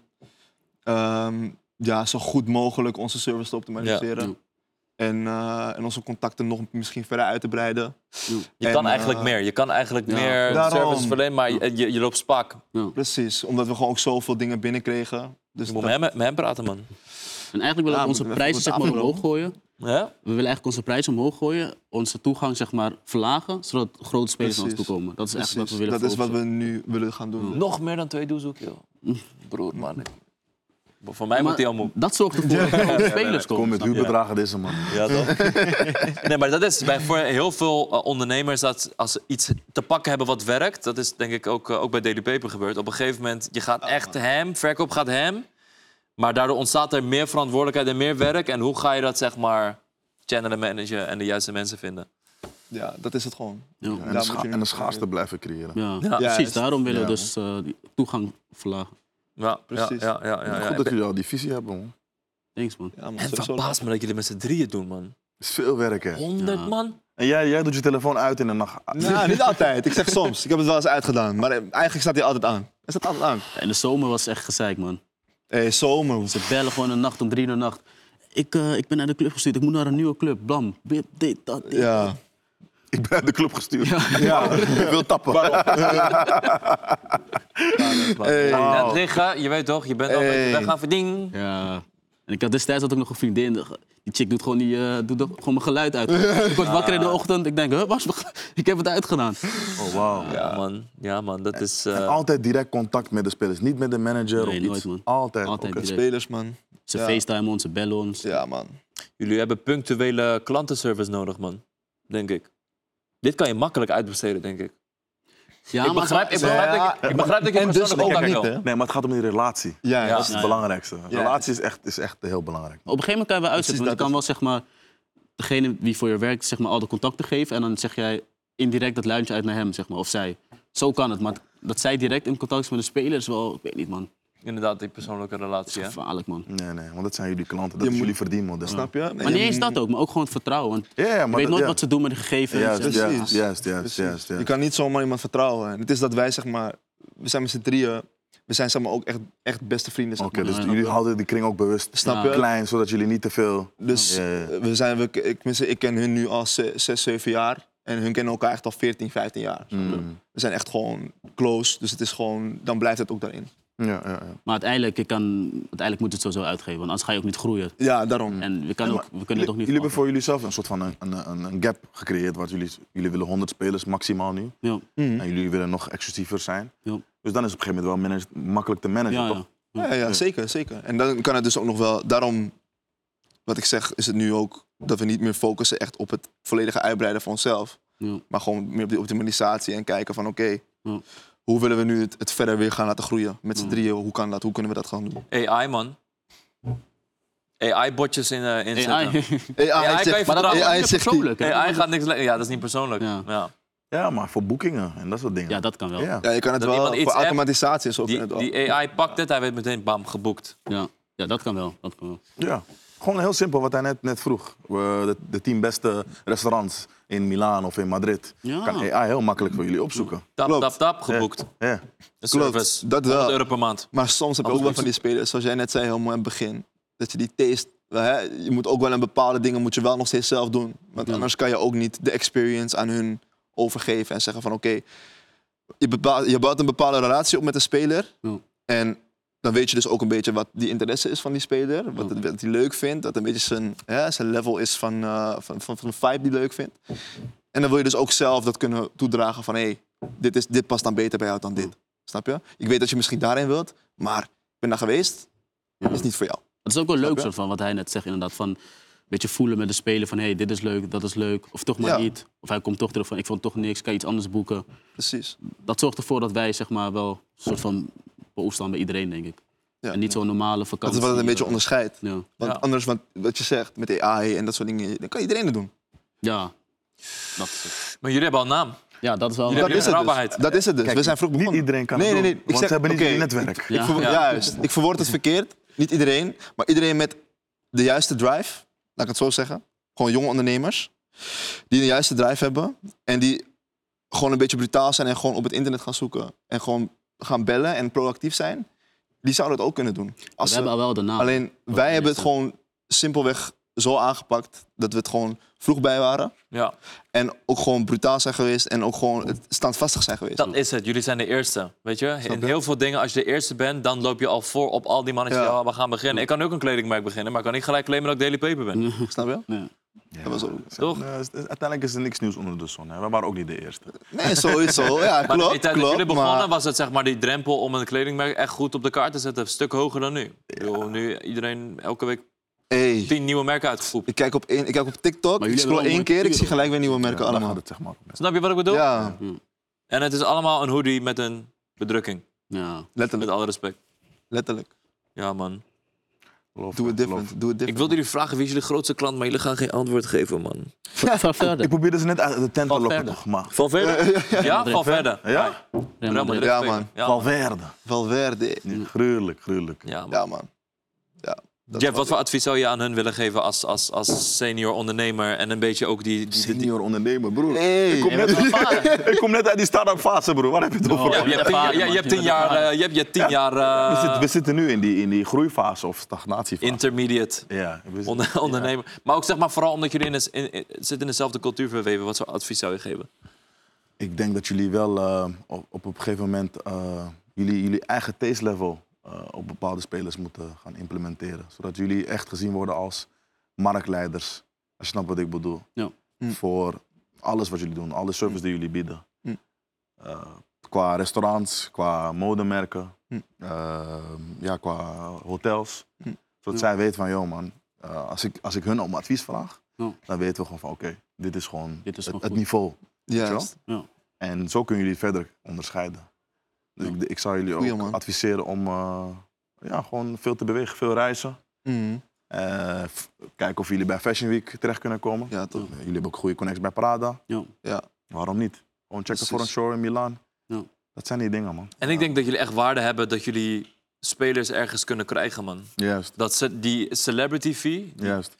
Speaker 1: ehm, ja, zo goed mogelijk onze service te optimaliseren.
Speaker 3: Ja.
Speaker 1: En, eh, en onze contacten nog misschien verder uit te breiden.
Speaker 2: Je
Speaker 1: En,
Speaker 2: kan eigenlijk
Speaker 1: eh,
Speaker 2: meer. Je kan eigenlijk
Speaker 3: ja.
Speaker 2: meer
Speaker 1: Daarom.
Speaker 2: service verlenen, maar je, je, je loopt spaak.
Speaker 1: Precies, omdat we gewoon ook zoveel dingen binnenkregen. Dus
Speaker 2: Je moet
Speaker 1: dat-
Speaker 2: met hem, met hem praten, man.
Speaker 3: En eigenlijk willen
Speaker 1: Ja,
Speaker 3: we onze
Speaker 1: we- we-
Speaker 3: prijzen
Speaker 1: we-
Speaker 3: zeg maar,
Speaker 1: afronden.
Speaker 3: omhoog gooien.
Speaker 2: Ja?
Speaker 3: We willen eigenlijk onze prijzen omhoog gooien, onze toegang zeg maar, verlagen, zodat grote spelers naar ons toe
Speaker 1: Precies.
Speaker 3: komen. Dat is echt wat we
Speaker 1: Precies,
Speaker 3: willen
Speaker 1: dat is wat
Speaker 3: focussen.
Speaker 1: we nu willen gaan doen.
Speaker 2: Nog meer dan twee doezoek, joh. Broer, man. ik- Voor mij
Speaker 3: Maar
Speaker 2: wordt hij al moe.
Speaker 3: Dat zorgt ervoor dat er grote spelers
Speaker 4: Kom
Speaker 3: komen.
Speaker 4: met huurbedragen deze man.
Speaker 2: Ja, toch? nee, maar dat is bij, voor heel veel eh, ondernemers dat als ze iets te pakken hebben wat werkt, dat is denk ik ook, eh, ook bij Daily Paper gebeurd. Op een gegeven moment, je gaat echt hem, verkoop gaat hem, maar daardoor ontstaat er meer verantwoordelijkheid en meer werk. En hoe ga je dat, zeg maar, channelen, managen en de juiste mensen vinden?
Speaker 1: Ja, dat is het gewoon.
Speaker 3: Ja.
Speaker 4: En,
Speaker 1: Daar
Speaker 4: een
Speaker 1: moet
Speaker 4: scha-
Speaker 1: je nu
Speaker 4: en een
Speaker 1: mee
Speaker 4: schaarste blijven creëren.
Speaker 3: Ja,
Speaker 2: Ja,
Speaker 3: precies.
Speaker 1: juist.
Speaker 3: Daarom willen we
Speaker 4: Ja,
Speaker 3: dus eh, die toegang verlagen.
Speaker 2: Ja,
Speaker 1: Precies.
Speaker 2: Ja, ja, ja, ja, ja.
Speaker 4: Goed dat jullie al die visie hebben, man.
Speaker 3: Thanks, man.
Speaker 1: Ja, man,
Speaker 2: En het
Speaker 1: sowieso.
Speaker 2: verbaast me dat jullie met z'n drieën doen, man.
Speaker 4: Het is veel werk, hè.
Speaker 2: 100
Speaker 3: Ja.
Speaker 2: man?
Speaker 4: En jij, jij doet je telefoon uit in de nacht.
Speaker 1: Nou, niet altijd. Ik zeg soms. Ik heb het wel eens uitgedaan. Maar eh, eigenlijk staat hij altijd aan. Hij staat altijd aan.
Speaker 3: En de zomer was echt gezeik, man.
Speaker 1: Hé, zomer. hoe-
Speaker 3: Ze bellen gewoon een nacht om drie uur de nacht. Ik, eh, ik ben naar de club gestuurd, ik moet naar een nieuwe club. Blam, bip, dit, dat, dit.
Speaker 1: Ja.
Speaker 4: Ik ben uit de club gestuurd.
Speaker 1: Ja.
Speaker 4: Ik wil tappen.
Speaker 1: Hey.
Speaker 2: Net
Speaker 4: Oh.
Speaker 3: Oh,
Speaker 2: liggen, je weet toch, je bent al een beetje
Speaker 1: Hey.
Speaker 2: weg gaan verdienen.
Speaker 3: Ja. En ik had destijds had ik nog een vriendin. Die chick doet gewoon, die, eh, doet ook gewoon mijn geluid uit. ik word wakker in de ochtend. Ik denk, huh, waar is mijn ge- ik heb het uitgedaan.
Speaker 4: Oh, wauw.
Speaker 2: Ja, man. Ja, man, dat is... eh,
Speaker 4: En altijd direct contact met de spelers. Niet met de manager
Speaker 3: Nee,
Speaker 4: of iets.
Speaker 3: nooit, man.
Speaker 4: Altijd.
Speaker 3: Altijd
Speaker 4: Oké.
Speaker 3: direct.
Speaker 1: Spelers, man.
Speaker 3: Ze
Speaker 1: Ja.
Speaker 3: facetimen ons, ze bellen ons.
Speaker 1: Ja, man.
Speaker 2: Jullie hebben punctuele klantenservice nodig, man. Denk ik. Dit kan je makkelijk uitbesteden, denk ik.
Speaker 3: Ja,
Speaker 2: ik, begrijp, ik,
Speaker 3: ze-
Speaker 2: begrijp
Speaker 1: Ja,
Speaker 2: dat, ik- ik begrijp dat je
Speaker 1: En dus
Speaker 2: persoonlijk
Speaker 1: ook
Speaker 2: contact
Speaker 1: niet,
Speaker 2: wil.
Speaker 1: hè?
Speaker 4: Nee, maar het gaat om die relatie.
Speaker 1: Ja, dus, dat
Speaker 2: Ja.
Speaker 1: is-
Speaker 4: Dat is het belangrijkste. Relatie is echt, is echt heel belangrijk.
Speaker 3: Op een gegeven moment kan
Speaker 4: Dus
Speaker 3: je wel uitzetten. Want
Speaker 1: Precies,
Speaker 3: je kan wel zeg maar, degene wie voor je werkt zeg maar, al de contacten geven. En dan zeg jij indirect dat luintje uit naar hem zeg maar, of zij. Zo kan het. Maar dat zij direct in contact is met de speler is wel, ik weet niet man,
Speaker 2: Inderdaad, die persoonlijke relatie. Hè?
Speaker 3: gevaarlijk man.
Speaker 4: Nee, nee, want dat zijn jullie klanten. Dat
Speaker 1: Je
Speaker 4: is
Speaker 1: moet-
Speaker 4: jullie verdienmodel.
Speaker 1: Snap je?
Speaker 3: Maar niet eens dat ook, maar ook gewoon het vertrouwen. Want
Speaker 4: Ja, ja, maar
Speaker 3: je weet nooit
Speaker 4: dat- ja. dus
Speaker 3: wat ze doen met de gegevens.
Speaker 4: Juist,
Speaker 3: en-
Speaker 1: Precies.
Speaker 4: juist, juist, juist,
Speaker 1: Precies.
Speaker 4: juist.
Speaker 1: dus, Je
Speaker 4: juist.
Speaker 1: kan niet zomaar iemand vertrouwen. En het is dat wij, zeg maar... We zijn met z'n drieën. We zijn, zeg maar, ook echt, echt beste vrienden, zeg
Speaker 4: Oké,
Speaker 1: maar.
Speaker 4: dus jullie houden die kring ook bewust
Speaker 1: Snap
Speaker 3: Ja.
Speaker 1: je?
Speaker 4: klein, zodat jullie niet te veel...
Speaker 1: Dus
Speaker 4: Ja, ja, ja.
Speaker 1: eh, we zijn, we, ik, tenminste, ik ken hun nu al ze- zes, zeven jaar. En hun kennen elkaar
Speaker 4: Mm.
Speaker 1: echt al 14, 15 jaar. snap je? We zijn echt gewoon close. Dus het is gewoon, dan blijft het ook daarin.
Speaker 4: Ja, ja, ja.
Speaker 3: Maar uiteindelijk, je kan, uiteindelijk moet je het sowieso uitgeven, want anders ga je ook niet groeien.
Speaker 1: Ja,
Speaker 4: Mm.
Speaker 1: daarom.
Speaker 3: En we, kan
Speaker 4: Ja,
Speaker 3: ook,
Speaker 4: maar
Speaker 3: we kunnen het ook niet
Speaker 4: Jullie
Speaker 3: veranderen.
Speaker 4: hebben voor jullie zelf een soort van een, een, een, een gap gecreëerd. Want jullie, jullie willen 100 spelers maximaal nu.
Speaker 3: Ja.
Speaker 1: Hm?
Speaker 4: En jullie willen nog exclusiever zijn.
Speaker 3: Ja.
Speaker 4: Dus dan is het op een gegeven moment wel manage- makkelijk te managen,
Speaker 3: Ja,
Speaker 4: toch?
Speaker 3: ja.
Speaker 1: Ja, ja, zeker, zeker. En dan kan het dus ook nog wel... Daarom, wat ik zeg, is het nu ook dat we niet meer focussen echt op het volledige uitbreiden van onszelf.
Speaker 3: Ja.
Speaker 1: Maar gewoon meer op die optimalisatie en kijken van oké,
Speaker 3: Ja.
Speaker 1: hoe willen we nu het, het verder weer gaan laten groeien? Met
Speaker 4: Mm.
Speaker 1: z'n
Speaker 3: Ja.
Speaker 1: drieën, hoe kan dat? Hoe kunnen we dat gaan doen?
Speaker 2: AI, man. AI-botjes in, eh inzetten.
Speaker 3: AI.
Speaker 1: AI,
Speaker 2: kan je
Speaker 1: zegt-
Speaker 2: vertrouwen,
Speaker 1: AI
Speaker 2: niet
Speaker 1: zegt die-
Speaker 3: persoonlijk, hè?
Speaker 2: AI gaat niks... le- Ja, dat is niet persoonlijk.
Speaker 3: Ja.
Speaker 2: Ja.
Speaker 4: Ja, maar voor boekingen en dat soort dingen.
Speaker 3: Ja, dat kan wel.
Speaker 4: Ja.
Speaker 3: Ja.
Speaker 1: Ja, je kan het
Speaker 2: Dat
Speaker 1: wel
Speaker 2: iemand iets
Speaker 1: voor
Speaker 2: appt,
Speaker 1: automatisatie en zo.
Speaker 2: Die,
Speaker 1: vind ik het wel.
Speaker 2: die AI pakt het, hij weet meteen, bam, geboekt.
Speaker 3: Ja. dat kan wel. Dat kan wel.
Speaker 4: Ja. Gewoon heel simpel wat hij net, net vroeg. We- de, de tien beste restaurants in Milaan of in Madrid.
Speaker 3: Ja.
Speaker 4: Kan AI heel makkelijk voor jullie opzoeken.
Speaker 2: Tap,
Speaker 1: Klopt.
Speaker 2: tap, tap, geboekt.
Speaker 4: Ja.
Speaker 1: Dus
Speaker 2: Een
Speaker 1: Klopt,
Speaker 2: service.
Speaker 1: dat wel.
Speaker 2: 100 euro per maand.
Speaker 1: Maar soms heb je ook wel van die spelers, zoals jij net zei helemaal in het begin, dat je die taste, hè, je moet ook wel een bepaalde dingen moet je wel nog steeds zelf doen, want anders kan je ook niet de experience aan hun overgeven en zeggen van oké, je, bepaalt- je bouwt een bepaalde relatie op met de speler
Speaker 3: Ja.
Speaker 1: en dan weet je dus ook een beetje wat die interesse is van die speler, wat, het- wat hij leuk vindt, dat een beetje zijn, hè, zijn level is van, eh, van, van, van de vibe die hij leuk vindt. En dan wil je dus ook zelf dat kunnen toedragen van hé, hey, dit, is- dit past dan beter bij jou dan dit. Snap je? Ik weet dat je misschien daarin wilt, maar ik ben daar geweest. Dat is niet voor jou.
Speaker 3: Het is ook wel leuk
Speaker 1: je?
Speaker 3: soort van wat hij net zegt inderdaad. Van een beetje voelen met de speler van hey, dit is leuk, dat is leuk. Of toch maar
Speaker 1: Ja.
Speaker 3: niet. Of hij komt toch terug van ik vond toch niks, kan je iets anders boeken.
Speaker 1: Precies.
Speaker 3: Dat zorgt ervoor dat wij zeg maar wel een soort van beoefstaan bij iedereen denk ik.
Speaker 1: Ja.
Speaker 3: En niet zo'n normale
Speaker 1: Dat
Speaker 3: vakantie.
Speaker 1: is wat het een beetje onderscheidt.
Speaker 3: Ja.
Speaker 1: Want
Speaker 2: Ja.
Speaker 1: anders, want wat je zegt met AI en dat soort dingen, dan kan iedereen het doen.
Speaker 3: ja. Dat is het.
Speaker 2: Maar jullie hebben al een naam.
Speaker 3: Ja, dat is
Speaker 1: Dat
Speaker 2: Jullie
Speaker 3: wel...
Speaker 1: is
Speaker 2: hebben
Speaker 1: het dus.
Speaker 2: betrouwbaarheid.
Speaker 1: Dat is het dus.
Speaker 4: Kijk,
Speaker 1: We zijn vroeg
Speaker 4: Niet
Speaker 1: begonnen.
Speaker 4: iedereen kan
Speaker 1: nee,
Speaker 4: het
Speaker 1: nee,
Speaker 4: doen,
Speaker 1: nee. Ik
Speaker 4: want
Speaker 1: zeg,
Speaker 4: ze hebben niet
Speaker 1: oké,
Speaker 4: het netwerk.
Speaker 1: Ik verwo-
Speaker 3: Ja.
Speaker 1: Juist. Ik verwoord het verkeerd. Niet iedereen, maar iedereen met de juiste drive. Laat ik het zo zeggen. Gewoon jonge ondernemers. Die de juiste drive hebben. En die gewoon een beetje brutaal zijn en gewoon op het internet gaan zoeken. En gewoon gaan bellen en proactief zijn. Die zouden het ook kunnen doen. Als
Speaker 3: we
Speaker 1: ze-
Speaker 3: hebben al wel de
Speaker 2: Ah.
Speaker 3: naam.
Speaker 1: Alleen wij
Speaker 3: is
Speaker 1: hebben het
Speaker 3: dat?
Speaker 1: gewoon simpelweg zo aangepakt dat we het gewoon vroeg bij waren.
Speaker 2: Ja,
Speaker 1: En ook gewoon brutaal zijn geweest en ook gewoon het standvastig zijn geweest.
Speaker 2: dat is het. Jullie zijn de eerste. Weet je?
Speaker 1: Snap
Speaker 2: In
Speaker 1: je?
Speaker 2: heel veel dingen, als je de eerste bent, dan loop je al voor op al die mannetjes
Speaker 1: Ja.
Speaker 2: die al we gaan beginnen. Ik kan ook een kledingmerk beginnen, maar ik kan niet gelijk claimen dat ik Daily Paper ben.
Speaker 1: Snap je?
Speaker 3: Ja.
Speaker 4: Ja,
Speaker 1: Dat was ook-
Speaker 4: ze-
Speaker 2: Toch?
Speaker 4: eh, het is- uiteindelijk is er niks nieuws onder de zon. Hè. We waren ook niet de eerste.
Speaker 1: Nee, sowieso. Ja,
Speaker 2: Maar
Speaker 1: klopt,
Speaker 2: in de tijd dat
Speaker 1: klopt.
Speaker 2: jullie begonnen,
Speaker 1: Maar
Speaker 2: was het zeg maar die drempel om een kledingmerk echt goed op de kaart te zetten. Een stuk hoger dan nu. Ik bedoel, nu iedereen elke week
Speaker 1: hey,
Speaker 2: tien nieuwe merken uitgeroepen.
Speaker 1: ik kijk op, één, ik kijk op TikTok,
Speaker 3: Maar
Speaker 1: ik
Speaker 3: jullie
Speaker 1: scroll
Speaker 3: hebben wel
Speaker 1: één keer, ik
Speaker 3: mooie
Speaker 1: zie gelijk weer nieuwe
Speaker 4: Ja,
Speaker 1: merken
Speaker 4: daar
Speaker 1: allemaal.
Speaker 4: gaat het zeg maar om.
Speaker 2: Snap je wat ik bedoel?
Speaker 1: Ja,
Speaker 2: En het is allemaal een hoodie met een bedrukking.
Speaker 3: Ja.
Speaker 2: Met
Speaker 1: letterlijk.
Speaker 2: alle respect.
Speaker 1: letterlijk.
Speaker 2: Ja, man.
Speaker 4: Geloof
Speaker 1: Doe
Speaker 4: me,
Speaker 1: het
Speaker 4: geloof
Speaker 1: different, doe het
Speaker 2: Ik
Speaker 1: different.
Speaker 2: wilde jullie vragen wie is jullie grootste klant, maar jullie gaan geen antwoord geven, man.
Speaker 3: Ga
Speaker 4: me. Ik
Speaker 3: verder.
Speaker 4: probeerde ze net uit de tent te lokken,
Speaker 3: verder.
Speaker 4: toch? Maar
Speaker 2: Valverde? Ja, Valverde.
Speaker 4: Ja?
Speaker 3: Real
Speaker 2: Real
Speaker 3: Madrid.
Speaker 2: Madrid.
Speaker 1: Ja, man.
Speaker 2: Ja, man.
Speaker 4: Valverde.
Speaker 1: Valverde.
Speaker 4: Gruwelijk, gruwelijk.
Speaker 2: Ja, man.
Speaker 1: Ja, man. Ja, dat
Speaker 2: Jeff,
Speaker 1: is
Speaker 2: wat voor advies zou je aan hun willen geven als, als, als senior ondernemer en een beetje ook die... die, die-
Speaker 4: Senior ondernemer, broer.
Speaker 1: Hey.
Speaker 4: Ik, kom
Speaker 1: Je
Speaker 4: net, ik kom net uit die start-up fase, broer. Waar heb je het over?
Speaker 2: Ja, je hebt tien jaar- je- je hebt tien jaar... eh, Je hebt je tien jaar...
Speaker 4: We,
Speaker 2: eh,
Speaker 4: zitten, we zitten nu in die, in die groeifase of stagnatiefase.
Speaker 2: intermediate
Speaker 4: ja, we zitten-
Speaker 2: onder- ondernemer. Maar ook zeg maar vooral omdat jullie in, de- in, in- zitten in dezelfde cultuur verweven. Wat voor advies zou je geven?
Speaker 4: Ik denk dat jullie wel eh, op, op een gegeven moment eh, jullie, jullie eigen taste level eh, op bepaalde spelers moeten gaan implementeren. Zodat jullie echt gezien worden als marktleiders. Als je snapt wat ik bedoel.
Speaker 3: Ja.
Speaker 1: Hm.
Speaker 4: Voor alles wat jullie doen, alle service die jullie bieden.
Speaker 1: Hm.
Speaker 4: Eh, qua restaurants, qua modemerken,
Speaker 1: Hm.
Speaker 4: eh, ja, qua hotels.
Speaker 1: Hm.
Speaker 4: Zodat
Speaker 3: Ja.
Speaker 4: zij weten van, joh man, eh, als, ik, als ik hun om advies vraag,
Speaker 3: Ja.
Speaker 4: dan weten we gewoon van, oké, dit is gewoon
Speaker 3: Dit is
Speaker 4: het-
Speaker 3: gewoon
Speaker 4: het
Speaker 3: goed.
Speaker 4: niveau.
Speaker 1: Juist.
Speaker 4: En zo kunnen jullie het verder onderscheiden. Dus ik, ik zou jullie ook
Speaker 1: Goeie, man.
Speaker 4: adviseren om eh, ja, gewoon veel te bewegen, veel reizen.
Speaker 1: Mhm.
Speaker 4: Eh, f- kijken of jullie bij Fashion Week terecht kunnen komen.
Speaker 1: Ja, toch.
Speaker 4: Eh, Jullie hebben ook goede connects bij Prada.
Speaker 3: Ja.
Speaker 1: Ja.
Speaker 4: Waarom niet? Gewoon checken voor een
Speaker 1: Precies.
Speaker 4: show in Milaan.
Speaker 3: Ja.
Speaker 4: Dat zijn die dingen, man.
Speaker 2: En ik denk dat jullie echt waarde hebben dat jullie spelers ergens kunnen krijgen, man.
Speaker 4: Juist,
Speaker 2: Dat ze, die celebrity fee,
Speaker 4: juist.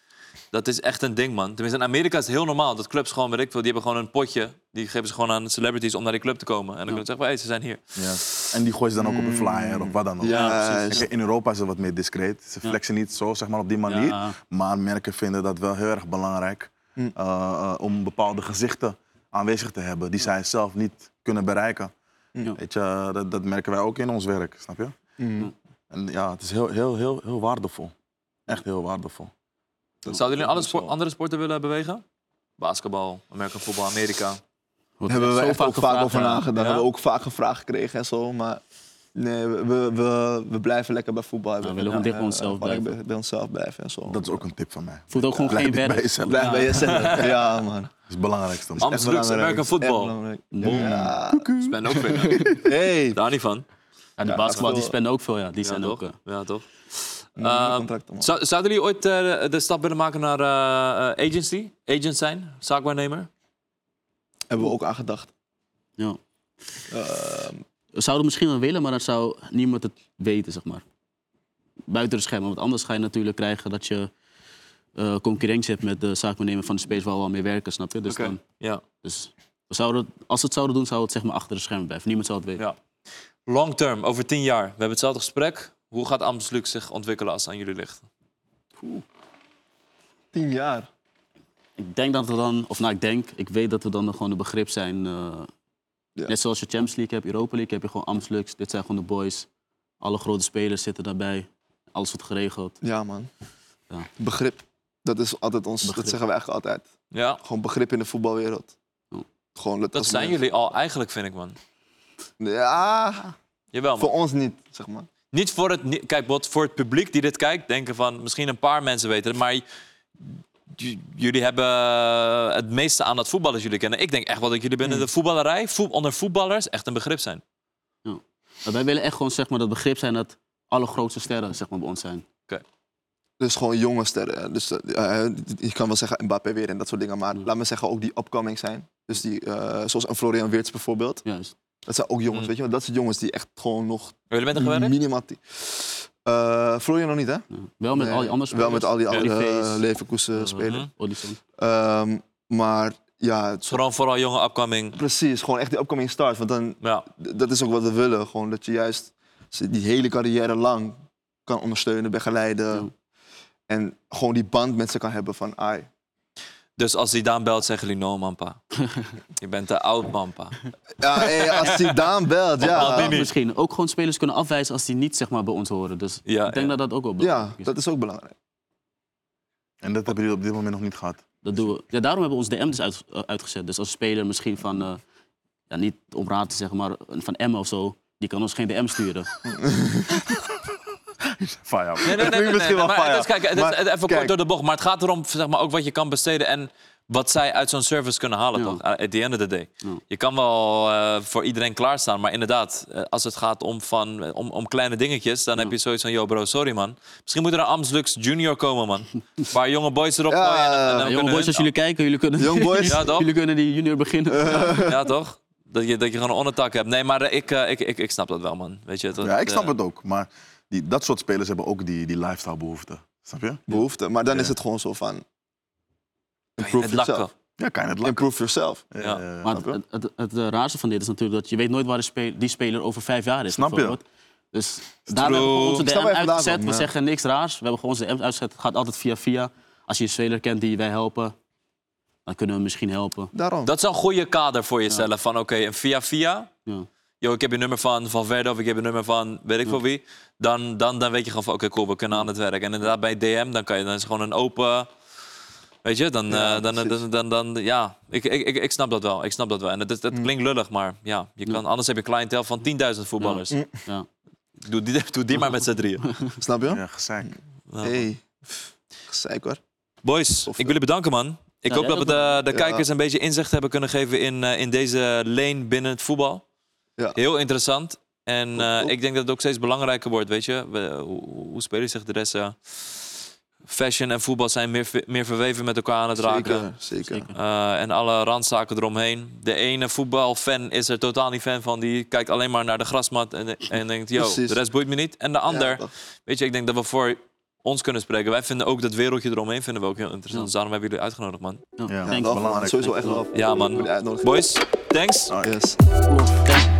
Speaker 2: dat is echt een ding, man. Tenminste, in Amerika is het heel normaal dat clubs gewoon, weet ik veel, die hebben gewoon een potje. Die geven ze gewoon aan celebrities om naar die club te komen. En dan kunnen ze zeggen, hé, hey, ze zijn hier.
Speaker 4: juist. En die gooien ze dan ook op een flyer of wat dan ook.
Speaker 3: Eh,
Speaker 1: Juist.
Speaker 4: Kijk, In Europa is het wat meer discreet. Ze flexen niet zo zeg maar, op die manier.
Speaker 3: Ja. Hm.
Speaker 4: Maar merken vinden dat wel heel erg belangrijk. eh, eh, om bepaalde gezichten aanwezig te hebben die zij zelf niet kunnen bereiken.
Speaker 3: Hm. Ja.
Speaker 4: Weet je, eh, dat, dat merken wij ook in ons werk, snap je?
Speaker 1: Mm.
Speaker 4: En ja, het is heel, heel, heel, heel waardevol. Echt heel waardevol.
Speaker 2: Zouden jullie alle
Speaker 4: alles
Speaker 2: sport, andere sporten willen bewegen? Basketbal, American voetbal, Amerika.
Speaker 3: Wordt
Speaker 1: Hebben we
Speaker 3: zo
Speaker 1: echt ook
Speaker 3: gevraagd,
Speaker 1: vaak over
Speaker 3: ja.
Speaker 1: nagedacht.
Speaker 2: Ja.
Speaker 1: Hebben we ook vaak gevraagd gekregen en zo. Maar nee, we, we, we, we blijven lekker bij voetbal.
Speaker 3: we willen gewoon dicht bij onszelf blijven.
Speaker 1: Bij, bij onszelf blijven en zo.
Speaker 4: Dat is ook een tip van mij.
Speaker 3: Voelt ook Oh, gewoon
Speaker 4: Blijf
Speaker 3: geen
Speaker 4: dicht bij
Speaker 3: werk.
Speaker 4: jezelf.
Speaker 1: Blijf
Speaker 4: Dat
Speaker 1: bij jezelf. Ja, man.
Speaker 4: is het belangrijkste. man.
Speaker 2: Am- Amsterdamse
Speaker 1: Echt belangrijk.
Speaker 2: American football.
Speaker 1: Echt belangrijk.
Speaker 3: Boom.
Speaker 1: Ja.
Speaker 2: Ik ben ook binnen.
Speaker 1: Hey.
Speaker 2: Daar niet van.
Speaker 3: Ja, de
Speaker 1: Ja,
Speaker 3: basketbal, die
Speaker 1: veel-
Speaker 3: spenden ook veel, ja. Die
Speaker 2: Ja,
Speaker 3: zijn
Speaker 2: toch?
Speaker 3: ook... eh,
Speaker 2: ja, toch?
Speaker 1: Nieuwe
Speaker 2: Ehm,
Speaker 1: contracten, man.
Speaker 2: Zou- zouden jullie ooit eh, de stap willen maken naar eh, eh, agency? Agent zijn? Zaakwaarnemer?
Speaker 1: Hebben we ook aan gedacht.
Speaker 3: ja.
Speaker 1: Ehm,
Speaker 3: We zouden misschien wel willen, maar dat zou niemand het weten, zeg maar. Buiten de schermen. Want anders ga je natuurlijk krijgen dat je eh, concurrentie hebt met de zaakbenemer van de space waar we al mee werken, snap je? Dus, dan,
Speaker 2: Ja.
Speaker 3: dus we zouden, als we het zouden doen, zou het zeg maar achter de schermen blijven. Niemand zou het weten.
Speaker 2: ja. Long term, over tien jaar. We hebben hetzelfde gesprek. Hoe gaat Amsterdam zich ontwikkelen als het aan jullie ligt?
Speaker 1: tien jaar.
Speaker 3: Ik denk dat we dan, of nou ik denk, ik weet dat we dan gewoon een begrip zijn. eh,
Speaker 1: Ja.
Speaker 3: Net zoals je Champions League hebt, Europa League heb je gewoon Amslux. Dit zijn gewoon de boys. Alle grote spelers zitten daarbij. Alles wordt geregeld.
Speaker 1: Ja, man.
Speaker 3: Ja.
Speaker 1: Begrip. Dat is altijd ons,
Speaker 3: Begrip.
Speaker 1: dat zeggen we eigenlijk altijd.
Speaker 2: Ja,
Speaker 1: Gewoon begrip in de voetbalwereld.
Speaker 3: Ja.
Speaker 1: Gewoon
Speaker 2: dat
Speaker 1: als
Speaker 2: zijn
Speaker 1: men-
Speaker 2: jullie al eigenlijk, vind ik, man.
Speaker 1: Ja,
Speaker 2: Jawel, man.
Speaker 1: voor ons niet, zeg maar.
Speaker 2: Niet voor het, ni- kijk, wat voor het publiek die dit kijkt, denken van misschien een paar mensen weten het, maar j- j- jullie hebben eh, het meeste aan dat voetballers jullie kennen. Ik denk echt wel dat jullie
Speaker 3: Hmm.
Speaker 2: binnen de voetballerij, voet- onder voetballers, echt een begrip zijn.
Speaker 3: Maar wij willen echt gewoon zeg maar, dat begrip zijn dat alle grootste sterren zeg maar, bij ons zijn.
Speaker 1: Dus gewoon jonge sterren. Dus eh, eh, je kan wel zeggen Mbappé weer en dat soort dingen. Maar laat me zeggen ook die upcoming zijn. Dus die, eh, zoals een Florian Weerts bijvoorbeeld.
Speaker 3: Juist.
Speaker 1: Dat zijn ook jongens,
Speaker 2: Mm.
Speaker 1: weet je wel. Dat zijn jongens die echt gewoon nog
Speaker 2: Hebben jullie met hen gewerkt?
Speaker 1: minimaal... ti- Eh Florian nog niet, hè?
Speaker 3: Ja. Wel met
Speaker 1: Nee,
Speaker 3: al die andere
Speaker 1: Wel met al die
Speaker 3: Ja,
Speaker 1: andere
Speaker 3: Olivees.
Speaker 1: eh, Leverkusen spelen.
Speaker 2: Mhm.
Speaker 3: Olison.
Speaker 1: Ehm, maar ja, het-
Speaker 2: Gewoon vooral jonge upcoming.
Speaker 1: precies. Gewoon echt die upcoming stars. Want dan,
Speaker 2: Ja,
Speaker 1: d- dat is ook wat we willen. Gewoon dat je juist ze die hele carrière lang kan ondersteunen, begeleiden.
Speaker 3: Ja.
Speaker 1: En gewoon die band met ze kan hebben van... Ai,
Speaker 2: dus als Zidane belt, zeggen jullie no, manpa. Je bent te oud, manpa.
Speaker 1: Ja, hey, als Zidane belt, ja.
Speaker 2: Maldini.
Speaker 3: Misschien ook gewoon spelers kunnen afwijzen als die niet zeg maar, bij ons horen. Dus
Speaker 2: Ja,
Speaker 3: ik denk
Speaker 2: ja.
Speaker 3: dat dat ook wel
Speaker 1: Ja,
Speaker 3: belangrijk is.
Speaker 1: dat is ook belangrijk.
Speaker 4: En dat hebben jullie op dit moment nog niet gehad.
Speaker 3: Dat doen we. Ja, daarom hebben we ons DM dus uit- eh, uitgezet. Dus als speler misschien van, eh, ja, niet om raad te zeggen, maar een van Emmen of zo, die kan ons geen DM sturen.
Speaker 4: Fire.
Speaker 2: Nee, nee, nee. nee,
Speaker 1: Misschien
Speaker 2: nee,
Speaker 1: wel
Speaker 2: Maar
Speaker 1: fire.
Speaker 2: het is, kijk, het is
Speaker 1: Maar
Speaker 2: even kort
Speaker 1: kijk.
Speaker 2: door de bocht. Maar het gaat erom zeg maar, ook wat je kan besteden en wat zij uit zo'n service kunnen halen,
Speaker 3: Ja.
Speaker 2: toch? Eh, At the end of the day.
Speaker 3: Ja.
Speaker 2: Je kan wel eh, voor iedereen klaarstaan. Maar inderdaad, eh, als het gaat om, van, eh, om, om kleine dingetjes... dan heb je zoiets van, yo bro, sorry man. Misschien moet er een Amslux Junior komen, man. Een paar jonge boys erop
Speaker 1: Ja,
Speaker 2: gooien. en dan- en dan
Speaker 1: ja,
Speaker 2: kunnen
Speaker 3: jonge boys,
Speaker 2: hun-
Speaker 3: als jullie kijken, jullie kunnen,
Speaker 1: Young boys.
Speaker 2: Ja, toch?
Speaker 3: jullie kunnen die junior beginnen.
Speaker 2: Ja, toch? Dat je, dat je gewoon een ondertak hebt. Nee, maar eh, ik, eh, ik, ik, ik snap dat wel, man. Weet je, dat,
Speaker 4: Ja, ik snap
Speaker 2: eh,
Speaker 4: het ook. Maar die, dat soort spelers hebben ook die, die lifestyle behoeften. Snap je?
Speaker 1: Behoefte. Maar dan
Speaker 4: Ja.
Speaker 1: is het gewoon zo van...
Speaker 2: het
Speaker 1: Improve
Speaker 2: lakken.
Speaker 1: yourself.
Speaker 4: Ja, kan je het lakken.
Speaker 1: Improve yourself.
Speaker 2: Ja.
Speaker 4: Eh,
Speaker 3: Maar het,
Speaker 4: snap je?
Speaker 3: het, het, het, eh, raarste van dit is natuurlijk dat je weet nooit waar de spe- die speler over vijf jaar is.
Speaker 4: Snap je?
Speaker 3: bijvoorbeeld. Dus daarom hebben we gewoon onze
Speaker 1: Ik snap
Speaker 3: DM
Speaker 1: waar je vandaan
Speaker 3: uitgezet.
Speaker 1: komt,
Speaker 3: We
Speaker 1: ja.
Speaker 3: zeggen niks raars. We hebben gewoon onze DM uitgezet. Het gaat altijd via via. Als je een speler kent die wij helpen, dan kunnen we hem misschien helpen.
Speaker 1: Daarom.
Speaker 2: Dat is een goede kader voor jezelf. Van oké, een via-via.
Speaker 3: Ja.
Speaker 2: Yo, ik heb je nummer van Valverde of ik heb je nummer van weet ik voor wie. Dan, dan, dan weet je gewoon van oké, cool, we kunnen aan het werk. En inderdaad bij DM, dan, kan je, dan is het gewoon een open... Weet je, dan,
Speaker 1: Ja,
Speaker 2: eh, dan, dan, dan,
Speaker 1: precies.
Speaker 2: dan, ja, ik, ik, ik, ik snap dat wel. Ik snap dat wel. En het, is-
Speaker 1: Mm.
Speaker 2: het klinkt lullig, maar ja, je kan, anders heb je cliëntel van 10.000 voetballers.
Speaker 1: Ja.
Speaker 3: Ja.
Speaker 2: Doe, die, doe die maar met z'n drieën.
Speaker 1: Snap je?
Speaker 4: Ja, gezeik.
Speaker 2: Ja.
Speaker 1: Hey. Pff, Gezeik hoor.
Speaker 2: Boys,
Speaker 1: Of,
Speaker 2: ik wil jullie bedanken, man. Ik
Speaker 3: Ja,
Speaker 2: hoop
Speaker 3: jij
Speaker 2: dat we
Speaker 3: ook,
Speaker 2: de, de
Speaker 1: Ja.
Speaker 2: kijkers een beetje inzicht hebben kunnen geven in, eh, in deze lane binnen het voetbal.
Speaker 1: Ja.
Speaker 2: Heel interessant. En eh,
Speaker 1: goed.
Speaker 2: ik denk dat het ook steeds belangrijker wordt, weet je. We- hoe, hoe spelen zich de rest? eh, fashion en voetbal zijn meer, ver- meer verweven met elkaar aan het raken.
Speaker 1: Zeker, zeker.
Speaker 3: Zeker.
Speaker 2: Eh, en alle randzaken eromheen. De ene voetbalfan is er totaal niet fan van. Die kijkt alleen maar naar de grasmat en, en denkt, yo,
Speaker 1: Precies.
Speaker 2: de rest boeit me niet. En de ander...
Speaker 1: Ja, toch.
Speaker 2: Weet je, ik denk dat we voor ons kunnen spreken. Wij vinden ook dat wereldje eromheen vinden we ook heel interessant. Dus daarom hebben jullie uitgenodigd, man.
Speaker 3: Ja.
Speaker 4: Ja,
Speaker 1: Ja,
Speaker 3: Thanks.
Speaker 1: wel, man.
Speaker 4: belangrijk.
Speaker 1: Sowieso echt wel.
Speaker 2: Ja, man.
Speaker 1: Voor de uitnodiging.
Speaker 2: Boys, thanks.
Speaker 1: Yes.
Speaker 3: Thanks.